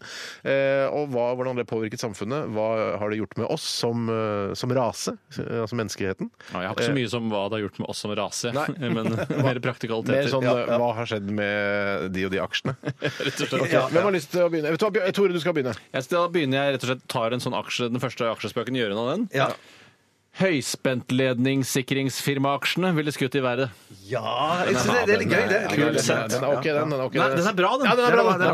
Eh, Og hva, hvordan det påvirket samfunnet. Hva har det gjort med oss som, eh, som rase? eh, Altså menneskeheten.
Ja, jeg har ikke så mye som hva det har gjort med oss som rase, men mer
Eh, Mer
praktikaliteter.
sånn
Ja,
eh, hva har skjedd med de og de aksjene?
rett og slett.
Hvem har lyst til å begynne? Vet du hva, Bjør- Tore, du skal begynne.
Jeg, da begynner jeg rett og slett tar en sånn aksje, den første aksjespøken, gjør unna den.
Ja.
Høyspentledningssikringsfirmaaksjene ville skutt i været.
Ja,
Ah,
jeg synes det, det er litt
Den
gøy, det.
er, den er ok, den. den er ok.
Nei, den er bra, den.
Ja, den er bra, den. Den er
Den er bra, den.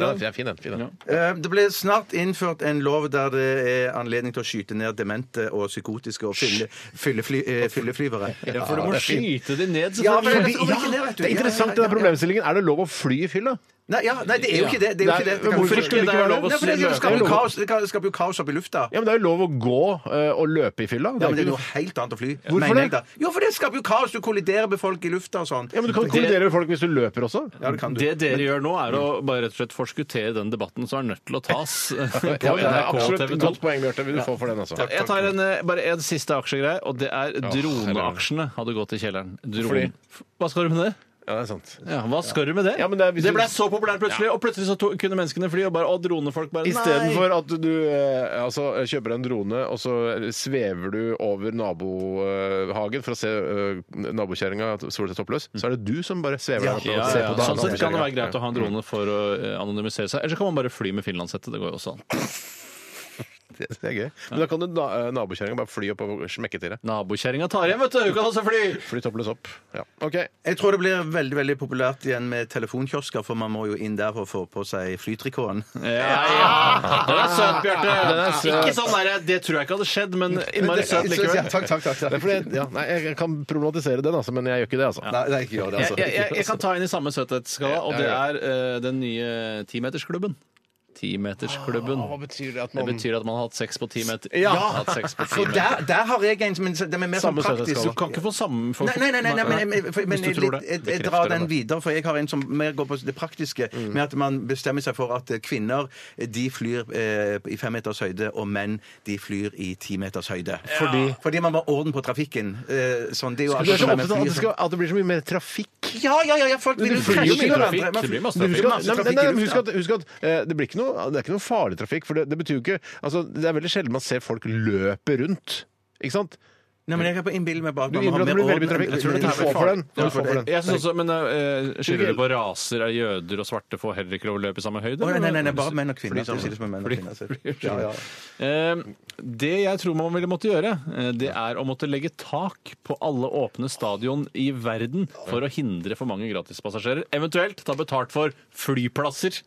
bra, den. Den er fin, den. Fin, den.
Eh, Det ble snart innført en lov der det er anledning til å skyte ned demente og psykotiske og fylle, fyllefly, eh, fylleflyvere.
Ja, for du må skyte de ned,
Ja,
selvfølgelig.
men
Fordi,
jeg tror ikke det,
ja,
vet du.
det er interessant den problemstillingen. Er det lov å fly i fylla?
Nei, ja, nei, det er jo ikke det. det, er jo ikke det. det kan-
Hvorfor skulle det ikke være lov å
Nei, for det, det,
løpe?
skaper jo kaos, det kan- det skaper jo kaos oppe i lufta.
Ja, men det er jo lov å gå eh, og løpe i fylla. Det er
Ja, men det er
ikke
noe helt annet å fly.
Hvorfor
mener jeg
det?
da. Jo, for det skaper jo kaos. Du kolliderer med folk i lufta og sånn.
ja, men Du kan kollidere med folk hvis du løper også.
Ja, det kan du.
Det dere gjør nå, er å bare rett og slett forskuttere den debatten som er nødt til å tas på
Ja, det er
NRK
absolutt
TV
et
2.
godt poeng, Bjarte. Vil du få for den, altså?
Jeg tar en, eh, bare en siste aksjegreie, og det er droneaksjene hadde gått i kjelleren. Drone. Hva skal du med det?
Ja, det er sant.
Ja, hva skal du med det?
Ja, men det er hvis
det
du-
ble så populært plutselig, og plutselig så to, kunne menneskene fly, og bare, å, dronefolk bare, nei!
Istedenfor at du eh, altså, kjøper en drone, og så svever du over nabohagen for å se eh, nabokjerringa sole seg toppløs, så er det du som bare svever
Ja,
der oppe
Ja,
og
ja,
ser
ja.
på
Sånn sett kan det være
nabokjerringa.
greit å ha en drone for å eh, anonymisere seg. Eller så kan man bare fly med finlandshette. Det går jo også an.
Det er gøy. Men da kan du na eh, nabokjerringa bare fly opp og smekke til deg.
Nabokjerringa tar igjen, vet du! Hun kan også fly!
Fly toppløs opp. Ja. OK.
Jeg tror det blir veldig veldig populært igjen med telefonkiosker, for man må jo inn der for å få på seg flytrikoten.
Ja, ja. Den er søt, Bjarte.
Den er søt.
Ikke sånn der, Det tror jeg ikke hadde skjedd, men innmari søt likevel.
Takk, takk, takk.
Det er fordi, ja, nei, jeg kan problematisere den, altså, men jeg gjør ikke det. altså.
Nei, nei, ikke gjør det,
Jeg,
altså.
jeg, jeg, jeg kan ta inn i samme søthetsskala,
Ja,
og det
ja,
er eh, den nye timetersklubben. Timetersklubben.
betyr det at
Det betyr at man har hatt sex på ti meter.
Ja.
Hatt sex på ti
For
meter.
der, der har jeg en som den er mer sånn
Samme
praktisk.
Du kan ikke få samme for,
Nei, nei, nei, nei, nei, men, jeg- for, men
Hvis
jeg,
du tror det.
jeg, jeg
Bekrefter det
drar
Mm.
den
bare.
videre, for jeg har en som mer går på det praktiske, med at man bestemmer seg for at eh, kvinner de flyr eh, i fem meters høyde, og menn de flyr i ti meters høyde. Fordi, man må ha orden på trafikken. Eh, sånn, det er jo
Du er så opptatt
akkurat som
av
med
at det,
fly
skal, at det blir så mye mer trafikk.
som- Ja, ja, ja, ja, folk vil
det
jo
flyr jo mye
krasje i hverandre.
trafikk, det blir masse
Man-
trafikk.
Husk at,
masse
nei, nei,
trafikk i
nei, men husk
lufta.
at, husk at eh, det, blir ikke noe, det er ikke noe farlig trafikk. for Det, det betyr jo ikke, altså, det er veldig sjelden man ser folk løpe rundt. Ikke sant?
Nei, men jeg kan bare innbille meg bare at
Du
man må ha
innbiller deg at det
mer
blir veldig mye trafikk. Jeg tror
orden.
det er
Du
få
får
for den. Du
Ja,
får for den.
Jeg synes også, men eh, Skiller
Ikke-
du på raser? Er jøder og svarte får heller ikke lov å løpe i samme høyde?
Å, nei, nei, nei, nei, bare
eller?
menn og kvinner. Du sier det som er menn og kvinner. altså. sier- Ja, ja.
Eh, Det jeg tror man ville måtte gjøre, eh, det er å måtte legge tak på alle åpne stadion i verden for å hindre for mange gratispassasjerer. Eventuelt ta betalt for flyplasser.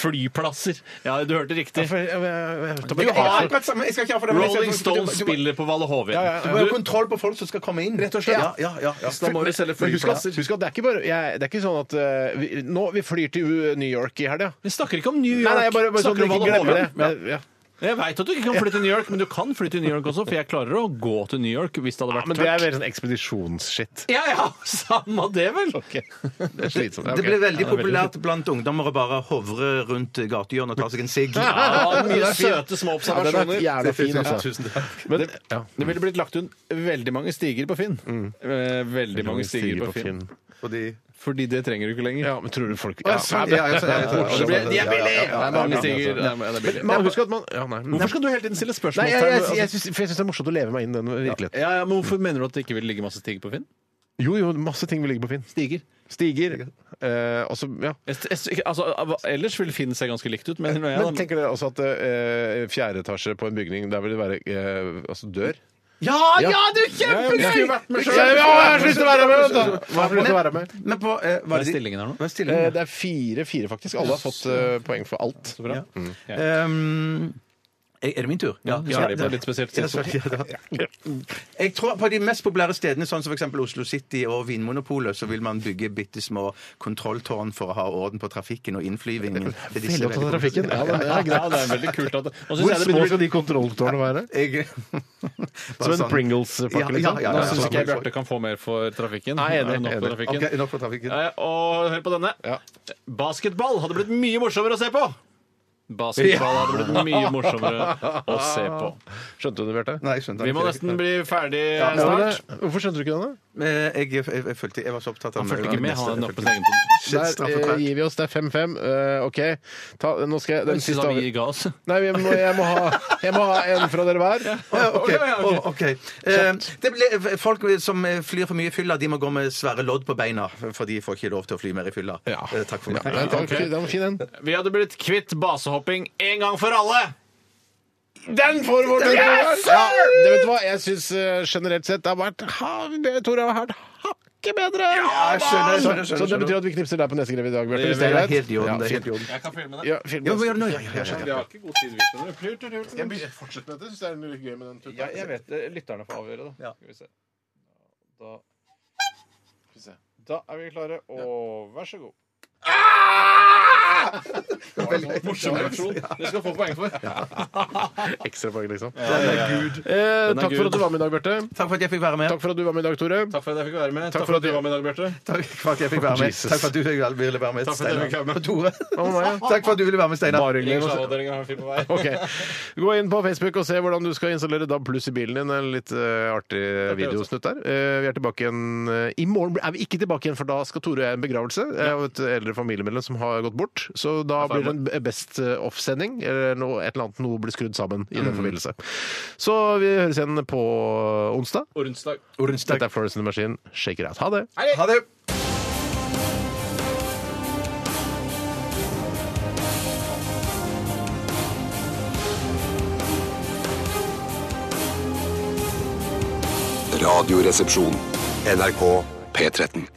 Flyplasser! Ja, du hørte riktig.
For- jeg- jeg- jeg- jeg-
Du har
Akkurat samme, jeg skal ikke ha for det, men jeg skal-
Rolling Stones spiller på Valle
Du må
Hovin.
jo ha kontroll på folk som skal komme inn. Rett og slett. Ja, ja, ja, ja.
Da må vi selge
Men husk at,
flyplasser.
husk at det er ikke bare jeg, Det er ikke sånn at eh, vi, Nå, vi flyr til uh, New York i helga.
Vi snakker ikke om New York.
Nei, nei, jeg bare, bare sånn,
Snakker
at
om
vi ikke
Valle
glemmer det.
Hovin. Ja.
Men, ja.
Jeg veit at du ikke kan flytte til New York, men du kan flytte til New York også, for jeg klarer å gå til New York hvis det hadde vært
Men det er mer sånn ekspedisjonsskitt.
Ja, ja! Samme det, vel!
Det er slitsomt.
Det ble veldig populært blant ungdommer å bare hovre rundt gatehjørnet og ta seg en sigg.
Ja, mye
fin.
søte
Ja, den er
små observasjoner.
jævla fin,
sånn.
altså. Men, ja.
Det ville blitt lagt ut veldig mange stiger på Finn. Eh, Veldig, mange stiger, på, Finn. Fordi det trenger du ikke lenger.
Ja, men tror du folk
Ja, sånn, ja, ja, sånn, ja, ja, ja.
Det blir- de er billige!
Ja, ja, ja, ja.
Det er mange stiger. Nei, men det er billig.
Man husker at man ja, nei.
Hvorfor skal du hele tiden stille
Nei, jeg, jeg,
spørsmålstegn?
jeg, syns- for jeg syns det er morsomt å leve meg inn i den virkeligheten.
Ja, ja, men hvorfor mener du at det ikke vil ligge masse stiger på Finn?
Jo, jo, masse ting vil ligge på Finn.
Stiger.
Stiger. Eh, og så, ja.
Jeg, jeg, altså, av- ellers vil Finn se ganske likt ut, men, jeg,
Men tenker dere også at eh, fjerde etasje på en bygning, der vil det være eh, altså dør?
Ja, ja, du er
Jeg skulle vært med selv.
Ja,
Ja, jeg har så lyst til å være med! vet du. Jeg har så lyst til å være med.
Men på, eh, hva
Hva er
er det de-
stillingen her nå?
Hva er
Eh,
stillingen?
Det er fire-fire, faktisk. Alle har fått eh, poeng for alt.
Så bra.
Um, Er det min tur? Ja.
så er det på et litt spesielt tidspunkt.
Ja, så- ja, da. Jeg tror på de mest populære stedene, sånn som f.eks. Oslo City og Vinmonopolet, så vil man bygge bitte små kontrolltårn for å ha orden på trafikken og innflyvingen. Det er disse
Veldig opptatt av trafikken. Ja, det er greit.
det er veldig kult at Nå
Hvor
synes jeg det
små
begynner å
skal de kontrolltårnene være?
Jeg...
Som en Pringles-pakke,
Ja,
liksom?
ja, ja,
Nå
ja.
syns ikke jeg Bjarte kan få mer for trafikken.
Nei, enig,
Nok for
enig.
trafikken.
Ok, nok for trafikken.
Eh, Og hør på denne.
Ja.
Basketball hadde blitt mye morsommere å se på! Basketball hadde blitt mye morsommere å se på.
Skjønte du det, Bjarte?
Nei, jeg skjønte
Vi må
ikke.
nesten bli ferdig
Ja, men
snart.
det- Hvorfor skjønte du ikke det?
Men Jeg, jeg, jeg, jeg følte Jeg var så opptatt av
Han fulgte ikke med. Han hadde nok på sin egen
Der eh, gir vi oss. Det er 5-5. Eh, OK. Ta, nå skal jeg den siste
Synes han vi
avgjørelsen
ga oss.
Nei, jeg må, jeg, må ha, jeg må ha en fra dere hver.
Å, ja, ok. Å, ok. Eh, det ble, folk som flyr for mye i fylla, de må gå med svære lodd på beina, for de får ikke lov til å fly mer i fylla. Eh, Takk for meg.
Nei, den var fin- den var fin, den.
Vi hadde blitt kvitt basehopping en gang for alle!
Den får vår tur! Ja, det vet du hva, jeg syns generelt sett det har vært ha- det Tore har vært hakket bedre.
jeg skjønner, jeg
Så-
skjønner, skjønner,
Så det betyr at vi knipser deg på nesegrevet i dag, Bjarte. Hvis det er
Det er
greit?
helt i orden. Det er helt i orden.
Jeg kan filme det.
Ja, film
Ja,
oss.
ja, ja, ja, ja, ja, ja.
Vi har ikke god tid, vi.
Fortsett med det. Syns det er litt gøy med den tuta.
Ja, jeg vet det. Lytterne får avgjøre, da. Skal vi se. Da Skal vi se. Da er vi klare, og vær så god.
Ah!
Morsom reaksjon. Det skal du få poeng for.
Ekstra poeng, liksom. Eh, takk for at du var med i dag, Bjarte.
Takk for at jeg fikk være med.
Takk for at du var med i dag, Tore.
Takk for at jeg fikk være med.
Takk
Takk
for
for at du var med i dag, Bjarte.
Takk for at jeg fikk være med.
Jesus.
Takk for at du ville være med,
Takk for at jeg fikk være
Steinar.
med.
Og Tore.
Og meg, ja.
Takk for at du ville være med, Steinar.
Bare hyggelig.
Reklameavdelingen har en film på vei.
Ok. Gå inn på Facebook og se hvordan du skal installere DAB pluss i bilen din. En litt eh, artig videosnutt der. Eh, vi er tilbake igjen eh, i morgen. blir- Er vi ikke tilbake igjen, for da skal Tore og jeg i en begravelse eh, av et eldre familiemedlem som har gått bort. Så da blir det en b- Best eh, Off-sending, eller noe, et eller annet noe blir skrudd sammen i den forbindelse. Så vi høres igjen på onsdag.
Og Onsdag.
Dette er Florence and the Machine. Shake it out. Ha det!
Ha det.
Radioresepsjon. NRK P13.